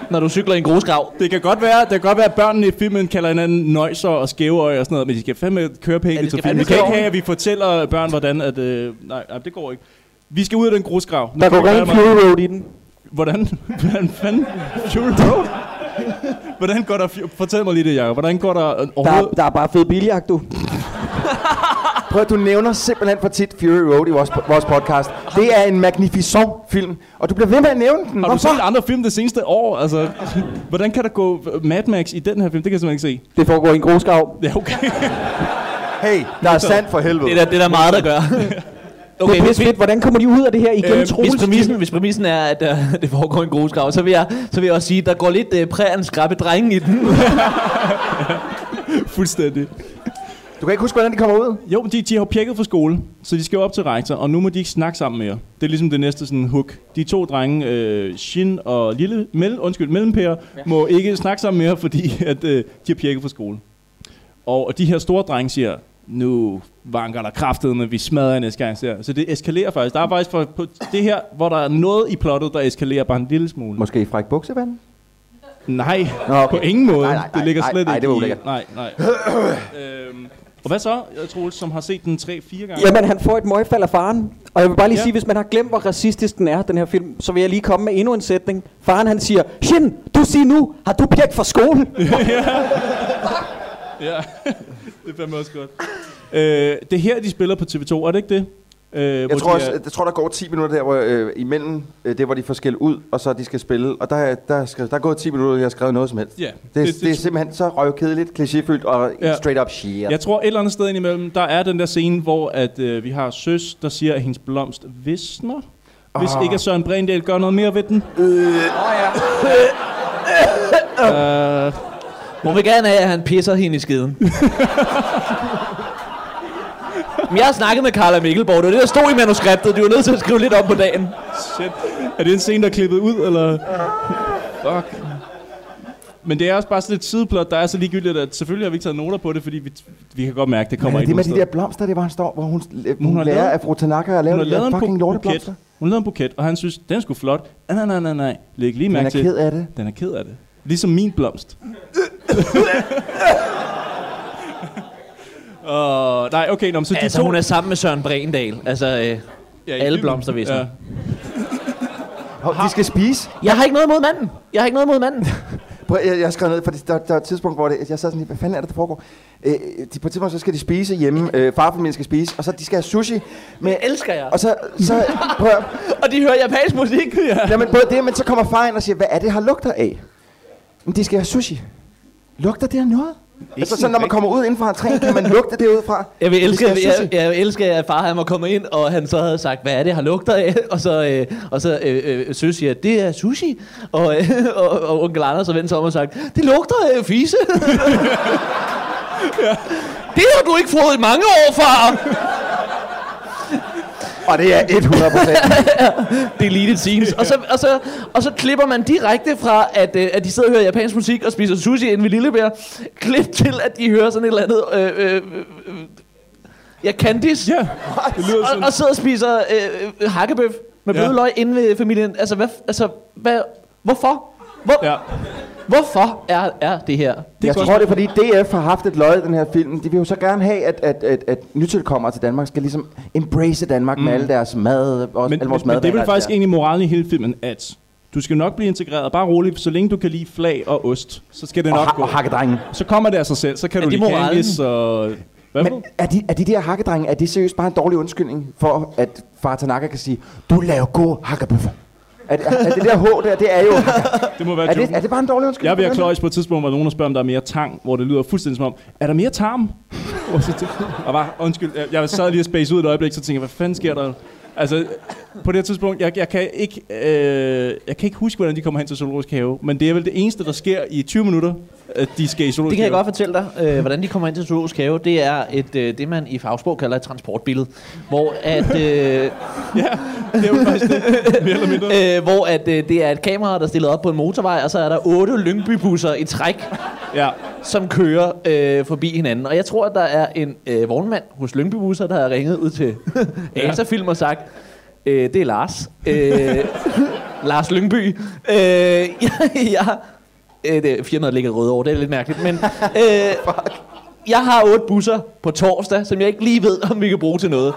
Speaker 5: Når du cykler i en grusgrav.
Speaker 4: Det kan godt være, det kan godt være at børnene i filmen kalder hinanden nøjser og skæveøje og sådan noget, men de skal fandme køre pænt
Speaker 5: Ja,
Speaker 4: ja,
Speaker 5: de
Speaker 4: til
Speaker 5: skal
Speaker 4: filmen.
Speaker 5: fandme
Speaker 4: Vi kan ikke
Speaker 5: køre
Speaker 4: have, at vi fortæller børn, hvordan at... Øh, nej, nej, det går ikke. Vi skal ud af den grusgrav. Nu
Speaker 2: Der
Speaker 4: kan
Speaker 2: går
Speaker 4: vi
Speaker 2: gerne en
Speaker 4: gøre det
Speaker 2: Fury Road i den.
Speaker 4: meget- Hvordan? Hvordan fanden? Fuel Road? Hvordan går der... fu- Fortæl mig lige det, Jacob. Hvordan går der øh,
Speaker 2: Der, er-
Speaker 4: overhovedet...
Speaker 2: der er bare fed biljagt, du.
Speaker 3: Prøv at du nævner simpelthen for tit Fury Road i vores, vores podcast. Det er en magnificent film, og du bliver ved med at nævne den.
Speaker 4: Har du
Speaker 3: Hvorfor?
Speaker 4: set andre film det seneste år? Altså, hvordan kan der gå Mad Max i den her film? Det kan jeg simpelthen ikke
Speaker 2: Det foregår i en grusgrav.
Speaker 4: se. Ja, okay.
Speaker 3: Hey, der er sand for helvede.
Speaker 5: Det er der, det er der meget, der gør.
Speaker 2: Okay, det
Speaker 5: Okay,
Speaker 2: er
Speaker 5: hvis,
Speaker 2: pisse fedt. Hvordan kommer de ud af det her igen,
Speaker 4: Øh,
Speaker 2: øh,
Speaker 4: hvis
Speaker 5: hvis,
Speaker 2: Troels?
Speaker 5: præmissen, hvis præmissen er, at uh, det foregår i en grusgrav, så vil jeg, så vil jeg også sige, at der går lidt uh, præren skrappe drenge i den.
Speaker 4: Fuldstændig.
Speaker 3: Øh, Du kan ikke huske, hvordan de kommer ud?
Speaker 4: Jo, men de, de har jo pjekket fra skole, så de skal jo op til rektor, og nu må de ikke snakke sammen mere. Det er ligesom det næste sådan hook. De to drenge, øh, Shin og Lille, mell, undskyld, Mellempære, ja. må ikke snakke sammen mere, fordi at, øh, de har pjekket fra skole. Og, og de her store drenge siger, nu vanker der kraftet, men vi smadrer jer næste gang. Siger. Så det eskalerer faktisk. Der er faktisk for, på det her, hvor der er noget i plottet, der eskalerer bare en lille smule.
Speaker 3: Måske fræk buksevand?
Speaker 4: Nej,
Speaker 3: Nå, okay.
Speaker 4: på ingen måde.
Speaker 3: Nej, nej, nej,
Speaker 4: det ligger
Speaker 3: nej,
Speaker 4: slet
Speaker 3: nej,
Speaker 4: ikke
Speaker 3: det var
Speaker 4: i-
Speaker 3: ulækkert.
Speaker 4: Nej, nej. øhm, og hvad så, Troels, som har set den 3-4 gange?
Speaker 2: Jamen, han får et møgfald af faren. Og jeg vil bare lige
Speaker 4: Ja.
Speaker 2: ja. sige, hvis man har glemt, hvor racistisk den er, den her film, så vil jeg lige komme med endnu en sætning. Faren han siger, Shin, du siger nu, har du pjek fra skole?
Speaker 4: Ja, det er fandme også godt. Øh, det er her, de spiller på TV2, er det ikke det? Øh,
Speaker 3: Jeg tror, også, jeg tror, der går 10 minutter der, hvor, øh, imellem øh, det, hvor de får skæld ud, og så de skal spille. Og der, er- der, er, skrevet, der er gået 10 minutter, og jeg har skrevet noget som helst.
Speaker 4: Ja,
Speaker 3: det, det, det, er simpelthen så røvkedeligt, klichéfyldt og
Speaker 4: Ja.
Speaker 3: ja. straight up shit.
Speaker 4: Jeg tror, et eller andet sted indimellem, der er den der scene, hvor at, øh, vi har Søs, der siger, at hendes blomst visner. Hvis
Speaker 3: Ah.
Speaker 4: ikke at Søren Brændal gør noget mere ved den.
Speaker 5: Hun vil gerne have, at han pisser hende i skiden. Men jeg har snakket med Carla Mikkelborg, det var det, der stod i manuskriptet. De var nødt til at skrive lidt om på dagen.
Speaker 4: Shit. Er det en scene, der er klippet ud, eller? Fuck. Men det er også bare sådan et sideplot, der er så ligegyldigt, at selvfølgelig har vi ikke taget noter på det, fordi vi, vi kan godt mærke, at det kommer
Speaker 3: Kommer det
Speaker 4: ikke
Speaker 3: med
Speaker 4: nogen
Speaker 3: de
Speaker 4: steder.
Speaker 3: der blomster, det var, han står, hvor hun, hun,
Speaker 4: Hun har
Speaker 3: hun lærer
Speaker 4: lavet-
Speaker 3: af fru Tanaka at lave
Speaker 4: Hun har
Speaker 3: de
Speaker 4: lavet
Speaker 3: der
Speaker 4: en
Speaker 3: fucking
Speaker 4: bu- buket.
Speaker 3: lorteblomster.
Speaker 4: Hun lavede en buket, og han synes, den skulle flot. Ah, nej, nej, nej, nej. Læg lige
Speaker 3: Men
Speaker 4: mærke
Speaker 3: er
Speaker 4: til.
Speaker 3: ked af det.
Speaker 4: Den er ked af det. Ligesom min blomst. Uh, nej, okay, nå, men så de
Speaker 5: Altså,
Speaker 4: to...
Speaker 5: hun er sammen med Søren Brændal. Altså, øh,
Speaker 4: ja, i
Speaker 5: alle
Speaker 4: filmen.
Speaker 5: blomster visner.
Speaker 3: Hov, De skal spise.
Speaker 5: jeg har ikke noget mod manden. Jeg har ikke noget mod manden.
Speaker 3: Prøv, jeg, jeg skrev ned, for der, der er et tidspunkt, hvor det, jeg sad sådan lidt, hvad fanden er det, der foregår? Øh, de, på et tidspunkt, så skal de spise hjemme, øh, farfamilien skal spise, og så de skal have sushi. Med,
Speaker 5: Elsker jeg.
Speaker 3: og så, så prøv, at-
Speaker 5: Og de hører japansk musik. Ja.
Speaker 3: jamen, både det, men så kommer far ind og siger, hvad er det, her lugter af? Men de skal have sushi. Lugter det af noget? Altså, så når man kommer ud inden fra entréen, kan man lugte det udefra.
Speaker 5: Jeg vil
Speaker 3: De
Speaker 5: elske,
Speaker 3: skal
Speaker 5: jeg,
Speaker 3: have
Speaker 5: jeg,
Speaker 3: sushi.
Speaker 5: jeg elsker, at far han var kommet ind, og han så havde sagt, hvad er det, han lugter af? Og så, øh, og så øh, øh, søs siger, det er sushi. Og, øh, og, og onkel Anders har vendt sig om og sagt, det lugter af fise. Det har du ikke fået i mange år, far!
Speaker 3: Og det er 100
Speaker 5: Deleted scenes. Og så, og, så, og så klipper man direkte fra, at, øh, at de sidder og hører japansk musik og spiser sushi inde ved Lillebær. Klip til, at de hører sådan et eller andet... Øh, øh, øh, øh, ja, Candice.
Speaker 4: Ja, det lyder
Speaker 5: og,
Speaker 4: sådan.
Speaker 5: og sidder og spiser øh, øh, hakkebøf med
Speaker 4: Ja.
Speaker 5: bløde løg inde ved familien. Altså, hvad, altså hvad, hvorfor? Hvor,
Speaker 4: Ja.
Speaker 5: ja. Hvorfor er, er det her?
Speaker 3: jeg
Speaker 4: godt.
Speaker 3: tror, det er fordi DF har haft et løg i den her film. De vil jo så gerne have, at, at, at, at nytilkommere til Danmark skal ligesom embrace Danmark mm. med alle deres mad. Også,
Speaker 4: Men,
Speaker 3: alle
Speaker 4: men,
Speaker 3: vores
Speaker 4: men det er vel
Speaker 3: madvaner,
Speaker 4: faktisk
Speaker 3: der.
Speaker 4: egentlig moralen i hele filmen, at du skal nok blive integreret. Bare roligt, så længe du kan lide flag og ost, så skal det
Speaker 3: Og,
Speaker 4: nok
Speaker 3: ha-
Speaker 4: gå.
Speaker 3: og hakkedrenge.
Speaker 4: Så kommer det af sig selv, så kan
Speaker 5: Er
Speaker 4: du
Speaker 5: det
Speaker 4: lide
Speaker 5: moralen?
Speaker 4: Candice og... Hvad for
Speaker 3: Men er de, er de der hakkedrenge, er det seriøst bare en dårlig undskyldning for, at far Tanaka kan sige, du laver gode hakkebøffer? Er, er, er det der H der, det er jo hakker.
Speaker 4: Det må være
Speaker 3: er,
Speaker 4: joken.
Speaker 3: det, er det bare en dårlig undskyldning?
Speaker 4: Jeg er ved
Speaker 3: for
Speaker 4: at
Speaker 3: den her?
Speaker 4: kløjes på et tidspunkt, hvor nogen spørger, om der er mere tang, hvor det lyder fuldstændig som om, er der mere tarm? og så tænkte- og bare, undskyld, jeg- jeg sad lige og space ud et øjeblik, så tænkte jeg, hvad fanden sker der? Altså, på det her tidspunkt, jeg, jeg, kan ikke, øh, jeg kan ikke huske, hvordan de kommer hen til Zoologisk Have, men det er vel det eneste, der sker i 20 minutter, at de skal i zoologisk
Speaker 5: Det kan jeg
Speaker 4: have.
Speaker 5: godt fortælle dig, øh, hvordan de kommer ind til zoologisk have. Det er et, øh, det, man i fagsprog kalder et transportbillede. Hvor at, øh,
Speaker 4: Det er jo faktisk det, mere eller mindre.
Speaker 5: øh, hvor at, øh, det er et kamera, der er stillet op på en motorvej, og så er der otte Lyngbybusser i træk,
Speaker 4: Ja.
Speaker 5: som kører øh, forbi hinanden. Og jeg tror, at der er en øh, vognmand hos Lyngbybusser, der har ringet ud til Asa-film og sagt, øh, det er Lars. Øh, Lars Lyngby. Øh, jeg, jeg, øh, det, firmaet ligger røde over, det er lidt mærkeligt, men... Øh, jeg har otte busser på torsdag, som jeg ikke lige ved, om vi kan bruge til noget.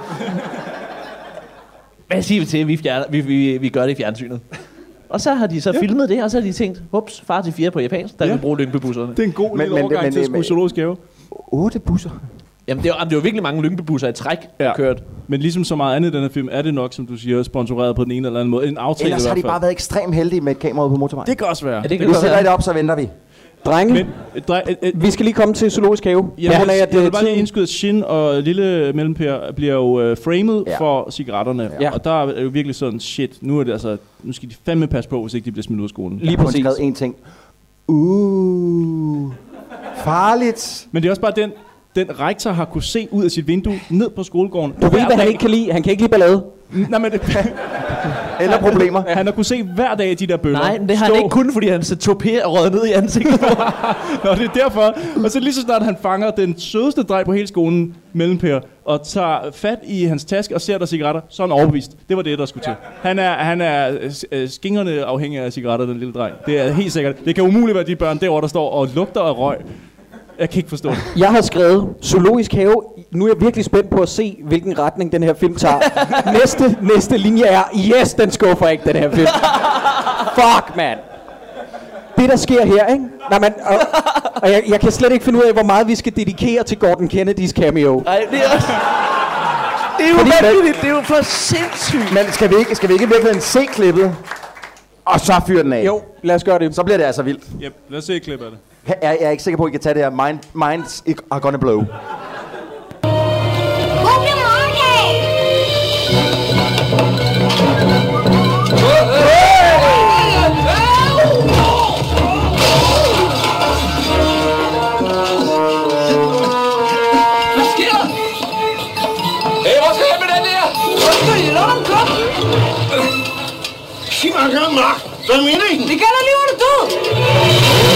Speaker 5: Hvad siger vi til, at vi, fjerner, vi, vi, vi gør det i fjernsynet? Og så har de så ja. filmet det, og så har de tænkt, hups, far til fire på japansk, der ja.
Speaker 4: Ja.
Speaker 5: kan bruge lyngbebusserne.
Speaker 4: Det er en god
Speaker 3: Men-
Speaker 4: men,
Speaker 3: men-
Speaker 4: lille overgang
Speaker 3: men-
Speaker 4: men, til at
Speaker 3: men-
Speaker 4: skulle i zoologisk have.
Speaker 3: Otte busser.
Speaker 5: Jamen, det er, jo- jamen, det er jo virkelig mange lyngbebusser i træk, der ja.
Speaker 4: Ja.
Speaker 5: kørt.
Speaker 4: Men ligesom så meget andet i den her film, er det nok, som du siger, sponsoreret på den ene eller anden måde. En aftale
Speaker 3: Ellers
Speaker 4: i
Speaker 3: har
Speaker 4: hvert
Speaker 3: de
Speaker 4: fald.
Speaker 3: bare været ekstremt heldige med et kamera ude på motorvejen.
Speaker 4: Det kan også være.
Speaker 5: Ja, det kan
Speaker 3: vi
Speaker 5: godt
Speaker 3: sætter
Speaker 5: være.
Speaker 3: det op, så venter vi.
Speaker 2: Drenge,
Speaker 4: Men, øh, drej, øh, øh,
Speaker 2: vi skal lige komme til Zoologisk Have.
Speaker 4: jeg,
Speaker 2: På grund af,
Speaker 4: vil,
Speaker 2: at,
Speaker 4: jeg
Speaker 2: øh,
Speaker 4: vil bare lige
Speaker 2: tiden-
Speaker 4: indskyde, at Shin og Lille Mellempær bliver jo øh, framed
Speaker 3: Ja.
Speaker 4: ja. for cigaretterne.
Speaker 2: Ja.
Speaker 4: Ja. Og der er jo virkelig sådan, shit, nu er det altså, nu skal de fandme passe på, hvis ikke de bliver smidt ud af skolen.
Speaker 2: Lige
Speaker 3: Jeg har kun
Speaker 2: præcis.
Speaker 3: skrevet én ting. Uh, farligt.
Speaker 4: Men det er også bare den, den rektor har kunne se ud af sit vindue ned på skolegården.
Speaker 2: Du ved,
Speaker 4: hver
Speaker 2: hvad han
Speaker 4: dag.
Speaker 2: ikke kan lide. Han kan ikke lide ballade.
Speaker 4: Nej, men det,
Speaker 3: Eller problemer.
Speaker 4: han har kunne se hver dag de der bøller.
Speaker 5: Nej, men det har
Speaker 4: stå-
Speaker 5: han ikke kun, fordi han så topé og røget ned i ansigtet.
Speaker 4: Nå, det er derfor. Og så lige så snart han fanger den sødeste dreng på hele skolen, Mellempær, og tager fat i hans taske og ser der er cigaretter, så er han overbevist. Det var det, der skulle til. Han er, han er øh, s- øh, skingerne afhængig af cigaretter, den lille dreng. Det er helt sikkert. Det kan umuligt være de børn derovre, der står og lugter af røg. Jeg kan ikke forstå det.
Speaker 2: Jeg har skrevet Zoologisk Have. Nu er jeg virkelig spændt på at se, hvilken retning den her film tager. næste, næste linje er, yes, den skuffer ikke, den her film. Fuck, mand. Det, der sker her, ikke? Nej, men, og, og jeg, jeg, kan slet ikke finde ud af, hvor meget vi skal dedikere til Gordon Kennedys cameo.
Speaker 5: Nej, det er også... Det er jo
Speaker 2: Fordi-
Speaker 5: vanvittigt, det er jo for sindssygt.
Speaker 3: Men skal vi ikke, skal vi ikke i virkeligheden se klippet? Og så fyre den af.
Speaker 2: Jo, lad os gøre det.
Speaker 3: Så bliver det altså vildt.
Speaker 4: Yep, lad os se et klip af det.
Speaker 3: Jeg, jeg er ikke sikker på, at I kan tage det her. Mind, minds i- are gonna blow.
Speaker 6: Åbne marked!
Speaker 9: Hvad sker der? Hey, hvad sker der med den der? Hvad sker der? Lad ham komme.
Speaker 8: Sig mig en gang, Mark. Hvad mener I?
Speaker 9: Det gælder lige, hvor du er død.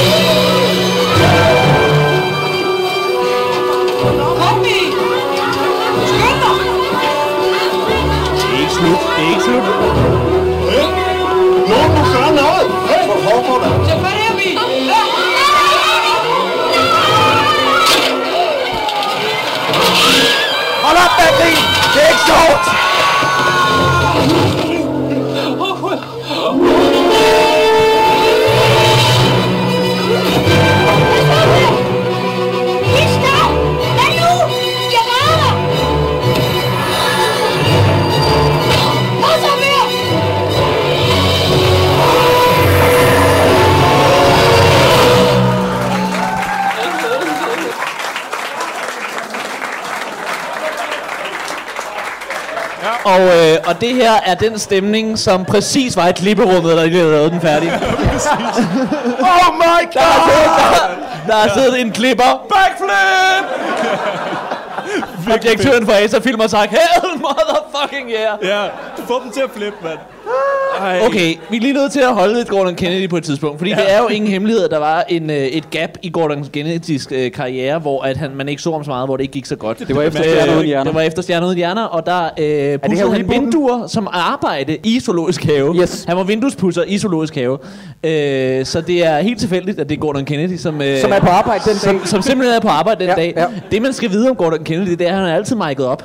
Speaker 9: Kom, Vi. Skynd dig.
Speaker 8: Nogen må gøre noget. Hey, hvor foregår der?
Speaker 9: Tag fat i ham, Vi. Ja.
Speaker 3: Hold op, med at grine! Det er ikke sjovt!
Speaker 6: Lige stop! Hvad nu? Jeg redder dig! Pas ham her!
Speaker 5: Og, øh, og det her er den stemning, som præcis var i klipperummet, der lige havde lavet den færdig.
Speaker 3: Oh my god!
Speaker 5: Der har siddet en klipper. Backflip! og direktøren for Asa Film har sagt, hell motherfucking yeah!
Speaker 4: Ja, du får dem til at flippe, mand. Ej.
Speaker 5: Okay, vi er lige nødt til at holde lidt Gordon Kennedy på et tidspunkt, fordi ja. det er jo ingen hemmelighed, at der var en, øh, et gap i Gordon Kennedys øh, karriere, hvor at han, man ikke så ham så meget, hvor det ikke gik så godt. Øh,
Speaker 2: Det var efter Stjerner Uden Hjerner.
Speaker 5: Det var efter Stjerner Uden Hjerner, og der øh, pudsede han
Speaker 3: rebooten?
Speaker 5: vinduer som arbejde i zoologisk have.
Speaker 2: Yes.
Speaker 5: Han var vinduespudser i zoologisk have. Øh, så det er helt tilfældigt, at det er Gordon Kennedy, som... Øh,
Speaker 2: Som er på arbejde den dag.
Speaker 5: som, som simpelthen er på arbejde den
Speaker 2: Ja,
Speaker 5: ja, dag.
Speaker 2: ja.
Speaker 5: Ja. Det, man skal vide om Gordon Kennedy, det er, at han er altid mic'et op.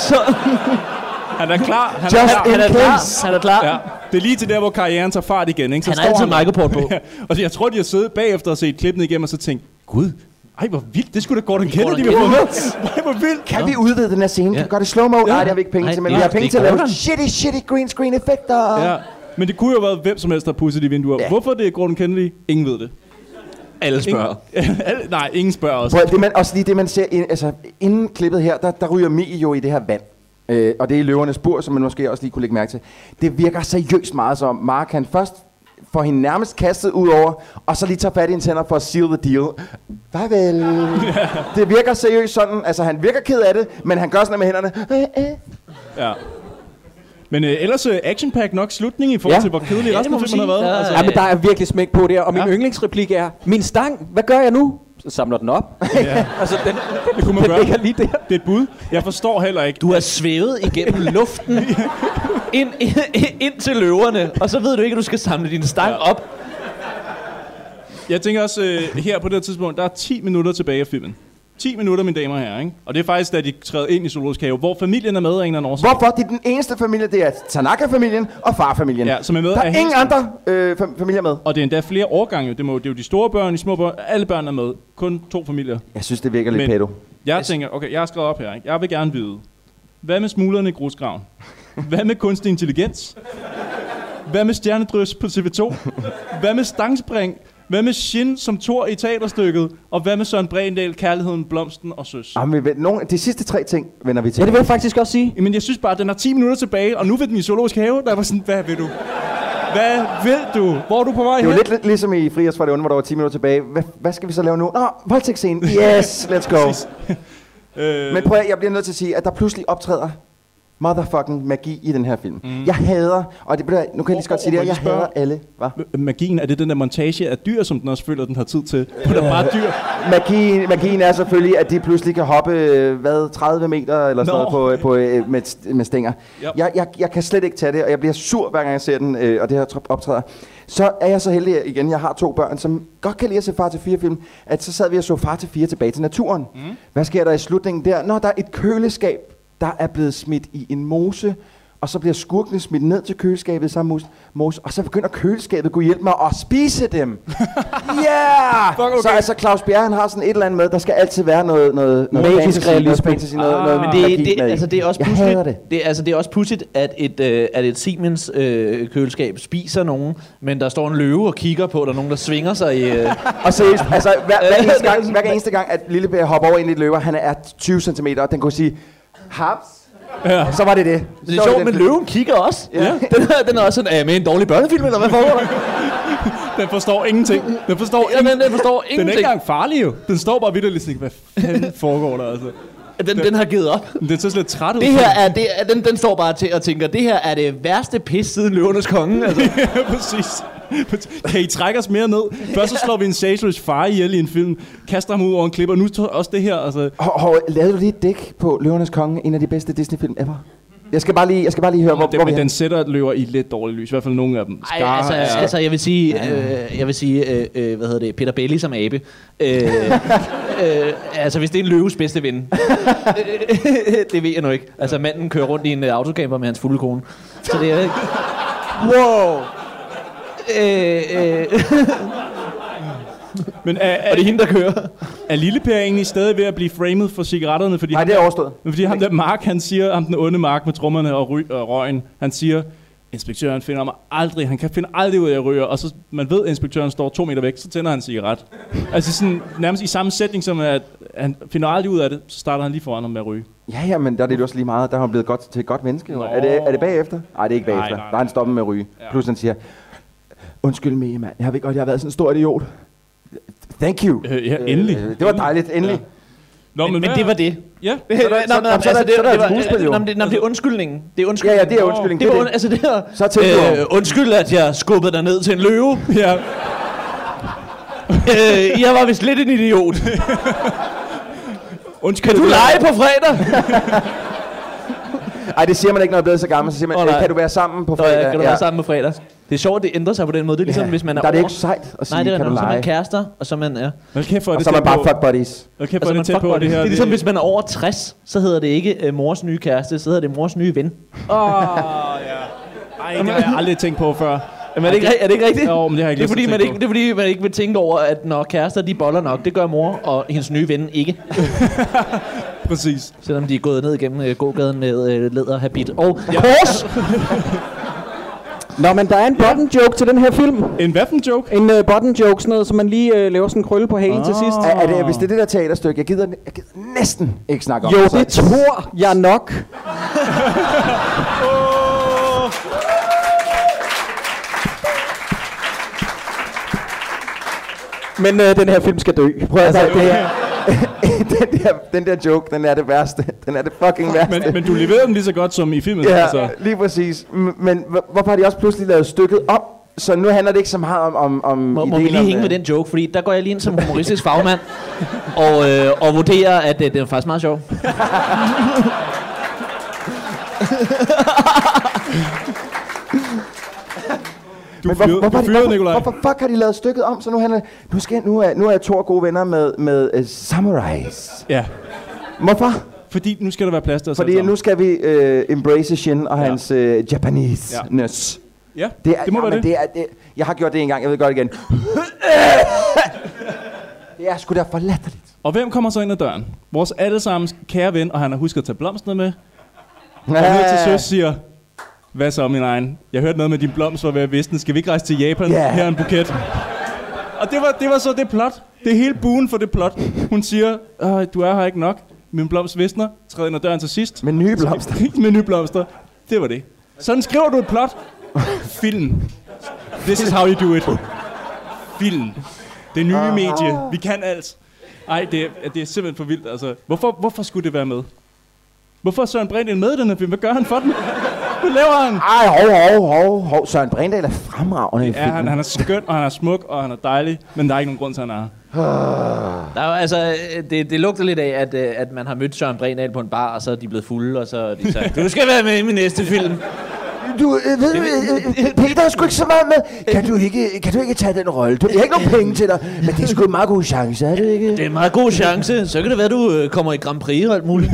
Speaker 5: så,
Speaker 4: Han er klar. Han er
Speaker 3: Just
Speaker 4: klar.
Speaker 3: in
Speaker 5: han er
Speaker 3: case.
Speaker 5: klar. Han er klar.
Speaker 4: Ja, det er lige til der, hvor karrieren tager fart igen. Ikke? Så
Speaker 5: Han har
Speaker 4: står
Speaker 5: altid microport på.
Speaker 4: Ja, og jeg tror, de har siddet bagefter og set klippene igennem, og så tænkt, gud, ej, hvor vildt, det skulle da Gordon Kennedy, vi har fået med. Ej, hvor vildt.
Speaker 3: Kan vi udvide den her scene? Kan vi gøre det i slow-mo? Nej, det har vi ikke penge
Speaker 5: Nej,
Speaker 3: til, men
Speaker 5: nej,
Speaker 3: vi har
Speaker 5: det
Speaker 3: penge
Speaker 5: er
Speaker 3: til at lave
Speaker 5: Gordon.
Speaker 3: shitty, shitty green screen effekter.
Speaker 4: Ja, men det kunne jo have været hvem som helst, der pudsede de vinduer.
Speaker 3: Ja.
Speaker 4: Ja. Hvorfor det er Gordon Kennedy? Ingen ved det.
Speaker 5: Alle spørger.
Speaker 4: Ingen, alle, nej, ingen spørger os.
Speaker 3: Prøv, at- det man, også lige det, man ser, ind, altså, inden klippet her, der, der ryger Mie jo i det her vand. Øh, og det er i løvernes bur, som man måske også lige kunne lægge mærke til. Det virker seriøst meget som Mark, han først får hende nærmest kastet ud over, og så lige tager fat i hendes hænder for at seal the deal. Farvel. Det virker seriøst sådan. Altså, han virker ked af det, men han gør sådan med hænderne. Øh, øh.
Speaker 4: Ja. Men øh, ellers øh, action-pack nok slutning i forhold
Speaker 3: Ja.
Speaker 4: til, hvor kedelig
Speaker 5: det
Speaker 4: resten
Speaker 5: må
Speaker 4: af
Speaker 5: man
Speaker 4: filmen har
Speaker 5: sige.
Speaker 4: været.
Speaker 5: Der-
Speaker 4: Altså,
Speaker 2: Ja, men der er virkelig smæk på der, og min
Speaker 4: Ja.
Speaker 2: ja. yndlingsreplik er, min stang, hvad gør jeg nu? Så samler den op. Ja. altså, den, den,
Speaker 4: det kunne man
Speaker 2: den ligger
Speaker 4: gøre.
Speaker 2: lige der.
Speaker 4: Det er et bud. Jeg forstår heller ikke.
Speaker 5: Du har svævet igennem luften ind, ind, ind til løverne, og så ved du ikke, at du skal samle din stang
Speaker 4: Ja.
Speaker 5: ja. op.
Speaker 4: Jeg tænker også, øh, her på det her tidspunkt, der er 10 minutter tilbage af filmen. 10 minutter, mine damer og herrer, ikke? Og det er faktisk, da de træder ind i Zoologisk Have, hvor familien er med af en eller anden årsag.
Speaker 3: Hvorfor? Det er den eneste familie, det er Tanaka-familien og farfamilien.
Speaker 4: Ja, som er med
Speaker 3: Der
Speaker 4: af
Speaker 3: er ingen
Speaker 4: hele-
Speaker 3: andre øh, fam- familier med.
Speaker 4: Og det er endda flere årgange. Det, må, det er jo de store børn, de små børn. Alle børn er med. Kun to familier.
Speaker 3: Jeg synes, det virker lidt
Speaker 4: Men-
Speaker 3: pedo.
Speaker 4: Jeg tænker, okay, jeg har skrevet op her, ikke? Jeg vil gerne vide. Hvad med smuglerne i grusgraven? Hvad med kunstig intelligens? Hvad med stjernedrys på TV2? Hvad med stangspring? Hvad med Shin som Thor i teaterstykket? Og hvad med Søren Brendal, Kærligheden, Blomsten og Søs?
Speaker 3: Jamen, vi- nogle, de sidste tre ting vender vi til.
Speaker 2: Ja, det vil jeg faktisk også sige.
Speaker 4: Jamen, jeg synes bare, at den har 10 minutter tilbage, og nu vil den i zoologisk have. Der var sådan, hvad vil du? Hvad vil du? Hvor er du på vej
Speaker 3: Det
Speaker 4: hen?
Speaker 3: var lidt, lidt ligesom i Friers fra det onde, hvor der var 10 minutter tilbage. Hvad, hvad skal vi så lave nu? Nå, voldtægtsscenen. Yes, let's go.
Speaker 4: Øh,
Speaker 3: Men prøv at, jeg bliver nødt til at sige, at der pludselig optræder motherfucking magi i den her film. Mm. Jeg hader, og det, ved du hvad, nu kan jeg lige så godt sige
Speaker 4: Hvor-
Speaker 3: det,
Speaker 4: hvor-
Speaker 3: her, jeg
Speaker 4: må jeg lige
Speaker 3: hader alle. Hva?
Speaker 4: Øh, magien, er det den der montage af dyr, som den også føler, den har tid til? Hvor der bare er dyr.
Speaker 3: Magien, magien er selvfølgelig, at de pludselig kan hoppe, øh, hvad, 30 meter eller sådan
Speaker 4: Nå.
Speaker 3: noget på, på, øh, med, st- med stænger.
Speaker 4: Yep.
Speaker 3: Jeg, jeg, jeg kan slet ikke tage det, og jeg bliver sur, hver gang jeg ser den, øh, og det her trop- optræder. Så er jeg så heldig igen, jeg har to børn, som godt kan lide at se Far til 4 film, at så sad vi og så Far til 4 tilbage til naturen. Mm. Hvad sker der i slutningen der? Når der er et køleskab, der er blevet smidt i en mose, og så bliver skurkene smidt ned til køleskabet sammen med mos- mos, og så begynder køleskabet, kunne hjælpe mig, at spise dem. Yeah!
Speaker 4: Fuck, okay.
Speaker 3: Så altså Claus Bjerre, han har sådan et eller andet med, der skal altid være noget, noget, noget
Speaker 2: Magisk
Speaker 3: fantasy, noget,
Speaker 2: realisme.
Speaker 3: fantasy, noget, noget
Speaker 5: Men
Speaker 3: magi
Speaker 5: det, det,
Speaker 3: Ah, med i.
Speaker 5: altså, det er også
Speaker 3: Jeg
Speaker 5: pudsigt,
Speaker 3: hader det.
Speaker 5: det. er- altså, det er også pudsigt, at et, øh, at et Siemens øh, køleskab spiser nogen, men der står en løve og kigger på, der er nogen, der svinger sig i... Øh,
Speaker 3: Og seriøst, altså hver, hver, eneste gang, hver eneste gang, at Lille Per hopper over ind i et løber, han er 20 cm, og den kunne sige, haps, ja. så var det det.
Speaker 5: det er sjovt, men løven kigger også.
Speaker 3: Ja.
Speaker 5: Den, er, den er også sådan, er jeg med i en dårlig børnefilm, eller hvad foregår der?
Speaker 4: Den forstår ingenting. Den forstår
Speaker 5: Jamen,
Speaker 4: ingenting.
Speaker 5: den forstår
Speaker 4: Den er ikke
Speaker 5: ingenting.
Speaker 4: engang farlig jo. Den står bare vidt og sådan, hvad fanden foregår der altså?
Speaker 5: Den, den har givet op.
Speaker 4: Den er så slet træt ud.
Speaker 5: Det her er, det, er- den, den står bare til og tænker, det her er det værste pis siden løvernes konge. Altså,
Speaker 4: ja, præcis. Kan I trække os mere ned? Først så slår vi en Sageris far ihjel i en film, kaster ham ud over en klippe, og nu tog også det her. Altså,
Speaker 3: Hov, hov, lavede du lige et dæk på Løvernes Konge, en af de bedste Disney-film ever? Jeg skal bare lige, jeg skal bare lige høre, hvor,
Speaker 4: den,
Speaker 3: hvor vi
Speaker 4: men
Speaker 3: er.
Speaker 4: den sætter løver i lidt dårligt lys, i hvert fald nogle af dem.
Speaker 5: Ej, altså,
Speaker 4: er-
Speaker 5: altså, jeg vil sige, øh, jeg vil sige øh, øh, hvad hedder det, Peter Belli som abe. Øh, øh, altså, hvis det er en løves bedste ven. Øh, det ved jeg nu ikke. Altså, manden kører rundt i en øh, autocamper med hans fulde kone. Så det er ikke... Wow! Øh, øh,
Speaker 4: Men er, er,
Speaker 5: og det er hende, der kører.
Speaker 4: er Lille Per egentlig stadig ved at blive framed for cigaretterne? Fordi
Speaker 3: Nej, det er overstået.
Speaker 4: Men fordi ham der Mark, han siger, ham den onde Mark med trommerne og, ry- og røgen, han siger, inspektøren finder mig aldrig, han kan finde aldrig ud af, at jeg ryger, og så man ved, at inspektøren står to meter væk, så tænder han en cigaret. altså sådan, nærmest i samme sætning som, at han finder aldrig ud af det, så starter han lige foran ham med at ryge.
Speaker 3: Ja, ja, men der er det jo også lige meget. Der har han blevet godt, til et godt menneske. Jo.
Speaker 4: Nå.
Speaker 3: Er, det, er det bagefter? Nej, det er ikke
Speaker 4: Nej,
Speaker 3: bagefter.
Speaker 4: nej, nej.
Speaker 3: Der er han stoppet med at ryge.
Speaker 4: Ja.
Speaker 3: Ja. Plus han siger, undskyld mig, mand. Jeg ved godt, jeg har været sådan en stor idiot. Thank you.
Speaker 4: Øh, ja, endelig.
Speaker 3: Øh, det var dejligt, endelig. Ja.
Speaker 4: Nå,
Speaker 5: Men, men
Speaker 4: hvad-
Speaker 5: det var det.
Speaker 4: Ja,
Speaker 5: Nå, nå,
Speaker 3: så-
Speaker 5: nå,
Speaker 3: så-
Speaker 5: altså,
Speaker 3: så-
Speaker 5: det-
Speaker 3: så- så-
Speaker 5: det var-
Speaker 3: skuespil, jo.
Speaker 5: nå, men det- nå, men det er undskyldningen. Det er
Speaker 3: Ja,
Speaker 5: undskyldningen.
Speaker 3: ja, det er undskyldning.
Speaker 5: Det var,
Speaker 3: det.
Speaker 5: un- altså, det her,
Speaker 3: Så tænkte du
Speaker 5: øh, undskyld, at jeg skubbede dig ned til en løve.
Speaker 4: ja.
Speaker 5: øh, jeg var vist lidt en idiot.
Speaker 4: Undskyld,
Speaker 5: Du lege på fredag.
Speaker 3: Ej, det siger man ikke, når jeg er blevet så gammel. Så siger man,
Speaker 5: Åh,
Speaker 3: oh,
Speaker 5: nej.
Speaker 3: kan du være sammen på
Speaker 5: Nå,
Speaker 3: fredag?
Speaker 5: ja, kan du være sammen med fredag? Det er sjovt, at det ændrer sig på den måde. Det er ligesom,
Speaker 3: Ja.
Speaker 5: hvis man er
Speaker 3: Der er det
Speaker 5: over-
Speaker 3: ikke sejt at sige,
Speaker 5: Nej, det er
Speaker 3: kan du
Speaker 5: nok, så er man
Speaker 3: lege?
Speaker 5: kærester, og så er man er...
Speaker 4: Hold kæft, hvor er
Speaker 3: Og
Speaker 4: det
Speaker 3: så er man
Speaker 4: tæt
Speaker 3: bare
Speaker 4: på.
Speaker 3: fuck buddies.
Speaker 4: Hold kæft,
Speaker 5: Og
Speaker 4: hvor
Speaker 5: så
Speaker 4: er
Speaker 5: er
Speaker 4: det
Speaker 5: man
Speaker 4: tæt
Speaker 5: fuck
Speaker 4: på,
Speaker 5: buddy.
Speaker 4: det her.
Speaker 5: Det er ligesom, hvis man er over 60, så hedder det ikke øh, mors nye kæreste, så hedder det mors nye ven.
Speaker 4: Ej, det har jeg aldrig tænkt på før.
Speaker 5: Men er det ikke, ri- er det ikke rigtigt?
Speaker 4: Jo, men det har jeg ikke
Speaker 5: det er,
Speaker 4: lyst til
Speaker 5: fordi,
Speaker 4: at
Speaker 5: man
Speaker 4: tænke
Speaker 5: ikke, det er fordi, man ikke vil tænke over, at når kærester de boller nok, det gør mor og hendes nye ven ikke.
Speaker 4: Præcis.
Speaker 5: Selvom de er gået ned igennem øh, gågaden med øh, læderhabit og kors.
Speaker 2: Nå, men der er en button joke til den her film.
Speaker 4: En vaffen joke?
Speaker 2: En uh, button joke, sådan noget, som man lige uh, laver sådan en krølle på halen oh. til
Speaker 4: Ah.
Speaker 2: sidst.
Speaker 3: Er, er det, hvis det er det der teaterstykke, jeg gider, jeg gider næsten ikke snakke om
Speaker 2: Jo,
Speaker 3: så-
Speaker 2: det tror jeg nok. Men øh, den her film skal dø. Prøv at altså,
Speaker 3: Altså,
Speaker 2: det her.
Speaker 3: den, der, den der joke, den er det værste. Den er det fucking værste.
Speaker 4: Men, men du leverede den lige så godt som i filmen.
Speaker 3: Ja,
Speaker 4: altså.
Speaker 3: lige præcis. M- Men h- hvorfor har de også pludselig lavet stykket op? Så nu handler det ikke så meget om, om, om
Speaker 5: Må, må
Speaker 3: ideen
Speaker 5: vi lige
Speaker 3: om,
Speaker 5: hænge
Speaker 3: øh,
Speaker 5: med den joke, fordi der går jeg lige ind som humoristisk fagmand og, øh, og vurderer, at øh, det er faktisk meget sjovt.
Speaker 4: Du
Speaker 3: Men hvor,
Speaker 4: fyrede,
Speaker 3: hvorfor,
Speaker 4: du fyrede Nikolaj.
Speaker 3: hvorfor, hvorfor fuck har de lavet stykket om? Så nu, handler, nu, skal, nu, er, nu er jeg to gode venner med, med uh, samurais.
Speaker 4: Ja,
Speaker 3: Hvorfor?
Speaker 4: fordi nu skal der være plads til os alle
Speaker 3: Fordi
Speaker 4: sammen.
Speaker 3: nu skal vi uh, embrace Shin og ja. hans uh, Japanese-ness.
Speaker 4: Ja, det, er, det må være
Speaker 3: jamen,
Speaker 4: det. det.
Speaker 3: det, er, det Jeg har gjort det en gang, jeg ved godt igen. det er sgu da for latterligt.
Speaker 4: Og hvem kommer så ind ad døren? Vores allesammens kære ven, og han har husket at tage blomsterne med. Og ned til søs siger, hvad så min egen? Jeg hørte noget med din blomst var ved at visne. Skal vi ikke rejse til Japan?
Speaker 3: Ja.
Speaker 4: Yeah. Her er en buket. Og det var, det var så det plot. Det er hele buen for det plot. Hun siger, "Øh, du er her ikke nok. Min blomst visner. Træder ind ad døren til sidst.
Speaker 3: Med nye blomster.
Speaker 4: med nye blomster. Det var det. Sådan skriver du et plot. Film. This is how you do it. Film. Det nye medie. Vi kan alt. Ej, det er, det er simpelthen for vildt. Altså, hvorfor, hvorfor skulle det være med? Hvorfor er Søren Brindel med i den her film? Hvad gør han for den? Hvad laver han?
Speaker 3: Ej, hov, hov, hov, hov. Søren Brindahl er fremragende i
Speaker 4: Ja, han,
Speaker 3: filmen.
Speaker 4: han er skøn, og han er smuk, og han er dejlig, men der er ikke nogen grund til, at han er her.
Speaker 5: Der er, jo, altså, øh, det, det lugter lidt af, at, øh, at man har mødt Søren Brenal på en bar, og så er de blevet fulde, og så er de sagt, du skal være med i min næste film.
Speaker 3: Du, øh, ved, øh, øh, Peter er sgu ikke så meget med. Kan du ikke, kan du ikke tage den rolle? Du, jeg har ikke nogen penge til dig, men det er sgu en meget god chance, er det ikke?
Speaker 5: Det er en meget god chance. Så kan det være, du øh, kommer i Grand Prix og alt muligt.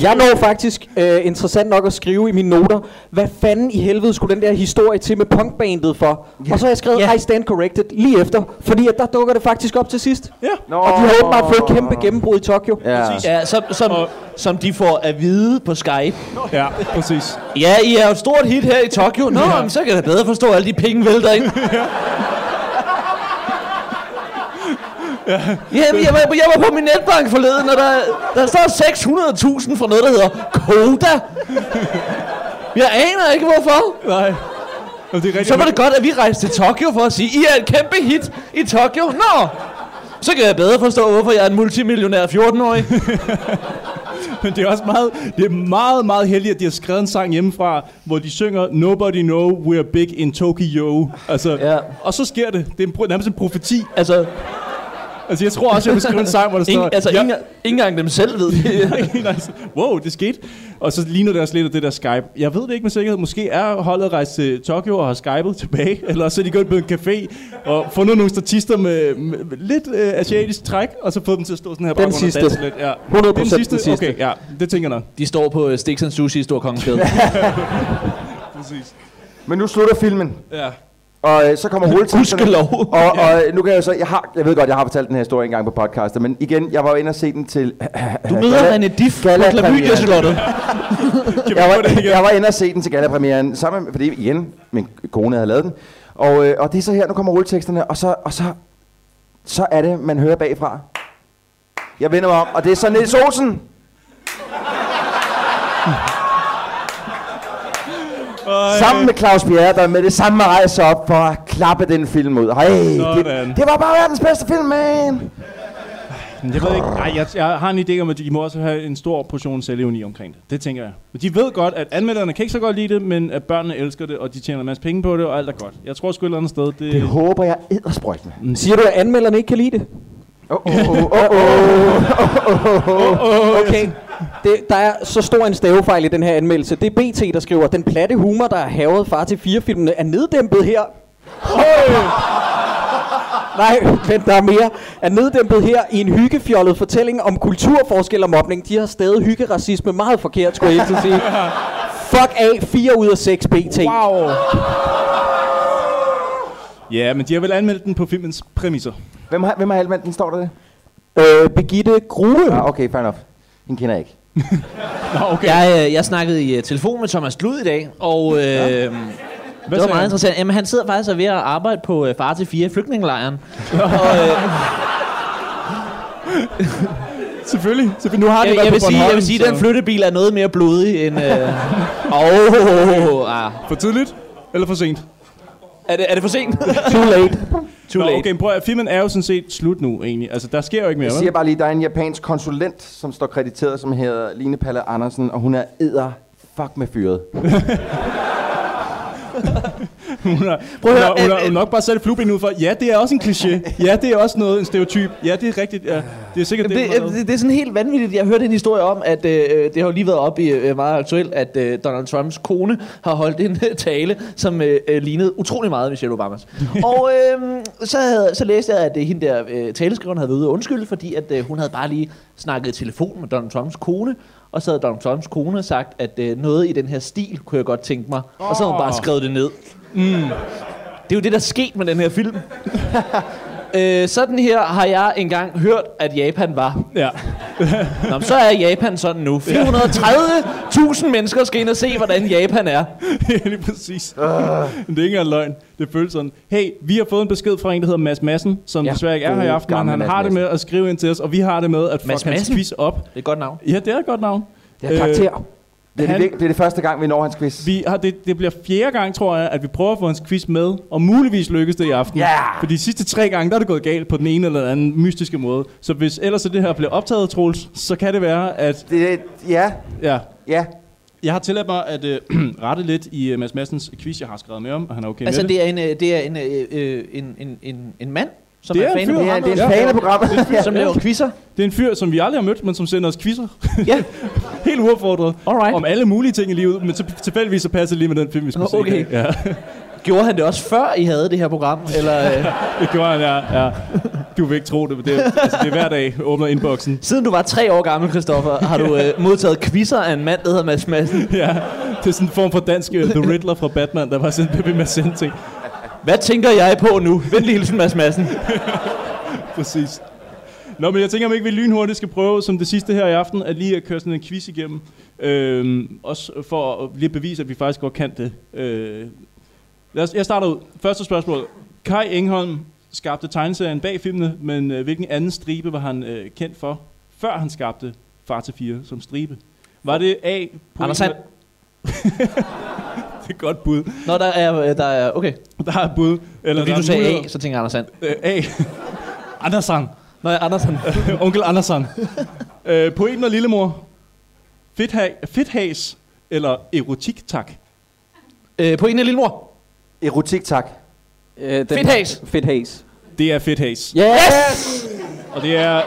Speaker 2: Jeg når faktisk øh, interessant nok at skrive i mine noter, hvad fanden i helvede skulle den der historie til med punkbandet for? Og så har jeg skrevet
Speaker 5: Ja.
Speaker 2: I Stand Corrected lige efter, fordi at der dukker det faktisk op til sidst.
Speaker 4: Ja.
Speaker 3: Nå.
Speaker 2: Og de har åbenbart fået et kæmpe gennembrud i Tokyo.
Speaker 3: Ja.
Speaker 5: Ja, som, som,
Speaker 4: Og-
Speaker 5: som de får at vide på Skype.
Speaker 4: Ja, præcis.
Speaker 5: Ja, I er jo et stort hit her i Tokyo. Nå, ja. men så kan jeg da bedre forstå alle de penge vælter ind. Ja, jeg, jeg, var, jeg var på min netbank forleden, og der, der står 600.000 for noget, der hedder Koda. Jeg aner ikke, hvorfor.
Speaker 4: Nej. Jamen, det er rigtigt.
Speaker 5: Så var det godt, at vi rejste til Tokyo for at sige, I er et kæmpe hit i Tokyo. Nå, så kan jeg bedre forstå, hvorfor jeg er en multimillionær 14-årig.
Speaker 4: Men det er også meget, det er meget, meget heldigt, at de har skrevet en sang hjemmefra, hvor de synger Nobody know we're big in Tokyo. Altså,
Speaker 5: Ja.
Speaker 4: ja. Og så sker det. Det er en, pro- nærmest en profeti.
Speaker 5: Altså,
Speaker 4: Altså, jeg tror også, jeg vil skrive en sang, hvor der står...
Speaker 5: ingen, altså
Speaker 4: Ja.
Speaker 5: ingen, ingen engang dem selv ved det.
Speaker 4: Nej, altså, wow, det skete. Og så ligner det også lidt af det der Skype. Jeg ved det ikke med sikkerhed. Måske er holdet rejst til Tokyo og har Skype'et tilbage. Eller så er de gået på en café og fundet nogle statister med, med lidt øh, asiatisk træk. Og så fået dem til at stå sådan her på baggrund
Speaker 2: sidste.
Speaker 4: og danse lidt. Ja.
Speaker 2: 100%
Speaker 4: Det er
Speaker 2: den sidste.
Speaker 4: Okay, ja, det tænker jeg nok.
Speaker 5: De står på øh, Stiksen Sushi i Storkongensgade.
Speaker 4: Præcis.
Speaker 3: Men nu slutter filmen,
Speaker 4: Ja.
Speaker 3: og øh, så kommer hovedteksterne.
Speaker 5: Gudskelov.
Speaker 3: Og, og øh, nu kan jeg så, jeg, har, jeg ved godt, jeg har fortalt den her historie engang på podcasten, men igen, jeg var jo inde og se den til...
Speaker 5: Du møder René Diff på
Speaker 3: Gala-
Speaker 5: Klamydia-slottet.
Speaker 4: Kan vi
Speaker 3: jeg,
Speaker 4: få den
Speaker 3: var,
Speaker 4: igen?
Speaker 3: jeg var inde og se den til gallapremieren, sammen med, fordi igen, min kone havde lavet den. Og, øh, og det er så her, nu kommer rulleteksterne, og så, og så, så er det, man hører bagfra. Jeg vender mig om, og det er så Niels Olsen. Sammen med Claus Bjerre, der med det samme rejser op for at klappe den film ud. Hey,
Speaker 4: Sådan.
Speaker 3: det, det, var bare verdens bedste film, man.
Speaker 4: Men Jeg ved ikke. Nej, jeg, jeg har en idé om, at de må også have en stor portion selvevni omkring det. Det tænker jeg. Men de ved godt, at anmelderne kan ikke så godt lide det, men at børnene elsker det, og de tjener en masse penge på det, og alt er godt. Jeg tror sgu et eller andet sted, det...
Speaker 3: Det håber jeg eddersprøjtende.
Speaker 2: Siger du, at anmelderne ikke kan lide det?
Speaker 3: Oh, oh, oh, oh, oh.
Speaker 2: Okay, det, der er så stor en stavefejl i den her anmeldelse. Det er BT, der skriver, den platte humor, der er havet far til fire filmene, er neddæmpet her. Nej, vent, der er mere. Er neddæmpet her i en hyggefjollet fortælling om kulturforskel og mobning. De har stadig hyggeracisme meget forkert, skulle jeg helt sige. Fuck af, 4 ud af 6 BT.
Speaker 4: Wow! Ja, men de har vel anmeldt den på filmens præmisser.
Speaker 3: Hvem har, hvem har anmeldt den? Står der det?
Speaker 2: Øh, Birgitte Grue.
Speaker 3: Ah, okay, fair enough. Den kender jeg ikke.
Speaker 4: Nå, okay. Ja.
Speaker 5: Jeg, øh, jeg snakkede i øh, telefon med Thomas Glud i dag, og øh, ja. det var
Speaker 4: sagde
Speaker 5: meget
Speaker 4: han?
Speaker 5: interessant. Jamen, han sidder faktisk og er ved at arbejde på øh, Far til Fire flygtningelejren. og, øh,
Speaker 4: Selvfølgelig. Selvfølgelig. Nu har de
Speaker 5: jeg,
Speaker 4: været
Speaker 5: jeg, vil
Speaker 4: på
Speaker 5: sige, jeg
Speaker 4: Bornholm,
Speaker 5: vil sige, at den
Speaker 4: så-
Speaker 5: flyttebil er noget mere blodig end... Øh, oh, ah.
Speaker 4: For tidligt? Eller for sent?
Speaker 5: er, det, er det for sent?
Speaker 2: Too late.
Speaker 5: Too
Speaker 4: Nå,
Speaker 5: late.
Speaker 4: okay, men prøv at filmen er jo sådan set slut nu, egentlig. Altså, der sker jo ikke mere,
Speaker 3: Jeg siger
Speaker 4: vel?
Speaker 3: bare lige, der er en japansk konsulent, som står krediteret, som hedder Line Palle Andersen, og hun er æder fuck med fyret.
Speaker 4: Hun har,
Speaker 5: Prøv
Speaker 4: hun
Speaker 5: at
Speaker 4: har,
Speaker 5: høre,
Speaker 4: hun
Speaker 5: øh,
Speaker 4: har
Speaker 5: øh.
Speaker 4: nok bare sat flueben ud for, ja, det er også en kliché. Ja, det er også noget, en stereotyp. Ja, det er rigtigt. Ja, det er sikkert det,
Speaker 5: Det,
Speaker 4: det, det,
Speaker 5: det, det er sådan helt vanvittigt. Jeg hørte en historie om, at øh, det har jo lige været op i øh, meget aktuelt, at øh, Donald Trumps kone har holdt en øh, tale, som øh, øh, lignede utrolig meget Michelle Obamas. og øh, så, havde, så læste jeg, at øh, hende der øh, taleskriveren havde været ude at undskylde, fordi at, øh, hun havde bare lige snakket i telefon med Donald Trumps kone, og så havde Donald Trumps kone sagt, at øh, noget i den her stil kunne jeg godt tænke mig. Oh. Og så havde hun bare skrevet det ned. Det er jo det, der er sket med den her film. øh, sådan her har jeg engang hørt, at Japan var.
Speaker 4: ja.
Speaker 5: Nå, men så er Japan sådan nu. 430.000 mennesker skal ind og se, hvordan Japan er.
Speaker 4: Ja, lige præcis. Uh. Det
Speaker 3: Ah.
Speaker 4: er ikke engang løgn. Det føles sådan. Hey, vi har fået en besked fra en, der hedder Mads Madsen, som ja.
Speaker 2: Ja.
Speaker 4: desværre ikke er her i
Speaker 3: God,
Speaker 4: aften, men
Speaker 3: gamle
Speaker 4: han
Speaker 3: Mads
Speaker 4: har det
Speaker 3: Madsen.
Speaker 4: med at skrive ind til os, og vi har det med at
Speaker 5: Mads
Speaker 4: fuck hans
Speaker 5: Madsen?
Speaker 4: quiz op.
Speaker 5: Det er et godt navn.
Speaker 4: Ja, det er et godt navn.
Speaker 2: Det er karakter. Øh,
Speaker 3: Det er,
Speaker 4: Han-
Speaker 3: han... det, det er det første gang, vi når hans quiz.
Speaker 4: Vi har, det, det bliver fjerde gang, tror jeg, at vi prøver at få hans quiz med, og muligvis lykkes det i aften.
Speaker 3: Ja!
Speaker 4: For de sidste tre gange, der er det gået galt på den ene eller den anden mystiske måde. Så hvis ellers det her bliver optaget, Troels, så kan det være, at...
Speaker 3: Det, ja,
Speaker 4: Ja,
Speaker 3: ja.
Speaker 4: jeg har tilladt mig at øh, rette lidt i øh, Mads Madsens quiz, jeg har skrevet med om, og han er okay
Speaker 5: Altså,
Speaker 4: med det.
Speaker 5: det er en, øh, det er en, øh, øh, en, en, en, en mand, som
Speaker 4: Det
Speaker 5: er,
Speaker 4: er en
Speaker 5: fan
Speaker 4: fyr.
Speaker 5: af
Speaker 3: Det er,
Speaker 5: programmet,
Speaker 3: det er en fan af programmet.
Speaker 5: som laver quizzer.
Speaker 4: Det er en fyr, som vi aldrig har mødt, men som sender os quizzer.
Speaker 5: Ja.
Speaker 4: Helt uopfordret.
Speaker 5: Alright.
Speaker 4: Om alle mulige ting i livet, men til- tilfældigvis så passer det lige med den film, vi skulle se.
Speaker 5: Okay.
Speaker 4: Ja,
Speaker 5: Gjorde han det også før, I havde det her program? Eller, øh,
Speaker 4: det gjorde han, ja. ja. Du vil ikke tro det, men det, er- altså, det er hver dag, åbner inboxen.
Speaker 5: siden du var tre år gammel, Christoffer, har du øh, modtaget quizzer af en mand, der hedder Mads Madsen.
Speaker 4: Ja, det er sådan en form for dansk øh, The Riddler fra Batman, der var sådan en Pepe Madsen ting.
Speaker 5: Hvad tænker jeg på nu? Vendelig hilsen, Mads Madsen.
Speaker 4: Præcis. Nå, men jeg tænker, om ikke vi lynhurtigt skal prøve, som det sidste her i aften, at lige at køre sådan en quiz igennem. Øhm, også for at lige at bevise, at vi faktisk godt kan det. Øh, lad os, jeg starter ud. Første spørgsmål. Kai Engholm skabte tegneserien bag filmene, men øh, hvilken anden stribe var han øh, kendt for, før han skabte Far til 4 som stribe? Var det A...
Speaker 5: Anders Sand.
Speaker 4: det er et godt bud.
Speaker 5: Nå, der er, øh, der er okay.
Speaker 4: Der er et bud. Eller
Speaker 5: Fordi
Speaker 4: der
Speaker 5: du
Speaker 4: er
Speaker 5: sagde
Speaker 4: mulighed.
Speaker 5: A, så tænker jeg Anders Sand.
Speaker 4: Øh, A. Andersen.
Speaker 5: Nå, ja, Andersen.
Speaker 4: Onkel Andersen. øh, poeten og lillemor. Fedha- Fedhas eller erotik, tak.
Speaker 5: Øh, på en af lillemor.
Speaker 3: Erotik, tak.
Speaker 2: øh,
Speaker 5: Fedt has.
Speaker 2: Fedt has.
Speaker 4: Det er Fedhas.
Speaker 2: Yes!
Speaker 4: Og det er,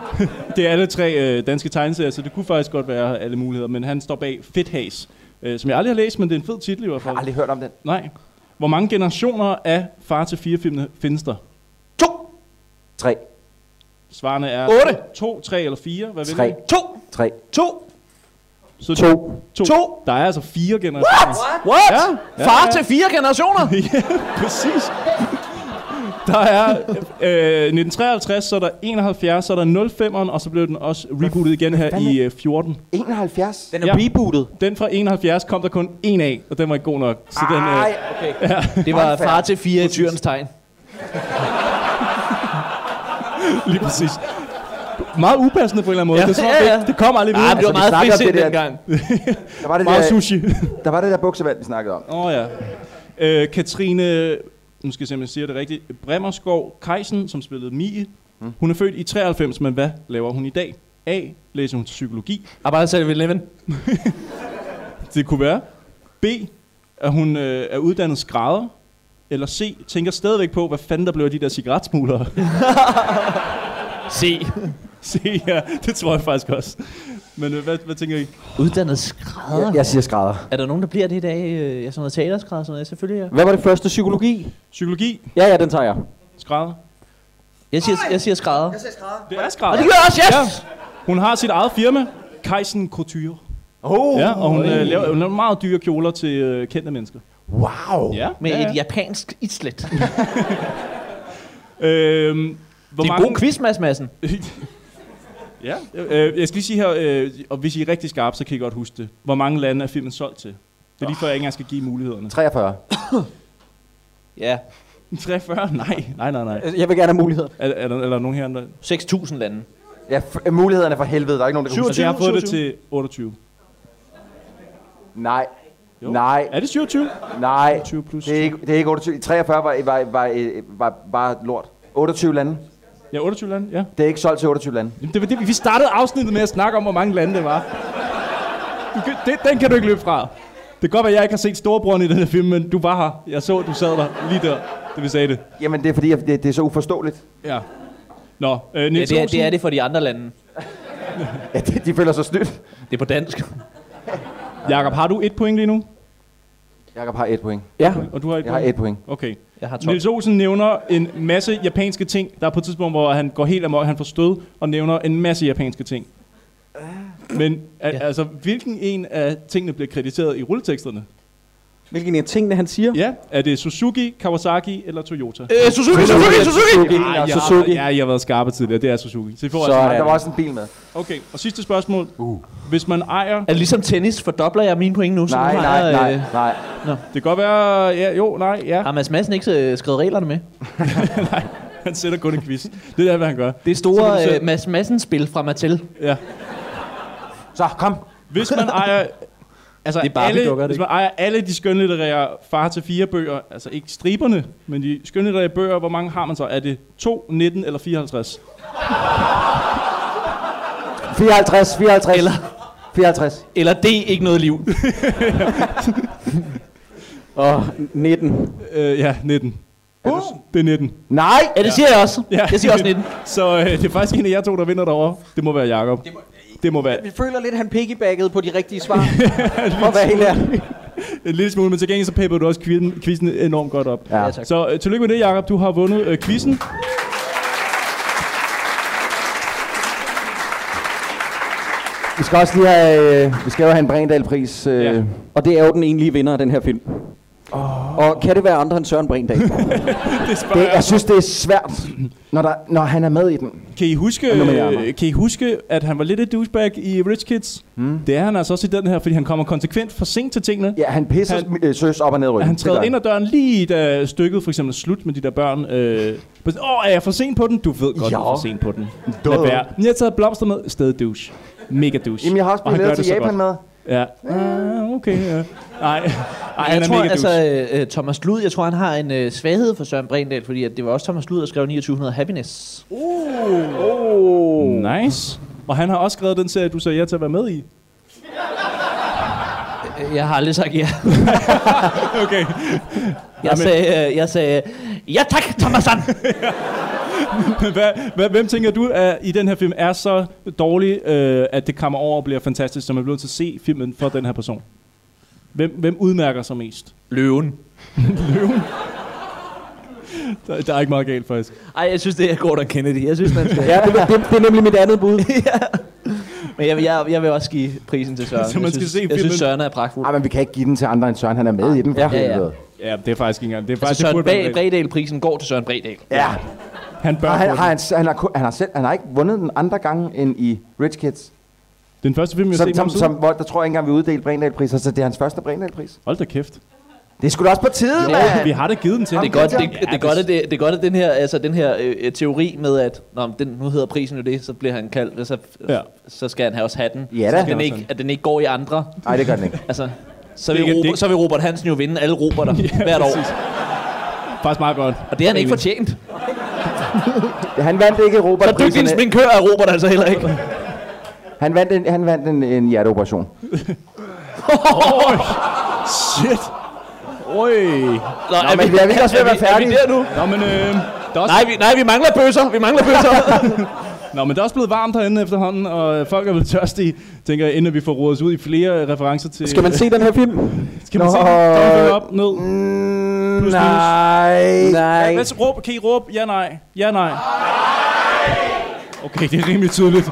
Speaker 4: det er alle tre øh, danske tegneserier, så det kunne faktisk godt være alle muligheder. Men han står bag Fedhas, øh, som jeg aldrig har læst, men det er en fed titel i hvert
Speaker 3: Jeg
Speaker 4: fald.
Speaker 3: har aldrig hørt om den.
Speaker 4: Nej. Hvor mange generationer af Far til fire filmene findes der?
Speaker 5: To.
Speaker 3: Tre.
Speaker 4: Svarene er
Speaker 5: Otte.
Speaker 4: to, tre eller fire. Hvad vil
Speaker 3: Tre.
Speaker 4: du?
Speaker 5: To.
Speaker 3: Tre.
Speaker 5: To.
Speaker 4: Så
Speaker 3: To.
Speaker 4: to.
Speaker 5: To.
Speaker 4: Der er altså fire generationer.
Speaker 5: What?
Speaker 4: Ja,
Speaker 5: Ja,
Speaker 4: ja,
Speaker 5: ja, Far
Speaker 4: ja.
Speaker 5: til fire generationer?
Speaker 4: ja, præcis. Der er øh, 1953, så er der 71, så er der 05'eren, og så blev den også rebootet igen her
Speaker 3: fanden
Speaker 4: i øh, 14.
Speaker 3: 71?
Speaker 2: Den er
Speaker 4: Ja.
Speaker 2: ja. rebootet.
Speaker 4: Den fra 71 kom der kun en af, og den var ikke god nok. Så den,
Speaker 3: Ej,
Speaker 4: øh,
Speaker 5: Det var
Speaker 3: Håndfærd.
Speaker 5: far til fire i tyrens tegn.
Speaker 4: lige præcis. Meget upassende på en eller anden måde.
Speaker 5: Ja,
Speaker 4: det, er som om,
Speaker 5: ja, ja.
Speaker 4: Det, det kom aldrig
Speaker 5: Ah,
Speaker 4: videre.
Speaker 5: det var
Speaker 3: vi
Speaker 5: meget
Speaker 3: snakker om
Speaker 5: fedt
Speaker 3: det der-
Speaker 5: dengang.
Speaker 3: der var det
Speaker 4: Meget
Speaker 3: der,
Speaker 4: sushi.
Speaker 3: der, var det der buksevand, vi snakkede om.
Speaker 4: Åh oh, ja. Øh, Katrine, nu skal jeg se, om jeg siger det rigtigt, Bremmerskov Kejsen, som spillede Mie.
Speaker 3: Mm.
Speaker 4: Hun er født i 93, men hvad laver hun i dag? A. Læser hun til psykologi.
Speaker 5: Arbejder selv ved Leven.
Speaker 4: Det kunne være. B. At hun øh, er uddannet skrædder. Eller C. Tænker stadigvæk på, hvad fanden der blev af de der cigaretsmuglere.
Speaker 5: Se.
Speaker 4: C. Ja, det tror jeg faktisk også. Men øh, hvad, hvad tænker I?
Speaker 5: Uddannet skrædder.
Speaker 3: Jeg, jeg siger skrædder.
Speaker 5: Er der nogen, der bliver det i dag? Øh, Ja, sådan noget teaterskrædder og sådan noget. Selvfølgelig, ja.
Speaker 2: Hvad var det første? Psykologi?
Speaker 4: Psykologi?
Speaker 2: Ja, ja, den tager jeg.
Speaker 4: Skrædder?
Speaker 5: Jeg siger, jeg siger skrædder.
Speaker 4: Det er
Speaker 5: Og
Speaker 4: skrædder.
Speaker 5: det gør jeg også, yes!
Speaker 4: Hun har sit eget firma, Kejsen Couture.
Speaker 3: Oh,
Speaker 4: Ja, og hun øh, laver, hun laver meget dyre kjoler til øh, kendte mennesker.
Speaker 3: wow.
Speaker 4: Ja,
Speaker 5: Med
Speaker 4: ja, ja.
Speaker 5: et japansk islet.
Speaker 4: Øhm, hvor
Speaker 5: Det er en god quiz, Mads Madsen.
Speaker 4: ja, øh, jeg skal lige sige her, øh, og hvis I er rigtig skarpe, så kan I godt huske det. Hvor mange lande er filmen solgt til? Det er lige før, jeg ikke engang skal give mulighederne.
Speaker 3: 43.
Speaker 5: Ja.
Speaker 4: 43? Nej, nej, nej, nej.
Speaker 2: Jeg vil gerne have muligheder.
Speaker 4: Er, er, der, er der nogen her, der...
Speaker 5: 6.000 lande.
Speaker 3: Ja, f- øh, mulighederne er for helvede. Der er ikke nogen, der kan huske
Speaker 4: Altså, jeg har fået det til 28.
Speaker 3: det. Nej.
Speaker 4: Jo.
Speaker 3: Nej.
Speaker 4: Er det 27?
Speaker 3: Nej,
Speaker 4: 20 plus.
Speaker 3: det er ikke, det er ikke 28. 43 var, var, var, øh, var, var lort. 28 lande.
Speaker 4: Ja, 28 lande, ja.
Speaker 3: Det er ikke solgt til 28 lande.
Speaker 4: Jamen, det var det, vi- vi startede afsnittet med at snakke om, hvor mange lande det var. Du kan, det, den kan du ikke løbe fra. Det kan godt være, at jeg ikke har set storebroren i den her film, men du var her. Jeg så, at du sad der lige der, da vi sagde det.
Speaker 3: Jamen, det er fordi, at det, det er så uforståeligt.
Speaker 4: Ja. Nå, øh,
Speaker 5: Ja,
Speaker 4: Niels
Speaker 5: det, er, det er det for de andre lande.
Speaker 3: Ja, de, de føler sig snydt.
Speaker 5: Det er på dansk.
Speaker 4: Jakob, har du et point lige nu?
Speaker 3: Jakob har et point.
Speaker 2: Ja.
Speaker 4: Og du har et
Speaker 3: Jeg har
Speaker 4: point?
Speaker 3: et point.
Speaker 4: Okay.
Speaker 5: Jeg har top.
Speaker 4: Nils Olsen nævner en masse japanske ting. Der er på et tidspunkt, hvor han går helt amok, han får stød, og nævner en masse japanske ting. Men al- ja. altså, hvilken en af tingene bliver krediteret i rulleteksterne?
Speaker 2: Hvilken af tingene, han siger?
Speaker 4: Ja, er det Suzuki, Kawasaki eller Toyota?
Speaker 5: Øh, Suzuki, Suzuki, Suzuki!
Speaker 4: Ej, jeg har-
Speaker 2: Suzuki.
Speaker 4: Ja, jeg har været skarpe tidligere. Det er Suzuki. Så I får
Speaker 2: Så
Speaker 4: altså.
Speaker 3: Og
Speaker 2: er
Speaker 3: der
Speaker 2: det.
Speaker 3: var også en bil med.
Speaker 4: Okay, og sidste spørgsmål. Uh. Hvis man ejer...
Speaker 5: Er det ligesom tennis? Fordobler jeg mine point nu? så
Speaker 3: Nej,
Speaker 5: nu har
Speaker 3: nej,
Speaker 5: jeg,
Speaker 3: nej,
Speaker 5: øh,
Speaker 3: nej.
Speaker 4: Det kan godt være... Ja, jo, nej, ja.
Speaker 5: Har Mads Madsen ikke øh, skrevet reglerne med?
Speaker 4: Han sætter kun en quiz. Det er, hvad han gør.
Speaker 5: Det
Speaker 4: Så kan
Speaker 5: store
Speaker 4: du selv-
Speaker 5: øh, Mads Madsen-spil fra Mattel.
Speaker 4: Ja.
Speaker 3: Så, kom.
Speaker 4: Hvis man ejer... Altså
Speaker 5: Det er Barbie, dukker,
Speaker 4: alle,
Speaker 5: det
Speaker 4: hvis man ejer alle de skønlitterære far til fire bøger, altså ikke striberne, men de skønlitterære bøger, hvor mange har man så? Er det 2, 19 eller 54?
Speaker 3: 54, 54. Eller... 54.
Speaker 5: Eller det er ikke noget liv.
Speaker 2: Og 19.
Speaker 4: Øh, ja, 19. Uh. Det er 19.
Speaker 3: Nej!
Speaker 5: Ja, det siger jeg også.
Speaker 4: Ja.
Speaker 5: Jeg siger også 19.
Speaker 4: Så øh, det er faktisk en af jer to, der vinder derovre. Det må være Jakob. Det må, det må være
Speaker 2: Vi føler lidt, han piggybackede på de rigtige svar. For at være helt ærlig.
Speaker 4: en lille smule, men til gengæld så pepper du også quizzen, quizzen enormt godt op.
Speaker 3: Ja.
Speaker 5: tak.
Speaker 4: Så øh, tillykke med det, Jakob. Du har vundet øh, quizzen.
Speaker 3: Vi skal også lige have, øh, vi skal jo have en Brændal-pris. Øh.
Speaker 4: Ja.
Speaker 3: Ja.
Speaker 2: Og det er jo den egentlige vinder af den her film. Oh. Og kan det være andre end Søren Brindahl?
Speaker 4: Det
Speaker 3: Det,
Speaker 4: spørger
Speaker 3: jeg synes, det er svært, når, der, når han er med i den.
Speaker 4: Kan I, huske,
Speaker 3: nu med jer,
Speaker 4: øh,
Speaker 3: Mark.
Speaker 4: kan I huske, at han var lidt et douchebag i Rich Kids?
Speaker 5: Hmm?
Speaker 4: Mm. Det er han altså også i den her, fordi han kommer konsekvent for sent til tingene.
Speaker 3: Ja, han pisser
Speaker 4: Han-
Speaker 3: han, øh, søs op og ned i ryggen.
Speaker 4: Han
Speaker 3: Det
Speaker 4: træder
Speaker 3: gør
Speaker 4: ind ad døren lige da stykket for eksempel er slut med de der børn. Øh, på- Åh, øh, er jeg for sent på den? Du ved godt,
Speaker 3: Ja.
Speaker 4: du er for sent på den.
Speaker 3: Duh.
Speaker 4: Lad være. Men jeg har taget blomster med. Sted douche. Mega douche.
Speaker 3: Jamen, jeg har også
Speaker 4: Og han
Speaker 3: blevet lavet
Speaker 4: gør
Speaker 3: til
Speaker 4: det så
Speaker 3: Japan
Speaker 4: godt.
Speaker 3: med.
Speaker 4: Ja. Ah, okay, ja. Nej, Ej,
Speaker 5: Ej,
Speaker 4: han
Speaker 5: jeg
Speaker 4: er
Speaker 5: tror,
Speaker 4: mega douche.
Speaker 5: altså, øh, øh, Thomas Lud, jeg tror, han har en øh, svaghed for Søren Brindahl, fordi at det var også Thomas Lud, der skrev 2900 Happiness.
Speaker 3: øh,
Speaker 4: Nice. Og han har også skrevet den serie, du sagde ja til at være med i.
Speaker 5: Øh, Jeg har aldrig sagt ja.
Speaker 4: Okay.
Speaker 5: Jeg sagde, øh, jeg sagde, ja tak, Thomasan!
Speaker 4: hvad, hvad, hvem tænker du er, i den her film er så dårlig, øh, at det kommer over og bliver fantastisk, så man bliver nødt til at se filmen for den her person? Hvem, hvem udmærker sig mest?
Speaker 5: Løven.
Speaker 4: Der, der er ikke meget galt, faktisk.
Speaker 5: Ej, jeg synes, det er Gordon Kennedy. Jeg synes, man skal...
Speaker 2: ja, det, det, det, er nemlig mit andet bud.
Speaker 5: Men jeg, jeg, jeg vil også give prisen til Søren.
Speaker 4: Så man
Speaker 5: jeg
Speaker 4: skal
Speaker 5: synes,
Speaker 4: se
Speaker 5: jeg
Speaker 4: filmen.
Speaker 5: synes, Søren er pragtfuld.
Speaker 3: Ej, men vi kan ikke give den til andre end Søren. Han er med i den. for
Speaker 2: Ja.
Speaker 5: Ja, ja.
Speaker 3: helvede.
Speaker 4: Ja, det er faktisk ikke engang. Det er faktisk, det
Speaker 5: Altså, Søren
Speaker 4: burde være
Speaker 5: Bag-
Speaker 4: legalt.
Speaker 5: Bredal-prisen går til Søren Bredal.
Speaker 3: ja.
Speaker 4: Han bør
Speaker 3: Og han,
Speaker 4: få den.
Speaker 3: har, han, han, har, kun- han, har selv, han har ikke vundet den andre gange end i Rich Kids.
Speaker 4: Den første film, jeg har
Speaker 3: Som,
Speaker 4: set
Speaker 3: som,
Speaker 4: som,
Speaker 3: som, hvor, der tror jeg ikke engang, vi uddelte Brændal-priser, så det er hans første Brændal-pris.
Speaker 4: Hold da kæft.
Speaker 3: Det er sgu da også på tide,
Speaker 4: Ja, vi
Speaker 3: mand!
Speaker 4: har da givet den til
Speaker 5: Det
Speaker 4: ham.
Speaker 5: er godt, det,
Speaker 3: Ja,
Speaker 5: det, er godt, at det, det er godt, at den her, altså, den her øh, øh, teori med, at nå, men den, nu hedder prisen jo det, så bliver han kaldt, og så,
Speaker 4: Ja.
Speaker 5: ja. så skal han have også have den.
Speaker 3: Ja
Speaker 5: så
Speaker 3: da.
Speaker 5: at den, ikke, at den ikke går i andre.
Speaker 3: Nej, det gør den ikke.
Speaker 5: Altså, så
Speaker 4: Det
Speaker 5: vil,
Speaker 4: er ikke- det er
Speaker 5: Robert,
Speaker 4: ikke-
Speaker 5: så vil Robert Hansen jo vinde alle Roberter ja, hvert år.
Speaker 4: præcis. Faktisk meget godt.
Speaker 5: Og det har han
Speaker 4: Egentlig.
Speaker 5: ikke fortjent.
Speaker 3: Han vandt ikke
Speaker 5: Så dygtig en
Speaker 3: Robert-priserne.
Speaker 5: spinkør er Robert altså heller ikke.
Speaker 3: Han vandt en, han vandt en, en hjerteoperation.
Speaker 4: Shit. Oj.
Speaker 5: Nå,
Speaker 3: Nå, men vi er ikke også ved at være
Speaker 5: Er vi
Speaker 3: færdige?
Speaker 5: der nu?
Speaker 4: Nå, men, øh, der er også
Speaker 5: Nej, vi, nej, vi mangler bøsser. Vi mangler bøsser.
Speaker 4: Nå, men det er også blevet varmt herinde efterhånden, og øh, folk er blevet tørstige, tænker jeg, inden vi får rodet os ud i flere øh, referencer til...
Speaker 2: Skal man se den her film?
Speaker 4: Skal man se
Speaker 3: Nå.
Speaker 4: den? Tommel op, ned.
Speaker 3: Mm,
Speaker 4: Plus, minus.
Speaker 3: nej.
Speaker 4: Ja,
Speaker 2: Nej.
Speaker 4: hvad så, råb, kan I råbe? Ja, nej. Ja, nej. Okay, det er rimelig tydeligt.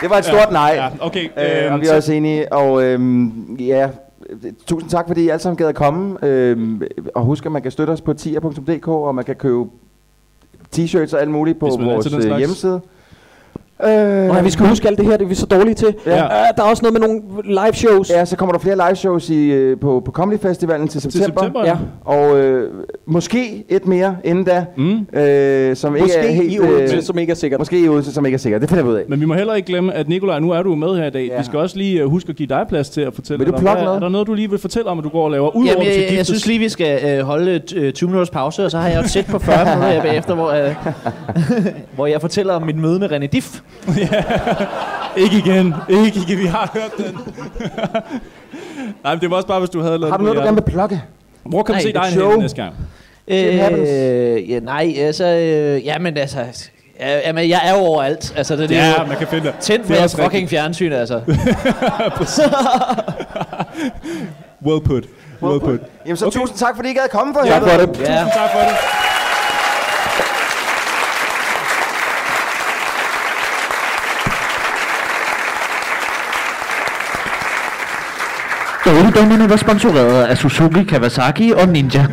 Speaker 3: Det var et stort nej.
Speaker 4: Ja, okay.
Speaker 3: Øh, og
Speaker 4: Øh,
Speaker 3: vi er også enige, og øhm, ja, øh, tusind tak, fordi I alle sammen gad at komme. Øhm, og husk, at man kan støtte os på tier.dk, og man kan købe t-shirts og alt muligt på
Speaker 4: Hvis man er til
Speaker 3: vores
Speaker 4: den
Speaker 3: øh,
Speaker 4: slags.
Speaker 3: hjemmeside. Øh,
Speaker 2: Nej, vi skal huske alt det her, det er vi så dårlige til. Ja.
Speaker 3: Ja.
Speaker 2: der er også noget med nogle live shows.
Speaker 3: Ja, så kommer der flere live shows i, øh, på, på Comedy Festivalen til
Speaker 4: Til
Speaker 3: september.
Speaker 4: september?
Speaker 2: Ja.
Speaker 3: Og øh, måske et mere inden da,
Speaker 4: Mm.
Speaker 3: øh, som ikke er
Speaker 2: Måske
Speaker 3: helt...
Speaker 2: i Odense,
Speaker 3: øh,
Speaker 2: som ikke er sikkert.
Speaker 3: Måske i Odense, som ikke er sikkert. Det finder vi ud af.
Speaker 4: Men vi må heller ikke glemme, at Nikolaj, nu er du jo med her i dag. Ja.
Speaker 3: Ja.
Speaker 4: Vi skal også lige øh, huske at give dig plads til at fortælle.
Speaker 3: Vil du
Speaker 4: dig om,
Speaker 3: plukke
Speaker 4: hvad-
Speaker 3: noget?
Speaker 4: Er der noget, du lige vil fortælle om, at du går og laver? Udover
Speaker 5: Jamen,
Speaker 4: at du skal
Speaker 5: jeg, jeg
Speaker 4: giftes?
Speaker 5: synes lige, vi skal øh, holde t- øh, 20 minutters pause, og så har jeg jo et sæt på 40 minutter her bagefter, hvor, øh, hvor jeg fortæller om mit møde med René Diff.
Speaker 4: Ikke igen. Ikke igen. Vi har hørt den. Nej, men det var også bare, hvis du havde lavet
Speaker 3: Har du
Speaker 4: den på
Speaker 3: noget, du gerne
Speaker 4: hjertet.
Speaker 3: vil plukke?
Speaker 4: Hvor kan man
Speaker 5: Nej,
Speaker 4: se dig
Speaker 5: et
Speaker 4: henne
Speaker 3: show.
Speaker 4: næste gang?
Speaker 3: Shit happens.
Speaker 5: Øh, ja, nej, altså... Øh, jamen, altså... Ja, jamen, jeg er jo overalt. Altså, det, det er
Speaker 4: Ja,
Speaker 5: jo
Speaker 4: man kan finde dig.
Speaker 5: tændt for
Speaker 4: er
Speaker 5: jeres
Speaker 4: også
Speaker 5: fucking
Speaker 4: rigtigt.
Speaker 5: fjernsyn, altså.
Speaker 4: Well put. Well put.
Speaker 3: Jamen så
Speaker 4: Okay.
Speaker 3: okay. tusind tak, fordi I gad komme for
Speaker 2: Tak
Speaker 3: helvede.
Speaker 2: for det.
Speaker 5: ja.
Speaker 4: Tak for det.
Speaker 10: Dårligdommerne var sponsoreret af Suzuki, Kawasaki og Ninja.